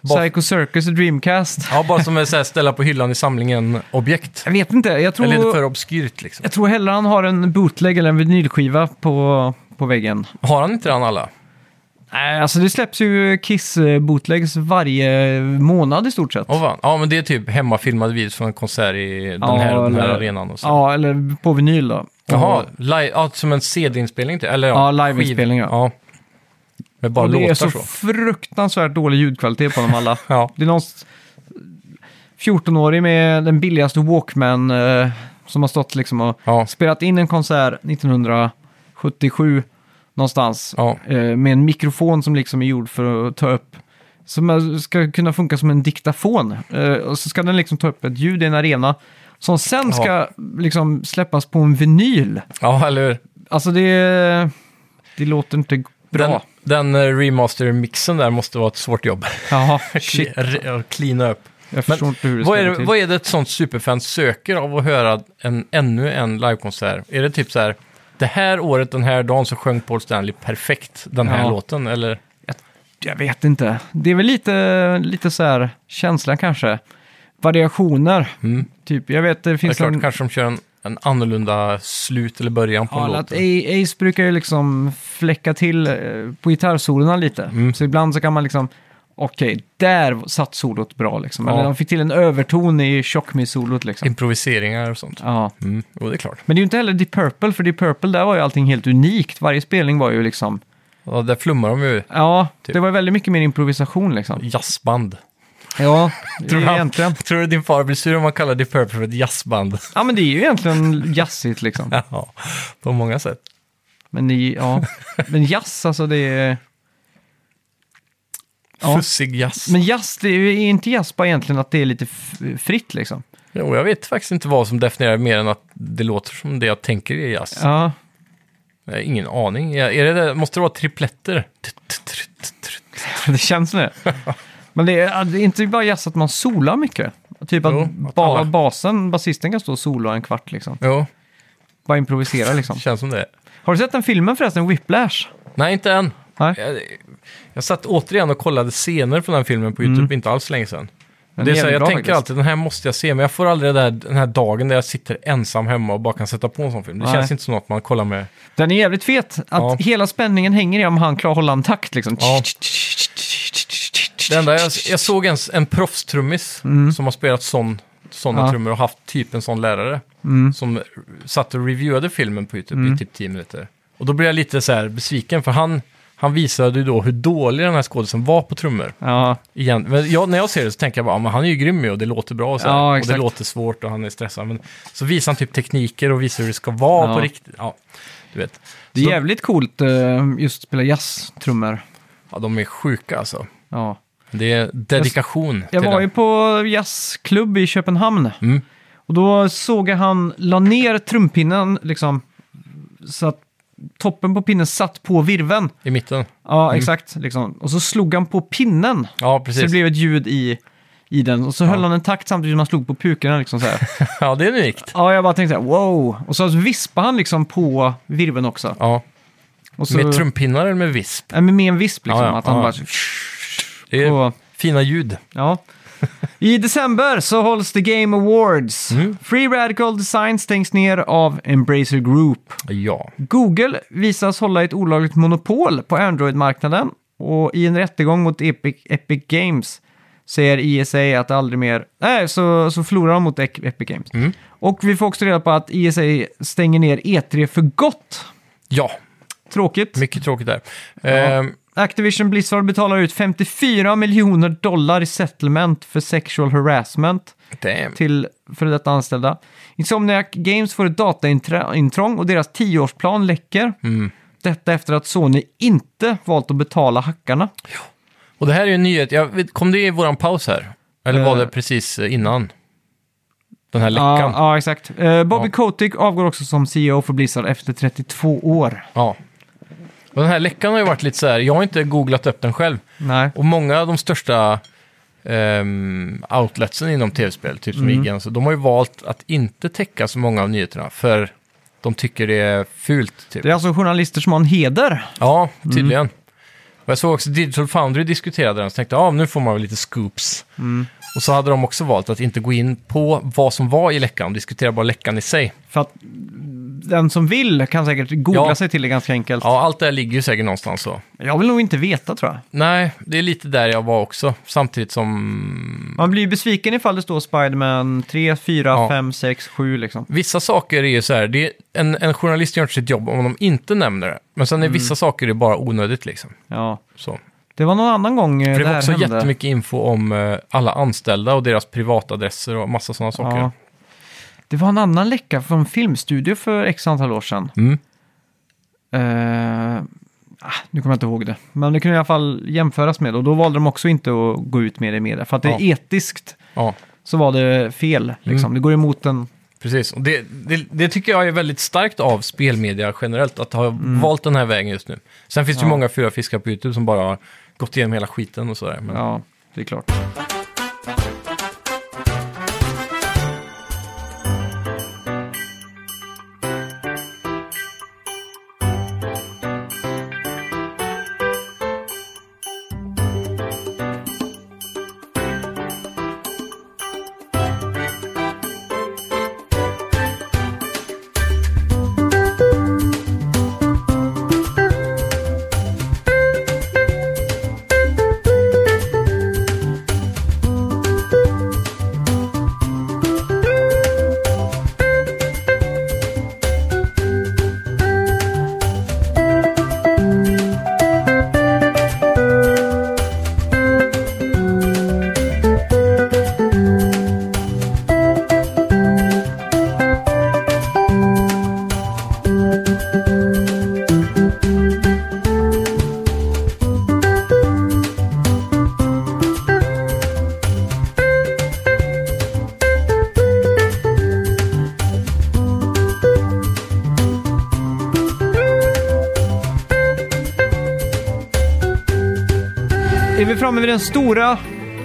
Speaker 2: Bara,
Speaker 1: Psycho Circus och Dreamcast.
Speaker 2: ja, bara som att så här ställa på hyllan i samlingen objekt.
Speaker 1: Jag vet inte, jag tror,
Speaker 2: Eller lite för obskyrt liksom.
Speaker 1: jag tror hellre han har en bootleg eller en vinylskiva på, på väggen.
Speaker 2: Har han inte den alla?
Speaker 1: Nej, alltså det släpps ju Kiss-bootlegs varje månad i stort sett.
Speaker 2: Åh fan. Ja, men det är typ hemmafilmad videos från en konsert i den
Speaker 1: Ja,
Speaker 2: här, den här
Speaker 1: eller-
Speaker 2: arenan. Och så.
Speaker 1: Ja, eller på vinyl då.
Speaker 2: Jaha,
Speaker 1: Och
Speaker 2: li- ja, som en CD-inspelning? till- Eller,
Speaker 1: Ja,
Speaker 2: ja,
Speaker 1: liveinspelning,
Speaker 2: skiv-
Speaker 1: ja.
Speaker 2: ja. Med bara
Speaker 1: det
Speaker 2: låtar
Speaker 1: är
Speaker 2: så.
Speaker 1: så fruktansvärt dålig ljudkvalitet på dem alla.
Speaker 2: Ja.
Speaker 1: Det är någon s- 14-årig med den billigaste Walkman eh, som har stått liksom och
Speaker 2: Ja.
Speaker 1: spelat in en konsert 1977 någonstans.
Speaker 2: Ja.
Speaker 1: Eh, med en mikrofon som liksom är gjord för att ta upp, som eh, ska kunna funka som en diktafon. Eh, och så ska den liksom ta upp ett ljud i en arena som sen ska liksom släppas på en vinyl.
Speaker 2: ja, eller hur?
Speaker 1: Alltså det, det låter inte bra.
Speaker 2: Den, den eh, remaster-mixen där måste vara ett svårt jobb.
Speaker 1: Jaha, shit.
Speaker 2: Re- och Cleana upp.
Speaker 1: Jag förstår inte hur det ska
Speaker 2: Vad är,
Speaker 1: gå
Speaker 2: det,
Speaker 1: till.
Speaker 2: vad är det ett sånt superfan söker av att höra en, ännu en livekonsert? Är det typ så här, det här året, den här dagen så sjöng Paul Stanley perfekt den här
Speaker 1: Ja.
Speaker 2: låten? Eller?
Speaker 1: Jag vet inte. Det är väl lite, lite så här känslan kanske. Variationer.
Speaker 2: Mm.
Speaker 1: Typ, jag vet det
Speaker 2: Det är
Speaker 1: finns
Speaker 2: klart,
Speaker 1: en...
Speaker 2: kanske de kör en, en annorlunda slut eller början på en
Speaker 1: Ja,
Speaker 2: låt.
Speaker 1: att A- Ace brukar ju liksom fläcka till eh, på gitarrsolorna lite.
Speaker 2: Mm.
Speaker 1: Så ibland så kan man liksom, okej, där satt solot bra liksom.
Speaker 2: Ja.
Speaker 1: Eller de fick till en överton i Shockme-solot liksom.
Speaker 2: Improviseringar och sånt.
Speaker 1: Ja.
Speaker 2: Mm. Jo, det är klart.
Speaker 1: Men det är ju inte heller Deep Purple, för Deep Purple där var ju allting helt unikt. Varje spelning var ju liksom,
Speaker 2: Ja, där flummar de ju
Speaker 1: ja,
Speaker 2: Typ.
Speaker 1: det var väldigt mycket mer improvisation liksom.
Speaker 2: jazzband.
Speaker 1: Ja,
Speaker 2: Tror du han-
Speaker 1: egentligen.
Speaker 2: Tror du din far blir sur om man kallar Deep Purple för ett jazzband?
Speaker 1: Ja, men det är ju egentligen jazzigt liksom.
Speaker 2: ja, på många sätt.
Speaker 1: Men, ni, ja. men jazz, alltså det är... Ja.
Speaker 2: Fussig jazz.
Speaker 1: Men jazz, det är ju är inte jazz bara egentligen att det är lite f- fritt liksom.
Speaker 2: Jo, jag vet faktiskt inte vad som definierar mer än att det låter som det jag tänker är jazz.
Speaker 1: Ja,
Speaker 2: Jag har ingen aning. Jag- Är det det? Måste det vara tripletter? Tut, tut, tut, tut, tut.
Speaker 1: det känns som det. Men det är, ja, det är inte bara jazz att man solar mycket. Typ att,
Speaker 2: Jo, att
Speaker 1: ba-
Speaker 2: alla-
Speaker 1: basen, basisten kan stå och sola en kvart liksom.
Speaker 2: Jo,
Speaker 1: Bara improvisera
Speaker 2: det
Speaker 1: liksom.
Speaker 2: känns som det.
Speaker 1: Har du sett den filmen förresten, Whiplash?
Speaker 2: Nej, inte än.
Speaker 1: Nej?
Speaker 2: Jag, jag satt återigen och kollade scener från den filmen
Speaker 1: Mm.
Speaker 2: på YouTube, inte alls länge sedan.
Speaker 1: Den
Speaker 2: det är
Speaker 1: jävligt
Speaker 2: så här, jag
Speaker 1: bra
Speaker 2: tänker
Speaker 1: faktiskt.
Speaker 2: alltid den här måste jag se, men jag får aldrig det där, den här dagen där jag sitter ensam hemma och bara kan sätta på en sån film. Det
Speaker 1: Nej.
Speaker 2: känns inte som något man kollar med.
Speaker 1: Den är jävligt fet. Att
Speaker 2: Ja.
Speaker 1: hela spänningen hänger i om han klarar att hålla en takt liksom.
Speaker 2: Ja. Det enda jag, jag såg en, en proffstrummis som har spelat sån,
Speaker 1: Mm.
Speaker 2: sådana
Speaker 1: Ja. Mm.
Speaker 2: trummor och haft typ en sån lärare som satt och reviewade filmen på YouTube i typ 10 minuter. Och då blev jag lite så här besviken för han, han visade ju då hur dålig den här skådisen var på trummor.
Speaker 1: Ja,
Speaker 2: Igen. Men jag, när jag ser det så tänker jag bara, "Ja, men han är ju grym ju och det låter bra och, så här.
Speaker 1: Ja,
Speaker 2: och det
Speaker 1: exakt.
Speaker 2: låter svårt och han är stressad. Men så visar han typ tekniker och visar hur det ska vara
Speaker 1: Ja.
Speaker 2: på riktigt. Ja, du vet.
Speaker 1: det är
Speaker 2: Så-
Speaker 1: jävligt coolt eh, just att spela jazztrummor.
Speaker 2: Ja, de är sjuka alltså.
Speaker 1: Ja.
Speaker 2: Det är dedikation
Speaker 1: Jag
Speaker 2: till
Speaker 1: var
Speaker 2: den.
Speaker 1: ju på jazzklubb i Köpenhamn.
Speaker 2: Mm.
Speaker 1: Och då såg jag han la ner trumpinnen liksom. Så att toppen på pinnen satt på virven.
Speaker 2: I mitten.
Speaker 1: Ja, exakt. Liksom. Och så slog han på pinnen.
Speaker 2: Ja,
Speaker 1: Så det
Speaker 2: Mm. precis.
Speaker 1: blev ett ljud i, i den. Och så höll han en takt samtidigt som han slog på pukorna. Liksom, så här.
Speaker 2: Ja, det är unikt.
Speaker 1: ja, jag bara tänkte så här, wow. Och så vispade han liksom på virven också.
Speaker 2: Ja.
Speaker 1: Och så,
Speaker 2: Med trumpinnar eller med visp?
Speaker 1: Ja, men med en visp liksom.
Speaker 2: Ja, ja,
Speaker 1: att han
Speaker 2: ja.
Speaker 1: bara...
Speaker 2: Det är
Speaker 1: på-
Speaker 2: fina ljud.
Speaker 1: Ja. I december så hålls The Game Awards.
Speaker 2: Mm.
Speaker 1: Free Radical Design stängs ner av Embracer Group.
Speaker 2: Ja.
Speaker 1: Google visas hålla ett olagligt monopol på Android-marknaden och i en rättegång mot Epic, Epic Games säger ISA att aldrig mer... Nej, så, så förlorar de mot Ec- Epic Games. Och vi får också reda på att ISA stänger ner E3 för gott.
Speaker 2: Ja,
Speaker 1: Tråkigt.
Speaker 2: mycket tråkigt där. Ehm,
Speaker 1: Activision Blizzard betalar ut 54 miljoner dollar i settlement för sexual harassment.
Speaker 2: damn.
Speaker 1: till före detta anställda. Insomniac Games får ett dataintrång och deras tioårsplan läcker.
Speaker 2: Mm.
Speaker 1: Detta efter att Sony inte valt att betala hackarna.
Speaker 2: Och det här är ju en nyhet. Jag vet, kom det i våran paus här? Eller var
Speaker 1: Eh.
Speaker 2: det precis innan? Den här läckan?
Speaker 1: Ja,
Speaker 2: Ja.
Speaker 1: ja exakt. Eh, Bobby
Speaker 2: Ja.
Speaker 1: Kotick avgår också som CEO för Blizzard efter 32 år.
Speaker 2: Och Den här läckan har ju varit lite så här, jag har inte googlat upp den själv.
Speaker 1: Nej.
Speaker 2: Och många av de största ehm, outletsen inom tv-spel, typ som IGN. Så de har ju valt att inte täcka så många av nyheterna, för de tycker det är fult. Typ.
Speaker 1: Det är alltså journalister som har en heder.
Speaker 2: Ja, tydligen. Och jag såg också Digital Foundry diskuterade den, så tänkte jag ah, nu får man väl lite scoops. Och så hade de också valt att inte gå in på vad som var i läckan, diskutera bara läckan i sig.
Speaker 1: För att den som vill kan säkert googla
Speaker 2: Ja.
Speaker 1: sig till det ganska enkelt.
Speaker 2: Ja, allt det här ligger ju säkert någonstans så.
Speaker 1: Jag vill nog inte veta tror jag.
Speaker 2: Nej, det är lite där jag var också, samtidigt som...
Speaker 1: Man blir ju besviken ifall det står Spiderman 3, 4,
Speaker 2: Ja.
Speaker 1: 5, 6, 7 liksom.
Speaker 2: Vissa saker är ju så här, det är en, en journalist gör inte sitt jobb om de inte nämner det. Men sen är vissa saker är bara onödigt liksom.
Speaker 1: Ja.
Speaker 2: Så.
Speaker 1: Det var någon annan gång eh,
Speaker 2: För det
Speaker 1: det
Speaker 2: var
Speaker 1: här
Speaker 2: också
Speaker 1: hände.
Speaker 2: jättemycket info om eh, alla anställda och deras privatadresser och massa sådana saker.
Speaker 1: Ja. Det var en annan läcka från en filmstudio för x antal år sedan.
Speaker 2: Mm.
Speaker 1: Eh, ah, nu kommer jag inte ihåg det. Men det kunde i alla fall jämföras med. Och då valde de också inte att gå ut med det i media. För att det är etiskt
Speaker 2: ja.
Speaker 1: så var det fel. Liksom. Det går emot den.
Speaker 2: Precis, och det, det, det tycker jag är väldigt starkt av spelmedia generellt, att ha valt den här vägen just nu. Sen finns det ju många fyra fiskar på YouTube som bara har gått igenom hela skiten och sådär. Men,
Speaker 1: Ja, det är klart. Är vi framme vid den stora,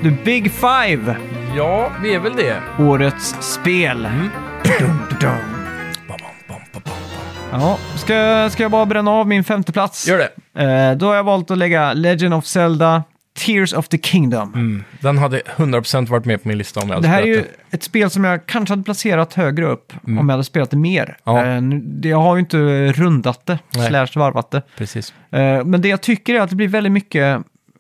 Speaker 1: the big five,
Speaker 2: Ja, vi är väl det.
Speaker 1: årets spel.
Speaker 2: Bam, bam, bam, bam, bam.
Speaker 1: Ja, ska, ska jag bara bränna av min femte plats?
Speaker 2: Gör det.
Speaker 1: Eh, då har jag valt att lägga Legend of Zelda, Tears of the Kingdom.
Speaker 2: Mm. Den hade 100% varit med på min lista om jag hade
Speaker 1: Det här är ju
Speaker 2: spelat
Speaker 1: ett spel som jag kanske hade placerat högre upp om jag hade spelat det mer.
Speaker 2: Mm. Ja.
Speaker 1: Eh, nu- det- Jag har ju inte rundat det,
Speaker 2: Nej.
Speaker 1: slash varvat det.
Speaker 2: det. Precis.
Speaker 1: Eh, Men det jag tycker är att det blir väldigt mycket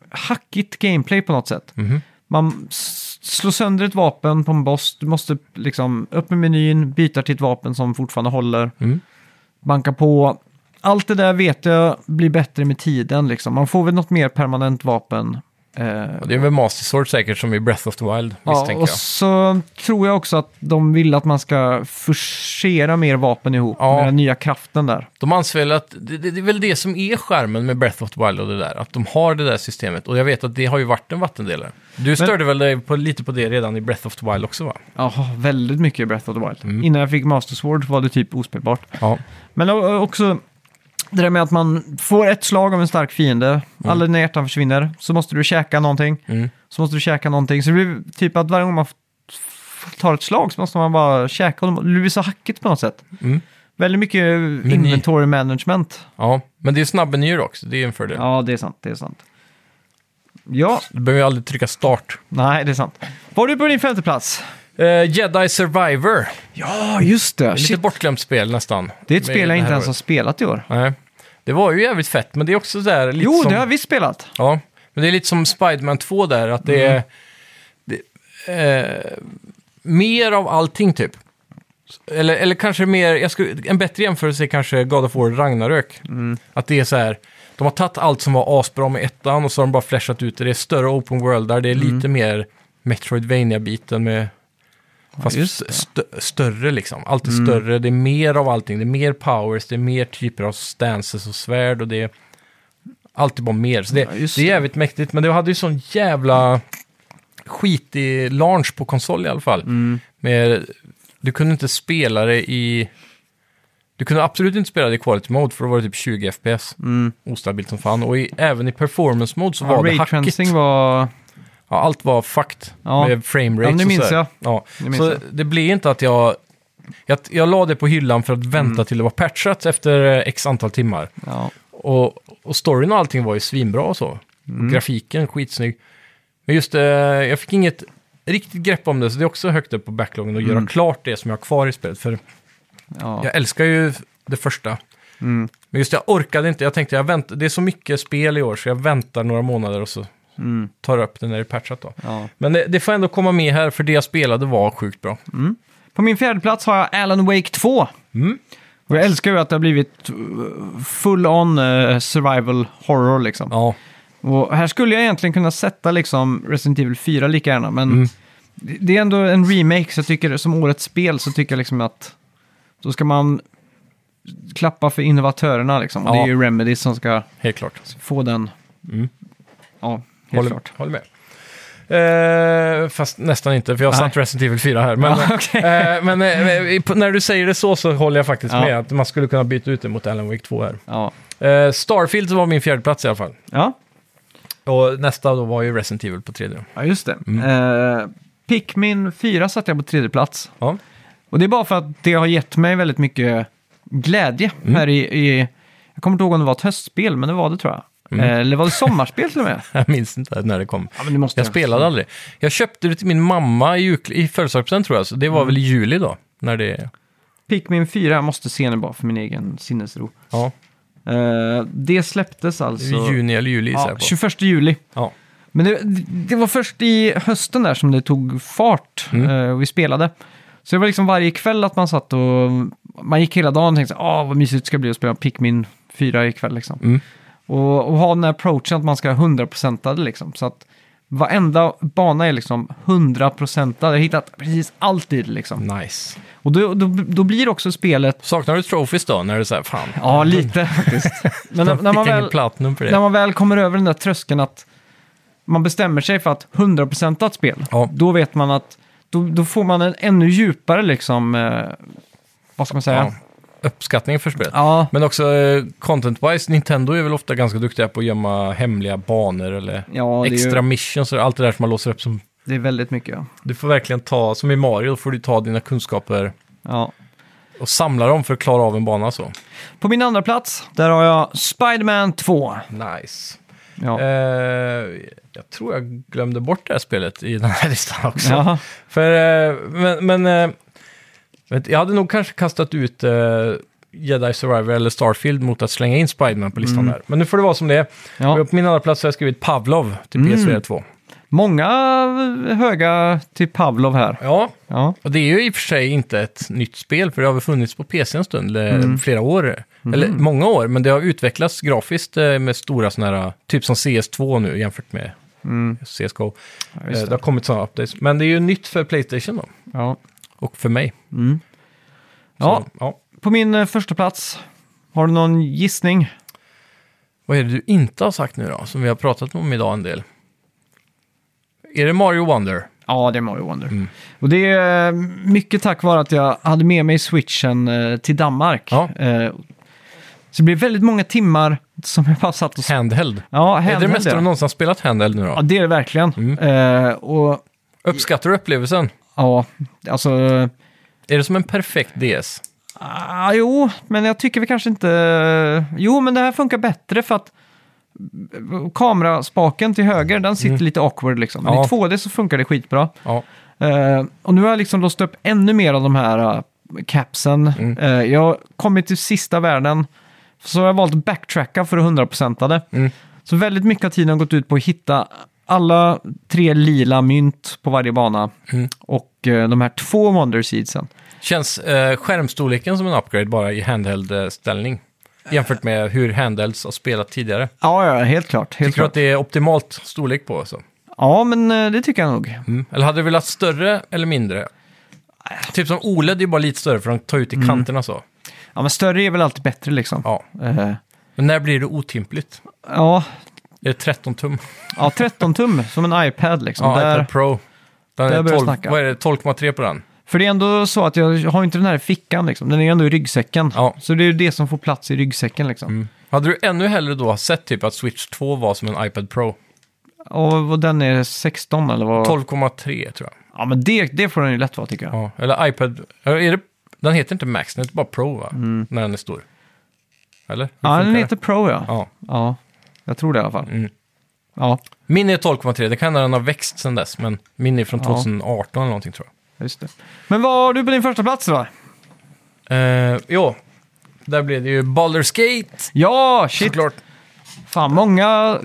Speaker 1: hackigt gameplay på något sätt.
Speaker 2: Mhm.
Speaker 1: Man s- slår sönder ett vapen på en boss, du måste liksom upp med menyn, byta till ett vapen som fortfarande håller,
Speaker 2: Mm.
Speaker 1: banka på. Allt det där vet jag blir bättre med tiden. Liksom. Man får väl något mer permanent vapen. Eh,
Speaker 2: Och Det är väl Master Sword säkert som i Breath of the Wild,
Speaker 1: Ja,
Speaker 2: misstänker
Speaker 1: och
Speaker 2: jag.
Speaker 1: så tror jag också att de vill att man ska forcera mer vapen ihop
Speaker 2: Ja.
Speaker 1: med den nya kraften där.
Speaker 2: De anser väl att det, det, det är väl det som är skärmen med Breath of the Wild och det där, att de har det där systemet. Och jag vet att det har ju varit en vattendelare. Du störde väl dig på, lite på det redan i Breath of the Wild också va?
Speaker 1: Ja, väldigt mycket i Breath of the Wild.
Speaker 2: Mm.
Speaker 1: Innan jag fick Master Sword var det typ ospelbart.
Speaker 2: Ja.
Speaker 1: Men o- också det där med att man får ett slag av en stark fiende, alla dina hjärtan försvinner, så måste du käka någonting,
Speaker 2: Mm.
Speaker 1: så måste du käka någonting. Så det blir typ att varje gång man f- f- tar ett slag så måste man bara käka, och det blir så hackigt på något sätt.
Speaker 2: Mm.
Speaker 1: Väldigt mycket inventory management.
Speaker 2: Ja, men det är snabbmenyer också, det är en fördel.
Speaker 1: Ja, det är sant, det är sant. Ja,
Speaker 2: Du behöver ju aldrig trycka start.
Speaker 1: Nej, det är sant. Var du på din femte plats?
Speaker 2: Eh, Jedi Survivor,
Speaker 1: Ja, just det.
Speaker 2: lite bortglömt spel nästan.
Speaker 1: Ah, Det är ett
Speaker 2: Med
Speaker 1: spel
Speaker 2: det
Speaker 1: jag inte
Speaker 2: här
Speaker 1: ens har
Speaker 2: året. spelat.
Speaker 1: spelat i år.
Speaker 2: Nej. Det var ju jävligt fett, men det är också så där lite
Speaker 1: Jo,
Speaker 2: som...
Speaker 1: det har vi spelat.
Speaker 2: Ja, men det är lite som Spiderman 2 där, att det är... Det, eh, mer av allting typ. Eller, eller kanske mer, jag skulle, en bättre jämförelse är kanske God of War Ragnarök. Att det är så här, de har tagit allt som var asbra med ettan och så har de bara flashat ut det. Det är större open world där det är lite mer Metroidvania-biten med... Fast
Speaker 1: just
Speaker 2: stö, större liksom. Allt är större, det är mer av allting. Det är mer powers, det är mer typer av stances och svärd och det är... Allt är bara mer. Så det,
Speaker 1: Ja, just
Speaker 2: det är
Speaker 1: det.
Speaker 2: jävligt mäktigt, men det hade ju sån jävla skitig launch på konsol i alla fall.
Speaker 1: Mm.
Speaker 2: Med, du kunde inte spela det i... Du kunde absolut inte spela det i quality mode för då var det typ 20 FPS. Ostabilt som fan. Och i, även i performance mode så
Speaker 1: Mm. Ja,
Speaker 2: var det hackigt.
Speaker 1: Raytracing var...
Speaker 2: Ja, allt var fucked
Speaker 1: Ja.
Speaker 2: med frame
Speaker 1: Ja,
Speaker 2: rates
Speaker 1: men det
Speaker 2: och
Speaker 1: minns
Speaker 2: sådär.
Speaker 1: jag.
Speaker 2: Ja.
Speaker 1: Det minns
Speaker 2: så
Speaker 1: jag.
Speaker 2: det blev inte att jag... Jag, jag la det på hyllan för att vänta
Speaker 1: Mm.
Speaker 2: till det var patchat efter eh, x antal timmar.
Speaker 1: Ja.
Speaker 2: Och, och storyn och allting var ju svinbra och så.
Speaker 1: Mm.
Speaker 2: Och grafiken skitsnygg. Men just eh, jag fick inget riktigt grepp om det, så det är också högt upp på backloggen att göra klart det som jag har kvar i spelet. För
Speaker 1: Mm. Ja.
Speaker 2: jag älskar ju det första.
Speaker 1: Mm.
Speaker 2: Men just det, jag orkade inte. Jag tänkte, jag vänt, det är så mycket spel i år, så jag väntar några månader och så
Speaker 1: Mm.
Speaker 2: tar jag upp det när det är patchat då.
Speaker 1: Ja.
Speaker 2: Men det, det får ändå komma med här, för det jag spelade var sjukt bra.
Speaker 1: Mm. På min fjärde plats har jag Alan Wake 2.
Speaker 2: Mm.
Speaker 1: Och jag älskar ju att det har blivit uh, full-on eh, survival horror liksom.
Speaker 2: Ja,
Speaker 1: Och här skulle jag egentligen kunna sätta liksom Resident Evil 4 lika gärna, men
Speaker 2: Mm.
Speaker 1: det det är ändå en remake, så jag tycker som årets spel så tycker jag liksom att då ska man klappa för innovatörerna liksom. Och
Speaker 2: Ja.
Speaker 1: det är ju Remedy som ska
Speaker 2: helt klart.
Speaker 1: få den.
Speaker 2: Mm.
Speaker 1: Ja, helt
Speaker 2: Håller,
Speaker 1: klart.
Speaker 2: håller med. Eh, fast nästan inte, för jag har
Speaker 1: Nej.
Speaker 2: satt Resident Evil 4 här. Men,
Speaker 1: Ja, okej.
Speaker 2: eh, men eh, i- på- när du säger det så så håller jag faktiskt
Speaker 1: Ja.
Speaker 2: med att man skulle kunna byta ut det mot Alan Wake 2 här.
Speaker 1: Ja.
Speaker 2: Eh, Starfield var min fjärde plats i alla fall.
Speaker 1: Ja.
Speaker 2: Och nästa då var ju Resident Evil på tredje.
Speaker 1: ja, just det.
Speaker 2: Mm.
Speaker 1: Eh, Pikmin 4 satte jag på tredje plats.
Speaker 2: Ja.
Speaker 1: Och det är bara för att det har gett mig väldigt mycket glädje här i, i... Jag kommer inte ihåg om det var ett höstspel, men det var det tror jag. Eh, Eller var det sommarspel till och med?
Speaker 2: Jag minns inte när det kom.
Speaker 1: Ja, men det måste
Speaker 2: Jag spelade aldrig. Jag köpte det till min mamma i, jul- i födelsedagspresent tror jag, så det var
Speaker 1: Mm.
Speaker 2: väl i juli då. När det...
Speaker 1: Pikmin 4, jag måste se den bara för min egen sinnesro.
Speaker 2: Ja,
Speaker 1: Eh, det släpptes
Speaker 2: i
Speaker 1: alltså...
Speaker 2: juni eller juli gissar
Speaker 1: ja,
Speaker 2: jag på.
Speaker 1: 21 juli.
Speaker 2: Ja.
Speaker 1: Men det, det var först i hösten där som det tog fart
Speaker 2: Mm.
Speaker 1: eh, och vi spelade. Så det var liksom varje kväll att man satt och... Man gick hela dagen och tänkte ah vad mysigt det ska bli att spela Pikmin 4 ikväll liksom.
Speaker 2: Mm.
Speaker 1: Och, och ha den här approachen att man ska 100% det liksom. Så att varenda bana är liksom 100% Jag har hittat precis alltid liksom.
Speaker 2: Mm. Nice.
Speaker 1: Och då, då, då blir också spelet
Speaker 2: Saknar du trophies då, när du säger fan,
Speaker 1: Ja, lite faktiskt. Men när, när,
Speaker 2: fick
Speaker 1: man
Speaker 2: jag
Speaker 1: väl,
Speaker 2: inget platinum för det?
Speaker 1: när man väl kommer över den där tröskeln att man bestämmer sig för att 100% ett spel,
Speaker 2: Ja.
Speaker 1: då vet man att då, då får man en ännu djupare liksom, eh, vad ska man säga?
Speaker 2: ja. Uppskattning för spelet.
Speaker 1: Ja,
Speaker 2: Men också eh, content-wise, Nintendo är väl ofta ganska duktiga på att gömma hemliga banor eller
Speaker 1: ja, det, är
Speaker 2: extra
Speaker 1: ju,
Speaker 2: missions och allt det där som man låser upp. Som,
Speaker 1: det är väldigt mycket. Ja.
Speaker 2: du får verkligen ta, som i Mario, får du ta dina kunskaper
Speaker 1: Ja.
Speaker 2: och samla dem för att klara av en bana så.
Speaker 1: På min andra plats, där har jag Spider-Man 2.
Speaker 2: Nice.
Speaker 1: Ja.
Speaker 2: Eh, jag tror jag glömde bort det här spelet i den här listan också.
Speaker 1: Ja.
Speaker 2: För, eh, men, men eh, vet, jag hade nog kanske kastat ut eh, Jedi Survivor eller Starfield mot att slänga in Spiderman på
Speaker 1: Mm.
Speaker 2: listan där. Men nu får det vara som det är.
Speaker 1: Ja.
Speaker 2: Och På min andra plats har jag skrivit Pavlov till
Speaker 1: Mm.
Speaker 2: PS4 2.
Speaker 1: Många höga till Pavlov här.
Speaker 2: Ja,
Speaker 1: Ja,
Speaker 2: och det är ju i och för sig inte ett nytt spel, för det har väl funnits på PC en stund, eller flera år, eller många år, men det har utvecklats grafiskt eh, med stora sådana här, typ som CS2 nu jämfört med CSGO. Eh,
Speaker 1: just
Speaker 2: Mm. det har kommit sådana updates, men det är ju nytt för Playstation då,
Speaker 1: ja.
Speaker 2: och för mig.
Speaker 1: ja.
Speaker 2: Så, ja.
Speaker 1: På min eh, första plats har du någon gissning?
Speaker 2: Vad är det du inte har sagt nu då, som vi har pratat om idag en del? Är det Mario Wonder?
Speaker 1: Ja, det är Mario Wonder.
Speaker 2: Mm.
Speaker 1: Och det är eh, mycket tack vare att jag hade med mig switchen eh, till Danmark.
Speaker 2: Ja.
Speaker 1: Eh, Så det blev väldigt många timmar som jag bara satt och... sp-
Speaker 2: Handheld?
Speaker 1: Ja,
Speaker 2: är det det
Speaker 1: handheld,
Speaker 2: mesta
Speaker 1: ja.
Speaker 2: du Mm. någonsin har spelat Handheld nu då?
Speaker 1: Ja, det är det verkligen. Eh, och
Speaker 2: Uppskattar du upplevelsen?
Speaker 1: ja, alltså...
Speaker 2: Är det som en perfekt DS?
Speaker 1: Ah, jo, men jag tycker vi kanske inte... eh, Jo, men det här funkar bättre för att eh, kameraspaken till höger, den sitter lite awkward liksom. Men
Speaker 2: Mm. Ja.
Speaker 1: i 2D så funkar det skitbra.
Speaker 2: Ja.
Speaker 1: Eh, och nu har jag liksom låst upp ännu mer av de här eh, capsen.
Speaker 2: Mm.
Speaker 1: Eh, jag har kommit till sista världen, så har jag valt att backtracka för att 100% det.
Speaker 2: Mm.
Speaker 1: Så väldigt mycket av tiden har gått ut på att hitta alla tre lila mynt på varje bana
Speaker 2: Mm.
Speaker 1: och eh, de här två Wonder Seedsen.
Speaker 2: Känns eh, skärmstorleken som en upgrade bara i handheld-ställning? Jämfört med hur handhelds har spelat tidigare.
Speaker 1: Ja, ja, helt klart. Helt
Speaker 2: Tycker du
Speaker 1: klart.
Speaker 2: att det är optimalt storlek på? Så?
Speaker 1: Ja, men eh, det tycker jag nog.
Speaker 2: Mm. Eller hade du velat större eller mindre? Typ som OLED är ju bara lite större för de tar ut i
Speaker 1: Mm.
Speaker 2: kanterna så.
Speaker 1: Ja, men större är väl alltid bättre liksom.
Speaker 2: Ja.
Speaker 1: Eh,
Speaker 2: Men när blir det otympligt?
Speaker 1: ja,
Speaker 2: Är det 13 tum?
Speaker 1: ja, 13 tum som en iPad liksom.
Speaker 2: Ja,
Speaker 1: Där-
Speaker 2: iPad Pro. Den
Speaker 1: där
Speaker 2: är
Speaker 1: börjar jag
Speaker 2: 12,
Speaker 1: snacka.
Speaker 2: vad är det, 12,3 på den?
Speaker 1: För det är ändå så att jag har inte den här i fickan liksom. Den är ändå i ryggsäcken.
Speaker 2: Ja. Mm.
Speaker 1: Så det är ju det som får plats i ryggsäcken liksom.
Speaker 2: Hade du ännu hellre då sett typ att Switch 2 var som en iPad Pro?
Speaker 1: och vad den är 16 eller vad?
Speaker 2: 12,3 tror jag.
Speaker 1: Ja, men det, det får den ju lätt vara tycker jag.
Speaker 2: Ja. Eller iPad. eller Är det, den heter inte Max, den heter bara Pro va? När den är stor. Eller? Hur
Speaker 1: Mm. Ja,
Speaker 2: funkar
Speaker 1: den
Speaker 2: det?
Speaker 1: heter Pro ja.
Speaker 2: Ja.
Speaker 1: Ja, jag tror det i alla fall.
Speaker 2: Mm.
Speaker 1: Ja,
Speaker 2: Min är 12,3. Det kan hända den har växt sedan dess, men min är från
Speaker 1: Ja.
Speaker 2: 2018 eller någonting tror jag.
Speaker 1: just det. Men vad har du på din första plats då?
Speaker 2: Eh, jo, där blev det ju Baldur's Gate.
Speaker 1: Ja, shit!
Speaker 2: Såklart.
Speaker 1: Fan, många...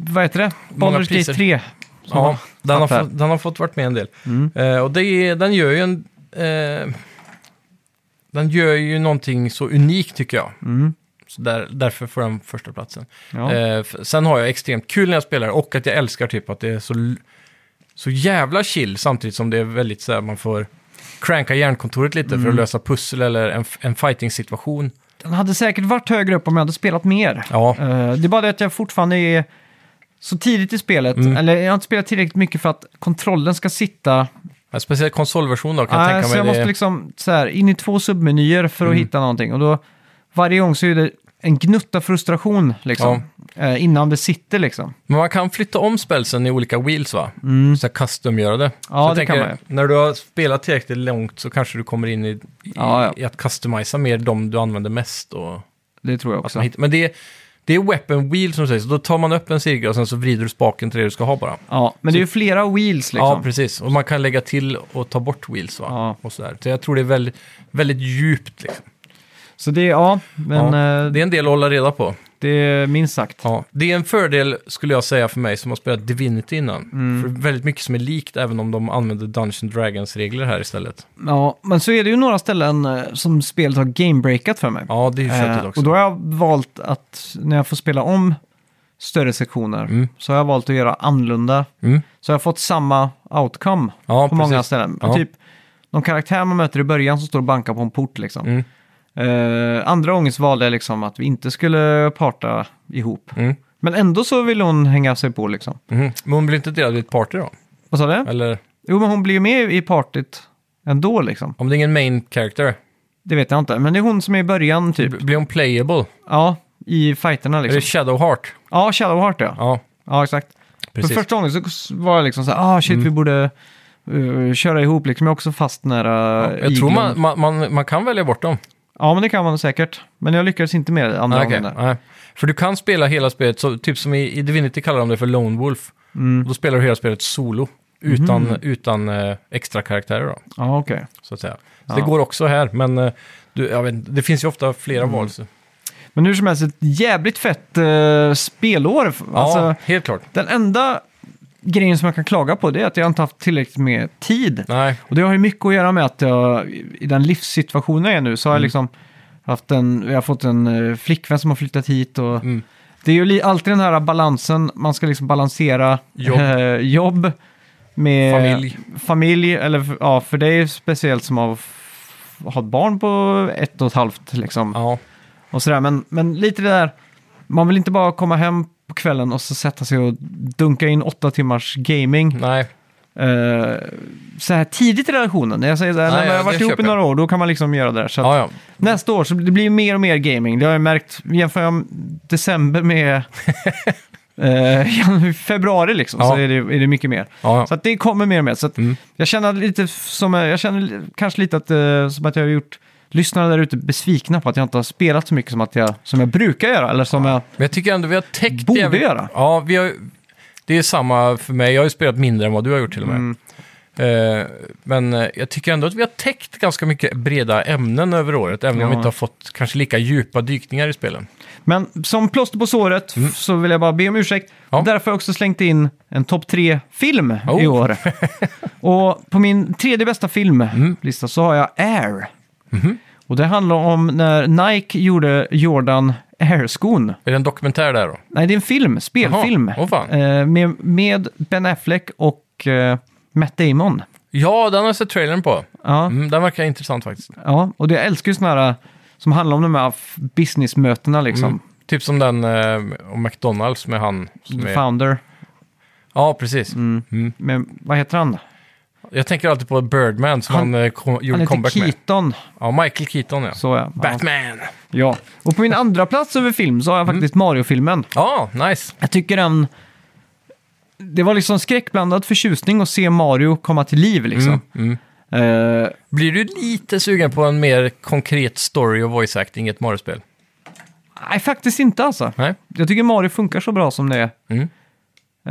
Speaker 1: Vad heter det?
Speaker 2: Många
Speaker 1: Baldur's Gate
Speaker 2: priser.
Speaker 1: 3. som
Speaker 2: Ja, den har,
Speaker 1: fattar.
Speaker 2: fått, den har fått varit med en del.
Speaker 1: Mm.
Speaker 2: Eh, och det är, den gör ju en... eh, den gör ju någonting så unikt tycker jag.
Speaker 1: Mm.
Speaker 2: Så där, därför får den första platsen.
Speaker 1: Ja.
Speaker 2: Eh, f- sen har jag extremt kul när jag spelar och att jag älskar typ att det är så, l- så jävla chill samtidigt som det är väldigt så här man får cranka hjärnkontoret lite
Speaker 1: Mm.
Speaker 2: för att lösa pussel eller en, f- en fighting-situation.
Speaker 1: Den hade säkert varit högre upp om jag hade spelat mer.
Speaker 2: Ja,
Speaker 1: Eh, det är bara det att jag fortfarande är så tidigt i spelet.
Speaker 2: Mm.
Speaker 1: Eller jag har inte spelat tillräckligt mycket för att kontrollen ska sitta...
Speaker 2: en speciell konsolversion då kan jag
Speaker 1: Nej,
Speaker 2: tänka
Speaker 1: så
Speaker 2: mig.
Speaker 1: jag
Speaker 2: det
Speaker 1: måste
Speaker 2: är-
Speaker 1: liksom så här, in i två submenyer för att
Speaker 2: Mm.
Speaker 1: hitta någonting. Och då, varje gång så är det en gnutta frustration liksom. Eh, innan det sitter liksom.
Speaker 2: Men man kan flytta om spelsen i olika wheels va? Så här custom-göra det.
Speaker 1: Mm. Ja,
Speaker 2: så jag
Speaker 1: det kan man
Speaker 2: När du har spelat tillräckligt långt så kanske du kommer in i, i,
Speaker 1: Ja, ja.
Speaker 2: i att customisa mer de du använder mest. Och
Speaker 1: Det tror jag
Speaker 2: att
Speaker 1: också.
Speaker 2: man hittar. Men det är, det är weapon wheel som sägs. Då tar man upp en cirkel och sen så vrider du spaken till det du ska ha bara.
Speaker 1: Ja, men det är ju flera wheels
Speaker 2: Ja,
Speaker 1: liksom.
Speaker 2: precis. Och man kan lägga till och ta bort wheels va?
Speaker 1: Ja.
Speaker 2: Och sådär. Så jag tror det är väldigt, väldigt djupt liksom.
Speaker 1: så det är, ja, men
Speaker 2: ja.
Speaker 1: eh,
Speaker 2: Det är en del att hålla reda på.
Speaker 1: det är minst sagt.
Speaker 2: Ja, det är en fördel skulle jag säga för mig som har spelat Divinity innan.
Speaker 1: Mm.
Speaker 2: För väldigt mycket som är likt även om de använder Dungeons and Dragons regler här istället.
Speaker 1: Ja, men så är det ju några ställen eh, som spelet har gamebreakat för mig.
Speaker 2: Ja, det är ju
Speaker 1: Eh,
Speaker 2: köttigt också.
Speaker 1: och då har jag valt att när jag får spela om större sektioner
Speaker 2: Mm.
Speaker 1: så har jag valt att göra annorlunda.
Speaker 2: Mm.
Speaker 1: Så jag har fått samma outcome
Speaker 2: Ja,
Speaker 1: på
Speaker 2: precis.
Speaker 1: många ställen.
Speaker 2: Ja.
Speaker 1: Och typ, någon karaktär man möter i början som står och bankar på en port liksom.
Speaker 2: Mm.
Speaker 1: Eh, andra gången så valde jag liksom att vi inte skulle parta ihop.
Speaker 2: Mm.
Speaker 1: Men ändå så ville hon hänga sig på liksom.
Speaker 2: Mhm. Men hon blir inte delad i ett party då?
Speaker 1: Vad sa du?
Speaker 2: Eller
Speaker 1: Jo, men hon blir ju med i partyt ändå liksom.
Speaker 2: om det är ingen main character,
Speaker 1: Det vet jag inte. Men det är hon som är i början typ.
Speaker 2: b- blir hon playable?
Speaker 1: Ja, i fighterna
Speaker 2: Mm. Är det
Speaker 1: liksom.
Speaker 2: Shadowheart?
Speaker 1: Ja, Shadowheart ja.
Speaker 2: Ja,
Speaker 1: Ja, exakt. För
Speaker 2: precis. Mm.
Speaker 1: första gången så var jag liksom så här, ah shit vi borde eh, köra ihop liksom. Jag är också fast nära
Speaker 2: Ja, jag tror
Speaker 1: Eh, iglon.
Speaker 2: man, man, man, man kan välja bort dem.
Speaker 1: Ja, men det kan man säkert. Men jag lyckades inte med det andra
Speaker 2: Nej, Ah, okej.
Speaker 1: gången. där.
Speaker 2: Nej. För du kan spela hela spelet, så, typ som i, i Divinity kallar de det för Lone Wolf.
Speaker 1: Mm.
Speaker 2: Då spelar du hela spelet solo, utan, utan eh, extra karaktärer då.
Speaker 1: Ja, okej.
Speaker 2: så att säga. Så
Speaker 1: Ja.
Speaker 2: det går också här, men eh, du, jag vet, inte, det finns ju ofta flera
Speaker 1: Mm.
Speaker 2: val. Så.
Speaker 1: Men hur som helst, ett jävligt fett eh, spelår.
Speaker 2: Ja,
Speaker 1: Alltså,
Speaker 2: helt klart.
Speaker 1: den enda grejen som jag kan klaga på det är att jag inte haft tillräckligt med tid.
Speaker 2: Nej,
Speaker 1: Och det har ju mycket att göra med att jag, i den livssituationen jag är nu, så
Speaker 2: Mm.
Speaker 1: har jag liksom haft en, jag har fått en eh, flickvän som har flyttat hit och
Speaker 2: Mm.
Speaker 1: det är ju li- alltid den här balansen, man ska liksom balansera
Speaker 2: Jobb.
Speaker 1: eh, jobb med
Speaker 2: Familj.
Speaker 1: familj, eller f- ja, för det är ju speciellt som att f- ha ett barn på ett och ett halvt liksom.
Speaker 2: ja,
Speaker 1: Och sådär. Men, men lite det där, man vill inte bara komma hem på kvällen och så sätta sig och dunka in åtta timmars gaming.
Speaker 2: nej,
Speaker 1: Eh, så här tidigt i relationen. När jag säger så här,
Speaker 2: Nej,
Speaker 1: när man
Speaker 2: ja,
Speaker 1: har
Speaker 2: det
Speaker 1: varit ihop i
Speaker 2: köper
Speaker 1: några år, då kan man liksom göra det där. Så att
Speaker 2: ja, ja.
Speaker 1: Nästa år så det blir mer och mer gaming. Det har jag märkt, jämför jag december med eh, februari liksom, så
Speaker 2: Ja.
Speaker 1: är det, är det mycket mer.
Speaker 2: ja,
Speaker 1: Så
Speaker 2: ja.
Speaker 1: att det kommer mer och mer. Så att
Speaker 2: Mm.
Speaker 1: jag känner lite som, eh, jag känner kanske lite att, eh, som att jag har gjort lyssnarna där ute besvikna på att jag inte har spelat så mycket som, att jag, som jag brukar göra. Eller som jag,
Speaker 2: Men jag tycker ändå vi har täckt
Speaker 1: Borde
Speaker 2: jävligt-
Speaker 1: göra.
Speaker 2: Ja, vi har, det är samma för mig. Jag har ju spelat mindre än vad du har gjort till och med.
Speaker 1: Mm.
Speaker 2: Eh, men eh, jag tycker ändå att vi har täckt ganska mycket breda ämnen över året, även om vi
Speaker 1: Ja.
Speaker 2: inte har fått kanske lika djupa dykningar i spelen.
Speaker 1: men som plåster på såret f- så vill jag bara be om ursäkt.
Speaker 2: Mm. Ja.
Speaker 1: Och Därför har jag också slängt in en topp tre film i
Speaker 2: Oh.
Speaker 1: år. och på min tredje bästa
Speaker 2: Mm.
Speaker 1: filmlista så har jag Air.
Speaker 2: Mhm.
Speaker 1: Och det handlar om när Nike gjorde Jordan Air-skon.
Speaker 2: Är det en dokumentär där då?
Speaker 1: Nej, det är en film, spelfilm.
Speaker 2: Jaha, åh fan.
Speaker 1: Eh, med, med Ben Affleck och eh, Matt Damon.
Speaker 2: Ja, den har jag sett trailern på.
Speaker 1: Ja,
Speaker 2: Mm, den verkar intressant faktiskt.
Speaker 1: ja, och det, jag älskar ju sådana här eh, som handlar om de här f- businessmötena liksom.
Speaker 2: Mm. Typ som den eh, om McDonalds med han. Som
Speaker 1: The
Speaker 2: är...
Speaker 1: Founder,
Speaker 2: Ja, precis. Mm.
Speaker 1: med, vad heter han?
Speaker 2: Jag tänker alltid på Birdman som
Speaker 1: Han-
Speaker 2: han, eh, kom, gjorde
Speaker 1: Han heter
Speaker 2: comeback med.
Speaker 1: Keaton.
Speaker 2: Ja, Michael Keaton ja.
Speaker 1: Så ja.
Speaker 2: Batman!
Speaker 1: Ja. ja. Och
Speaker 2: Mm.
Speaker 1: på min andra plats över film så har jag faktiskt Mario-filmen.
Speaker 2: Ja, nice.
Speaker 1: Jag tycker den det var liksom skräckblandad förtjusning att se Mario komma till liv
Speaker 2: Mm,
Speaker 1: liksom. Eh,
Speaker 2: Blir du lite sugen på en mer konkret story och voice acting i ett Mario-spel?
Speaker 1: nej, faktiskt inte alltså.
Speaker 2: Nej?
Speaker 1: Jag tycker Mario funkar så bra som det är.
Speaker 2: Mm.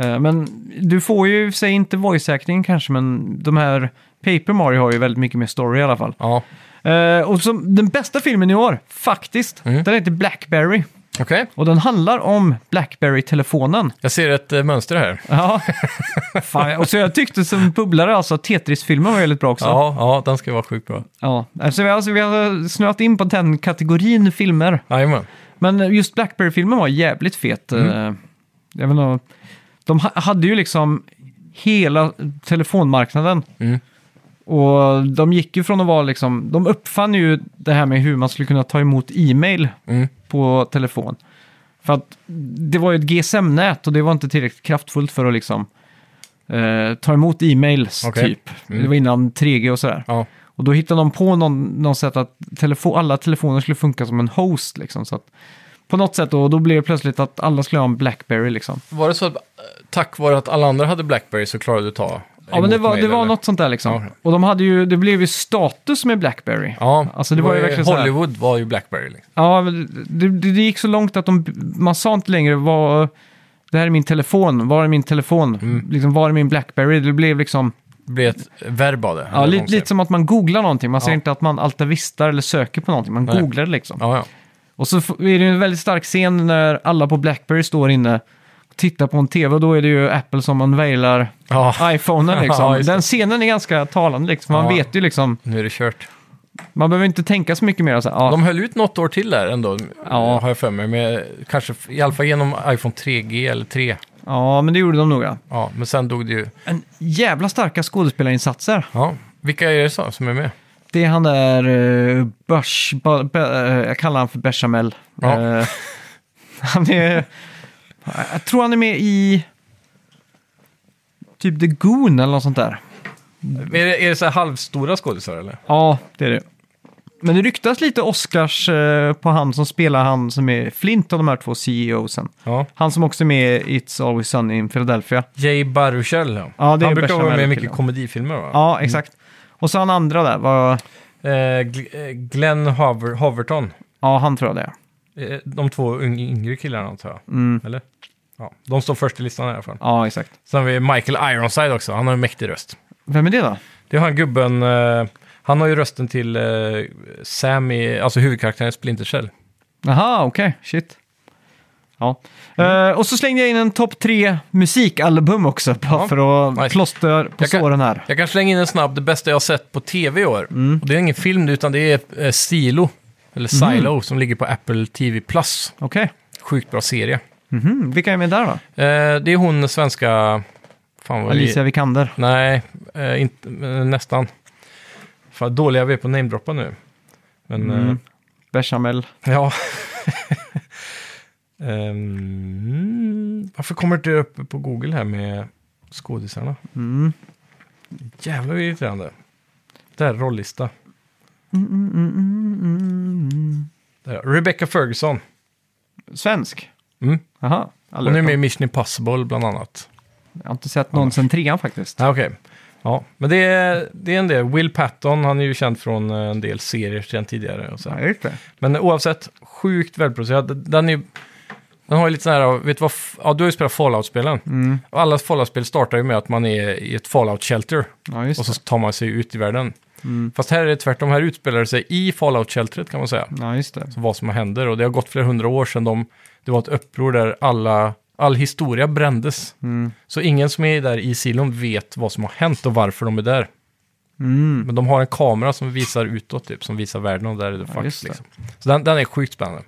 Speaker 1: Eh, Men du får ju i och för sig inte voice acting kanske, men de här Paper Mario har ju väldigt mycket mer story i alla fall.
Speaker 2: Ja.
Speaker 1: Eh, och som den bästa filmen i år, faktiskt,
Speaker 2: Mm.
Speaker 1: den heter Blackberry.
Speaker 2: Okej,
Speaker 1: Och den handlar om Blackberry-telefonen.
Speaker 2: jag ser ett eh, mönster här.
Speaker 1: Ja. Fan, och så jag tyckte som bubblare, alltså Tetris-filmen var väldigt bra också.
Speaker 2: Ja, ja, den ska vara sjukt bra.
Speaker 1: Ja. Alltså, vi, har- alltså, vi har snöat in på den kategorin filmer.
Speaker 2: Jajamän.
Speaker 1: Men just Blackberry-filmen var jävligt fet.
Speaker 2: Mm.
Speaker 1: Eh, Jag vet inte, de ha- hade ju liksom hela telefonmarknaden.
Speaker 2: Mm.
Speaker 1: Och de gick ju från att vara liksom, de uppfann ju det här med hur man skulle kunna ta emot e-mail
Speaker 2: Mm.
Speaker 1: på telefon. För att det var ju ett GSM-nät och det var inte tillräckligt kraftfullt för att liksom eh, ta emot e-mails
Speaker 2: Okej.
Speaker 1: typ.
Speaker 2: Mm.
Speaker 1: Det var innan 3G och sådär.
Speaker 2: Ja.
Speaker 1: Och då hittade de på någon, någon sätt att telefo- alla telefoner skulle funka som en host liksom. Så att på något sätt då, då blev det plötsligt att alla skulle ha en Blackberry liksom.
Speaker 2: Var det så att eh, tack vare att alla andra hade Blackberry så klarade du ta
Speaker 1: Ja men det
Speaker 2: emot
Speaker 1: var,
Speaker 2: mail,
Speaker 1: det var
Speaker 2: eller?
Speaker 1: något sånt där liksom.
Speaker 2: Ja, okej.
Speaker 1: Och de hade ju, det blev ju status med Blackberry.
Speaker 2: Ja, Eh,
Speaker 1: Alltså, det var ju verkligen så här-
Speaker 2: Hollywood var ju Blackberry. Liksom.
Speaker 1: Ja, men det, det det gick så långt att de, man sa inte längre vad, det här är min telefon, var är min telefon,
Speaker 2: Mm.
Speaker 1: liksom, var är min Blackberry? Det blev liksom,
Speaker 2: Det blev ett verb av det. eller
Speaker 1: ja,
Speaker 2: vad
Speaker 1: lite,
Speaker 2: man säger.
Speaker 1: lite som att man googlar någonting, man
Speaker 2: Ja.
Speaker 1: säger inte att man altavistar eller söker på någonting, man
Speaker 2: Nej.
Speaker 1: googlar det liksom.
Speaker 2: Ja, ja.
Speaker 1: Och så f- är det ju en väldigt stark scen när alla på Blackberry står inne och tittar på en tv och då är det ju Apple som unvailar
Speaker 2: ja,
Speaker 1: iPhonen liksom.
Speaker 2: Ja, just det.
Speaker 1: Den scenen är ganska talande liksom, man
Speaker 2: Ja.
Speaker 1: vet ju liksom,
Speaker 2: nu är det kört.
Speaker 1: man behöver inte tänka så mycket mer. Så här, ja,
Speaker 2: De höll ut något år till där ändå,
Speaker 1: Ja.
Speaker 2: har jag för mig. Med, kanske f- i alla fall genom iPhone 3G eller 3.
Speaker 1: ja, men det gjorde de nog ja.
Speaker 2: Ja, men sen dog det ju.
Speaker 1: En jävla starka skådespelarinsatser.
Speaker 2: Ja. Vilka är det så, som är med?
Speaker 1: Det är han där, uh, Bush, ba, be, eh, jag kallar han för Bechamel.
Speaker 2: Ja.
Speaker 1: Eh, han är, jag tror han är med i typ The Goon eller något sånt där.
Speaker 2: Är det, är det så här halvstora skådisar eller?
Speaker 1: Ja, det är det. Men det ryktas lite Oscars eh, på han som spelar han som är Flint av de här två CEOsen.
Speaker 2: Ja.
Speaker 1: Han som också är med i It's Always Sunny in Philadelphia.
Speaker 2: Jay Baruchel.
Speaker 1: Ja, det är
Speaker 2: han brukar vara med i
Speaker 1: Bechamel-killen.
Speaker 2: mycket komedifilmer va?
Speaker 1: Ja, exakt. Och så han andra där, var,
Speaker 2: Eh, Gl- eh, Glenn Hover- Hoverton.
Speaker 1: ja han tror jag det är.
Speaker 2: Eh, De två un- yngre killarna antar jag.
Speaker 1: Mm.
Speaker 2: Eller? Ja, de står först i listan i alla fall.
Speaker 1: Ja, exakt.
Speaker 2: Sen har vi Michael Ironside också, han har en mäktig röst.
Speaker 1: Vem är det då?
Speaker 2: Det har han gubben, eh, han har ju rösten till eh, Sam, i, alltså huvudkaraktären i Splinter Cell.
Speaker 1: Aha, okej. Shit. Ja.
Speaker 2: Mm.
Speaker 1: Eh, och så slängde jag in en topp tre musikalbum också, bara
Speaker 2: Ja.
Speaker 1: för att
Speaker 2: Nice.
Speaker 1: plåster på
Speaker 2: Jag kan-
Speaker 1: såren här.
Speaker 2: Jag kan slänga in en snabb, det bästa jag har sett på tv i år.
Speaker 1: Mm.
Speaker 2: Och det är ingen film utan det är eh, Silo, eller
Speaker 1: Mhm.
Speaker 2: Silo, som ligger på Apple TV+. Plus.
Speaker 1: Okej.
Speaker 2: Sjukt bra serie.
Speaker 1: Mhm. Vilka är med där då?
Speaker 2: Eh, det är hon svenska... Fan vad
Speaker 1: Alicia Vikander.
Speaker 2: Nej, eh, inte, eh, nästan. Fan, dåliga vi är på namedroppa nu. Men eh,
Speaker 1: Mm. Bechamel.
Speaker 2: ja. Ehm, varför kommer det upp på Google här med skådisarna?
Speaker 1: Mm.
Speaker 2: Jävlar vad irriterande. Där, rollista.
Speaker 1: Mm, mm, mm, mm, mm, mm.
Speaker 2: Där, Rebecca Ferguson.
Speaker 1: Svensk?
Speaker 2: Mm.
Speaker 1: Jaha. aldrig
Speaker 2: Hon är
Speaker 1: hört
Speaker 2: med i
Speaker 1: om.
Speaker 2: Mission Impossible bland annat.
Speaker 1: Jag har inte sett någon sen trean faktiskt.
Speaker 2: Ah, Okej. Ja, men det är, det är en del. Will Patton, han är ju känd från eh, en del serier sedan tidigare. Och så. här.
Speaker 1: Ja, just det.
Speaker 2: Men oavsett, sjukt välproducerad. Den, är, den har ju lite sån här, vet du vad, f- ja, du har ju spelat Fallout-spelen.
Speaker 1: Mm.
Speaker 2: Och alla Fallout-spel startar ju med att man är i ett Fallout-shelter
Speaker 1: Ja, just
Speaker 2: och så
Speaker 1: det.
Speaker 2: tar man sig ut i världen.
Speaker 1: Mm.
Speaker 2: Fast här är det tvärtom, här utspelar det sig i Fallout-sheltret kan man säga.
Speaker 1: Ja, just det.
Speaker 2: Så vad som händer och det har gått flera hundra år sedan de, det var ett uppror där alla, all historia brändes.
Speaker 1: Mm.
Speaker 2: Så ingen som är där i silon vet vad som har hänt och varför de är där.
Speaker 1: Mm.
Speaker 2: Men de har en kamera som visar utåt, typ, som visar världen och där är det
Speaker 1: Ja, just
Speaker 2: faktiskt.
Speaker 1: det.
Speaker 2: Liksom. Så den, den är sjukt spännande.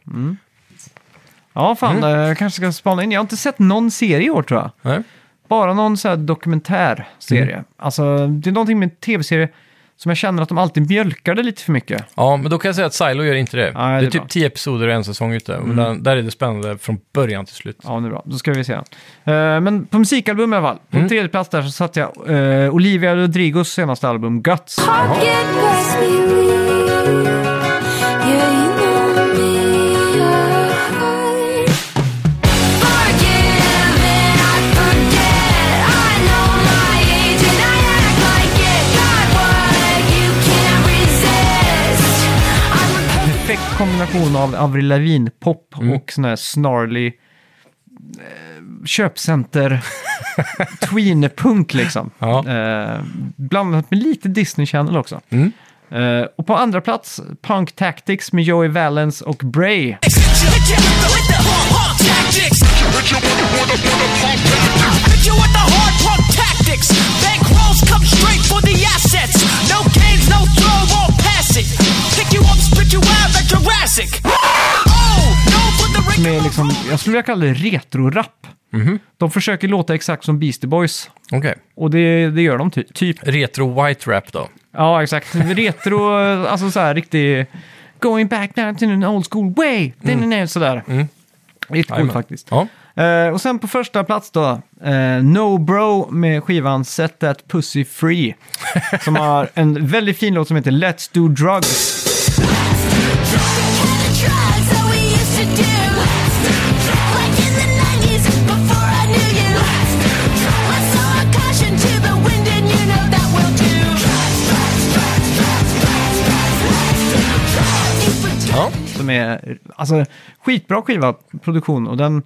Speaker 1: Ja, fan. eh, Jag kanske ska spana in. Jag har inte sett någon serie i år tror jag.
Speaker 2: Nej?
Speaker 1: bara någon så här dokumentärserie. Alltså, det är någonting med tv-serie som jag känner att de alltid mjölkar det lite för mycket.
Speaker 2: Ja, men då kan jag säga att Silo gör inte det.
Speaker 1: Nej,
Speaker 2: det,
Speaker 1: det
Speaker 2: är
Speaker 1: är
Speaker 2: typ
Speaker 1: bra. Mm.
Speaker 2: tio episoder och en säsong ute. Men den, där är det spännande från början till slut.
Speaker 1: Ja, nu bra. Då ska vi se. Eh, men på musikalbum i alla fall. På
Speaker 2: Mm.
Speaker 1: tredje plats där så satte jag eh, Olivia Rodrigos senaste album Guts.
Speaker 4: Pocket grass me weak. Yeah, you know me. I forgive and I forget.
Speaker 1: kombination av Avril Lavigne-pop
Speaker 2: Mm.
Speaker 1: och sån här snarly eh, köpcenter tween-punk liksom.
Speaker 2: Ja.
Speaker 1: Eh, blandat med lite Disney Channel också.
Speaker 2: Mm.
Speaker 1: Eh, och på andra plats Punk Tactics med Joey Valence och Bray.
Speaker 5: Hit you with the hard punk tactics. Bankrolls come straight for the assets. No games, no throw, all pass it. Pick you up, spit you out like Jurassic. Oh, no for the
Speaker 1: Som är liksom, jag skulle vilja kalla det retro-rap.
Speaker 2: Mhm.
Speaker 1: De försöker låta exakt som Beastie Boys.
Speaker 2: Okej.
Speaker 1: Och det, det gör de ty- typ.
Speaker 2: Retro white rap då.
Speaker 1: Ja, exakt. Retro, alltså så här riktig... Going back now to an old school way. Mm. Sådär. Mm. Riktigt coolt
Speaker 2: Jajamän.
Speaker 1: faktiskt.
Speaker 2: Ja.
Speaker 1: Eh, och sen på första plats då, eh, No Bro med skivan Set That Pussy Free. Som har en väldigt fin låt som heter Let's Do Drugs.
Speaker 4: Drugs that we used to do, like in the '90s before I knew you. I saw a caution to the wind, and you know that will do.
Speaker 2: ja.
Speaker 1: Som är, alltså, skitbra skiva, produktion. Och den,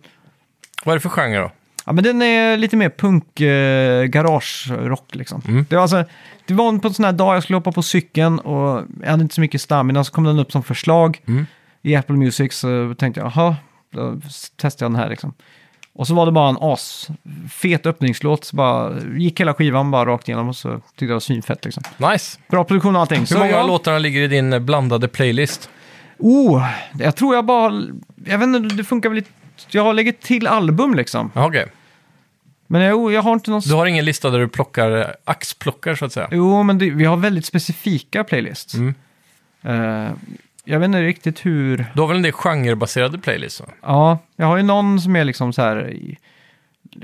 Speaker 2: Vad är det för genre då?
Speaker 1: Ja, men den är lite mer punk eh, garage-rock liksom.
Speaker 2: Mm.
Speaker 1: Det, var alltså, det var en- på en sån här dag jag skulle hoppa på cykeln och jag hade inte så mycket stamina så kom den upp som förslag
Speaker 2: Mm.
Speaker 1: i Apple Music så tänkte jag, jaha, då s- testar jag den här liksom. Och så var det bara en asfet öppningslåt, så bara gick hela skivan bara rakt igenom och så tyckte jag det var svinfett liksom.
Speaker 2: Nice.
Speaker 1: Bra produktion och allting.
Speaker 2: Hur
Speaker 1: Så
Speaker 2: många
Speaker 1: jag,
Speaker 2: av låtarna ligger i din eh, blandade playlist?
Speaker 1: Oh, jag tror jag bara, jag vet inte, det funkar väl lite, jag har lägger till album liksom.
Speaker 2: Ja, Okej.
Speaker 1: Men jag, jag har inte någon
Speaker 2: Du har ingen lista där du plockar, eh, axplockar så att säga?
Speaker 1: Jo, men det, vi har väldigt specifika playlists.
Speaker 2: Mm.
Speaker 1: Eh, jag vet inte riktigt hur...
Speaker 2: Du har väl en del genrebaserade playlists? va?
Speaker 1: Ja, jag har ju någon som är liksom så här... i-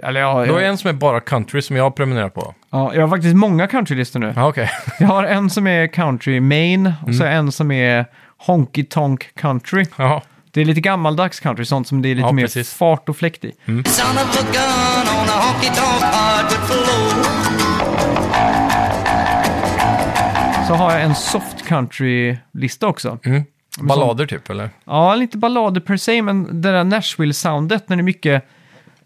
Speaker 1: Eller ja,
Speaker 2: Du har ju
Speaker 1: jag,
Speaker 2: en som är bara country som jag har prenumererat på.
Speaker 1: ja, jag har faktiskt många countrylistor nu.
Speaker 2: Ja, Mm. okej.
Speaker 1: Jag har en som är country main och så har jag en som är honky tonk country.
Speaker 2: Jaha.
Speaker 1: Det är lite gammaldags country, sånt som det är lite
Speaker 2: Ja,
Speaker 1: mer
Speaker 2: precis. Mm.
Speaker 1: fart och fläkt i.
Speaker 6: Sound of a gun on a honky tonk hardwood floor.
Speaker 1: Så har jag en soft country-lista också.
Speaker 2: Ballader typ, eller?
Speaker 1: Ja, inte ballader per se, men det där Nashville-soundet när det är mycket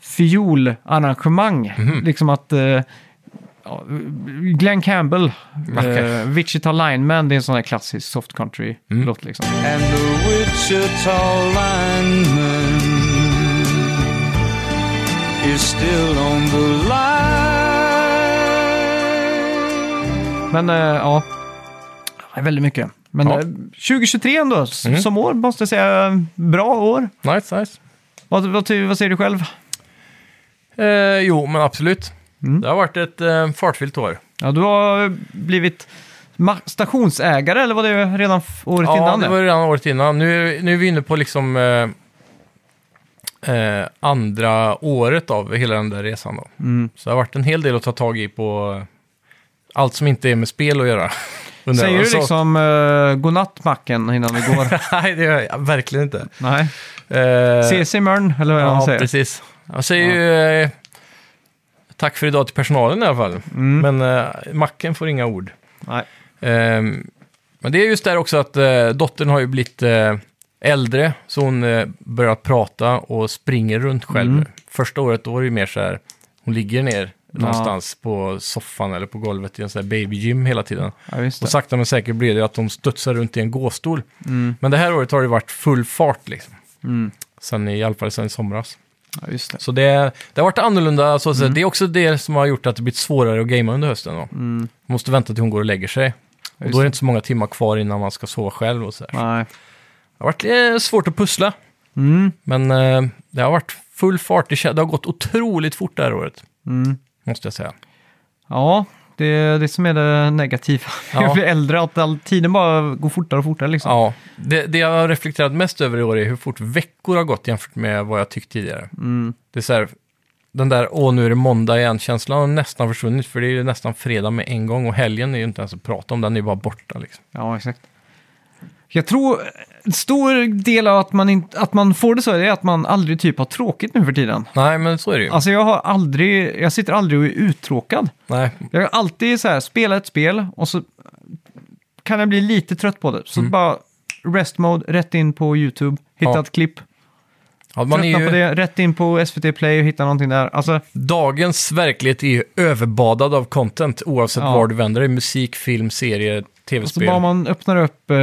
Speaker 1: fiolarrangemang.
Speaker 2: Mhm.
Speaker 1: Liksom att eh, ja, Glenn Campbell,
Speaker 2: Okej.
Speaker 1: eh, Wichita Lineman, det är en sån här klassisk soft
Speaker 2: Mm.
Speaker 1: country-låt liksom.
Speaker 6: And the Wichita lineman is still on the line.
Speaker 1: Men eh, ja, det är väldigt mycket. Men
Speaker 2: Ja. Mm.
Speaker 1: eh, 2023 ändå, s- som år måste jag säga, bra år.
Speaker 2: Nice, nice.
Speaker 1: Vad, vad, ty- vad säger du själv?
Speaker 2: Eh, jo, men absolut.
Speaker 1: Mm.
Speaker 2: Det har varit ett eh, fartfyllt år.
Speaker 1: Ja, du har blivit ma- stationsägare, eller var det redan f- året
Speaker 2: ja,
Speaker 1: innan?
Speaker 2: det
Speaker 1: det?
Speaker 2: var ju redan året innan. Nu, nu är vi inne på liksom eh, eh, andra året av hela den där resan då.
Speaker 1: Mm.
Speaker 2: Så det har varit en hel del att ta tag i på eh, allt som inte är med spel att göra. Undrar
Speaker 1: Säger
Speaker 2: jag.
Speaker 1: du
Speaker 2: Så-
Speaker 1: liksom uh, godnatt Macken innan vi går?
Speaker 2: Nej, det gör jag verkligen inte.
Speaker 1: Nej.
Speaker 2: Eh,
Speaker 1: Ses imorgon, eller vad
Speaker 2: Ja,
Speaker 1: han säger.
Speaker 2: precis. Jag säger ju eh, tack för idag till personalen i alla fall. Men eh, macken får inga ord.
Speaker 1: Mm. Nej.
Speaker 2: Ehm, men det är just där också att eh, dottern har ju blivit eh, äldre, så hon eh, börjar prata och springer runt själv.
Speaker 1: Mm.
Speaker 2: Första året då är det ju mer så här, hon ligger ner någonstans på soffan eller på golvet i en sån här babygym hela tiden.
Speaker 1: Ja, just
Speaker 2: Och
Speaker 1: det.
Speaker 2: sakta men säkert blir det att de studsar runt i en gåstol.
Speaker 1: Mm,
Speaker 2: Men det här året har det varit full fart liksom. Sen, I alla fall sen i somras.
Speaker 1: Ja, just det.
Speaker 2: Så det, det har varit annorlunda. Alltså, Så att säga.
Speaker 1: Mm.
Speaker 2: Det är också det som har gjort att det blivit svårare att gamea under hösten. Då. Måste vänta till hon går och lägger sig. Och
Speaker 1: Mm. Just
Speaker 2: då är
Speaker 1: det.
Speaker 2: det inte så många timmar kvar innan man ska sova själv och så där.
Speaker 1: Nej.
Speaker 2: Det har varit eh, svårt att pussla.
Speaker 1: Mm.
Speaker 2: Men eh, det har varit full fart. Det, kä- det har gått otroligt fort det här året. Måste jag säga.
Speaker 1: mm. Ja, det är det som är det negativa.
Speaker 2: Ja.
Speaker 1: Jag blir äldre, att all tiden bara går fortare och fortare liksom.
Speaker 2: Ja, det, det jag har reflekterat mest över i år är hur fort veckor har gått jämfört med vad jag tyckt tidigare.
Speaker 1: Mm.
Speaker 2: Det är så här, den där åh nu är det måndag igen-känslan har nästan försvunnit för det är ju nästan fredag med en gång och helgen är ju inte ens att prata om, den är ju bara borta liksom.
Speaker 1: Ja, exakt. Jag tror en stor del av att man, inte, att man får det så är att man aldrig typ har tråkigt nu för tiden.
Speaker 2: Nej, men så är det ju.
Speaker 1: Alltså jag har aldrig, jag sitter aldrig och är uttråkad.
Speaker 2: Nej,
Speaker 1: Jag har alltid så här, spelat ett spel och så kan jag bli lite trött på det. Så bara rest mode, rätt in på YouTube, hitta
Speaker 2: Mm. Ja.
Speaker 1: ett klipp.
Speaker 2: Ja, man
Speaker 1: Tröttna
Speaker 2: är
Speaker 1: på
Speaker 2: ju,
Speaker 1: det, rätt in på SVT Play och hitta någonting där. Alltså,
Speaker 2: dagens verklighet är ju överbadad av content oavsett
Speaker 1: Ja.
Speaker 2: var du vänder dig. Musik, film, serier,
Speaker 1: och så
Speaker 2: tv-spel.
Speaker 1: bara man öppnar upp eh,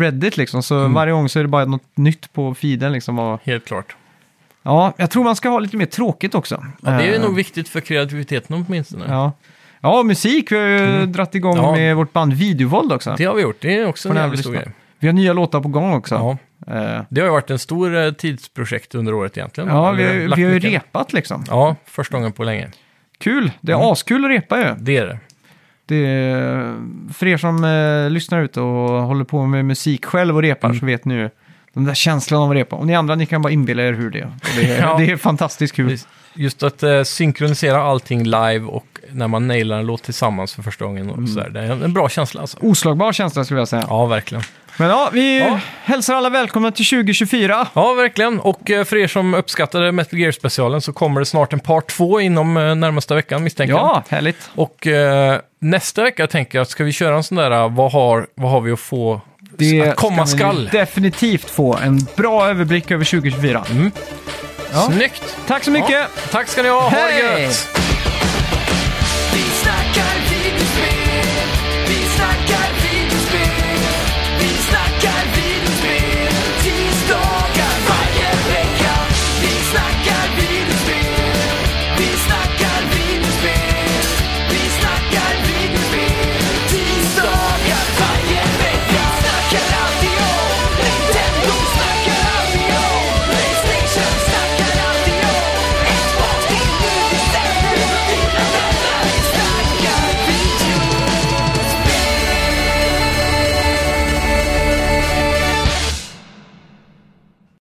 Speaker 1: Reddit liksom, så
Speaker 2: Mm.
Speaker 1: varje gång så är det bara något nytt på feeden liksom. Och,
Speaker 2: Helt klart.
Speaker 1: ja, jag tror man ska ha lite mer tråkigt också.
Speaker 2: Ja, det är ju
Speaker 1: Eh,
Speaker 2: nog viktigt för kreativiteten åtminstone.
Speaker 1: Ja, ja musik vi har ju dratt igång
Speaker 2: Mm. Ja.
Speaker 1: med vårt band Videovåld också.
Speaker 2: Det har vi gjort. Det är också
Speaker 1: Får
Speaker 2: en
Speaker 1: ni
Speaker 2: jävligt
Speaker 1: lyssna.
Speaker 2: stor grej.
Speaker 1: Vi har nya låtar på gång också.
Speaker 2: Ja.
Speaker 1: Eh,
Speaker 2: Det har ju varit en stor eh, tidsprojekt under året egentligen.
Speaker 1: ja vi, har-
Speaker 2: lagt
Speaker 1: vi har ju
Speaker 2: mycket-
Speaker 1: repat liksom.
Speaker 2: Ja, första gången på länge.
Speaker 1: Kul, det
Speaker 2: Mm.
Speaker 1: är askul att repa ju.
Speaker 2: Det är det.
Speaker 1: Det är, för er som eh, lyssnar ut och håller på med musik själv och repar
Speaker 2: Mm.
Speaker 1: så vet ni ju den där känslan av att repa. Och ni andra, ni kan bara inbilla er hur det är. Och Det är,
Speaker 2: Ja.
Speaker 1: det är fantastiskt kul.
Speaker 2: Precis. Just att eh, synkronisera allting live och när man nailar en låt tillsammans för första gången.
Speaker 1: Mm.
Speaker 2: Och sådär. Det är en, en bra känsla alltså.
Speaker 1: Oslagbar känsla skulle jag säga.
Speaker 2: Ja, verkligen.
Speaker 1: Men ja, vi
Speaker 2: Ja.
Speaker 1: hälsar alla välkomna till 2024.
Speaker 2: Ja, verkligen. Och eh, för er som uppskattade Metal Gear-specialen så kommer det snart en part två inom eh, närmaste veckan misstänker jag.
Speaker 1: Ja, härligt.
Speaker 2: Och eh, nästa vecka tänker jag, ska vi köra en sån där, eh, vad har, vad har vi att få att komma
Speaker 1: ska ni
Speaker 2: skall?
Speaker 1: definitivt få en bra
Speaker 2: Mm.
Speaker 1: överblick över 2024.
Speaker 2: Snyggt!
Speaker 1: Tack så mycket!
Speaker 2: Ja, tack ska ni ha, ha det
Speaker 1: Hej!
Speaker 2: gött!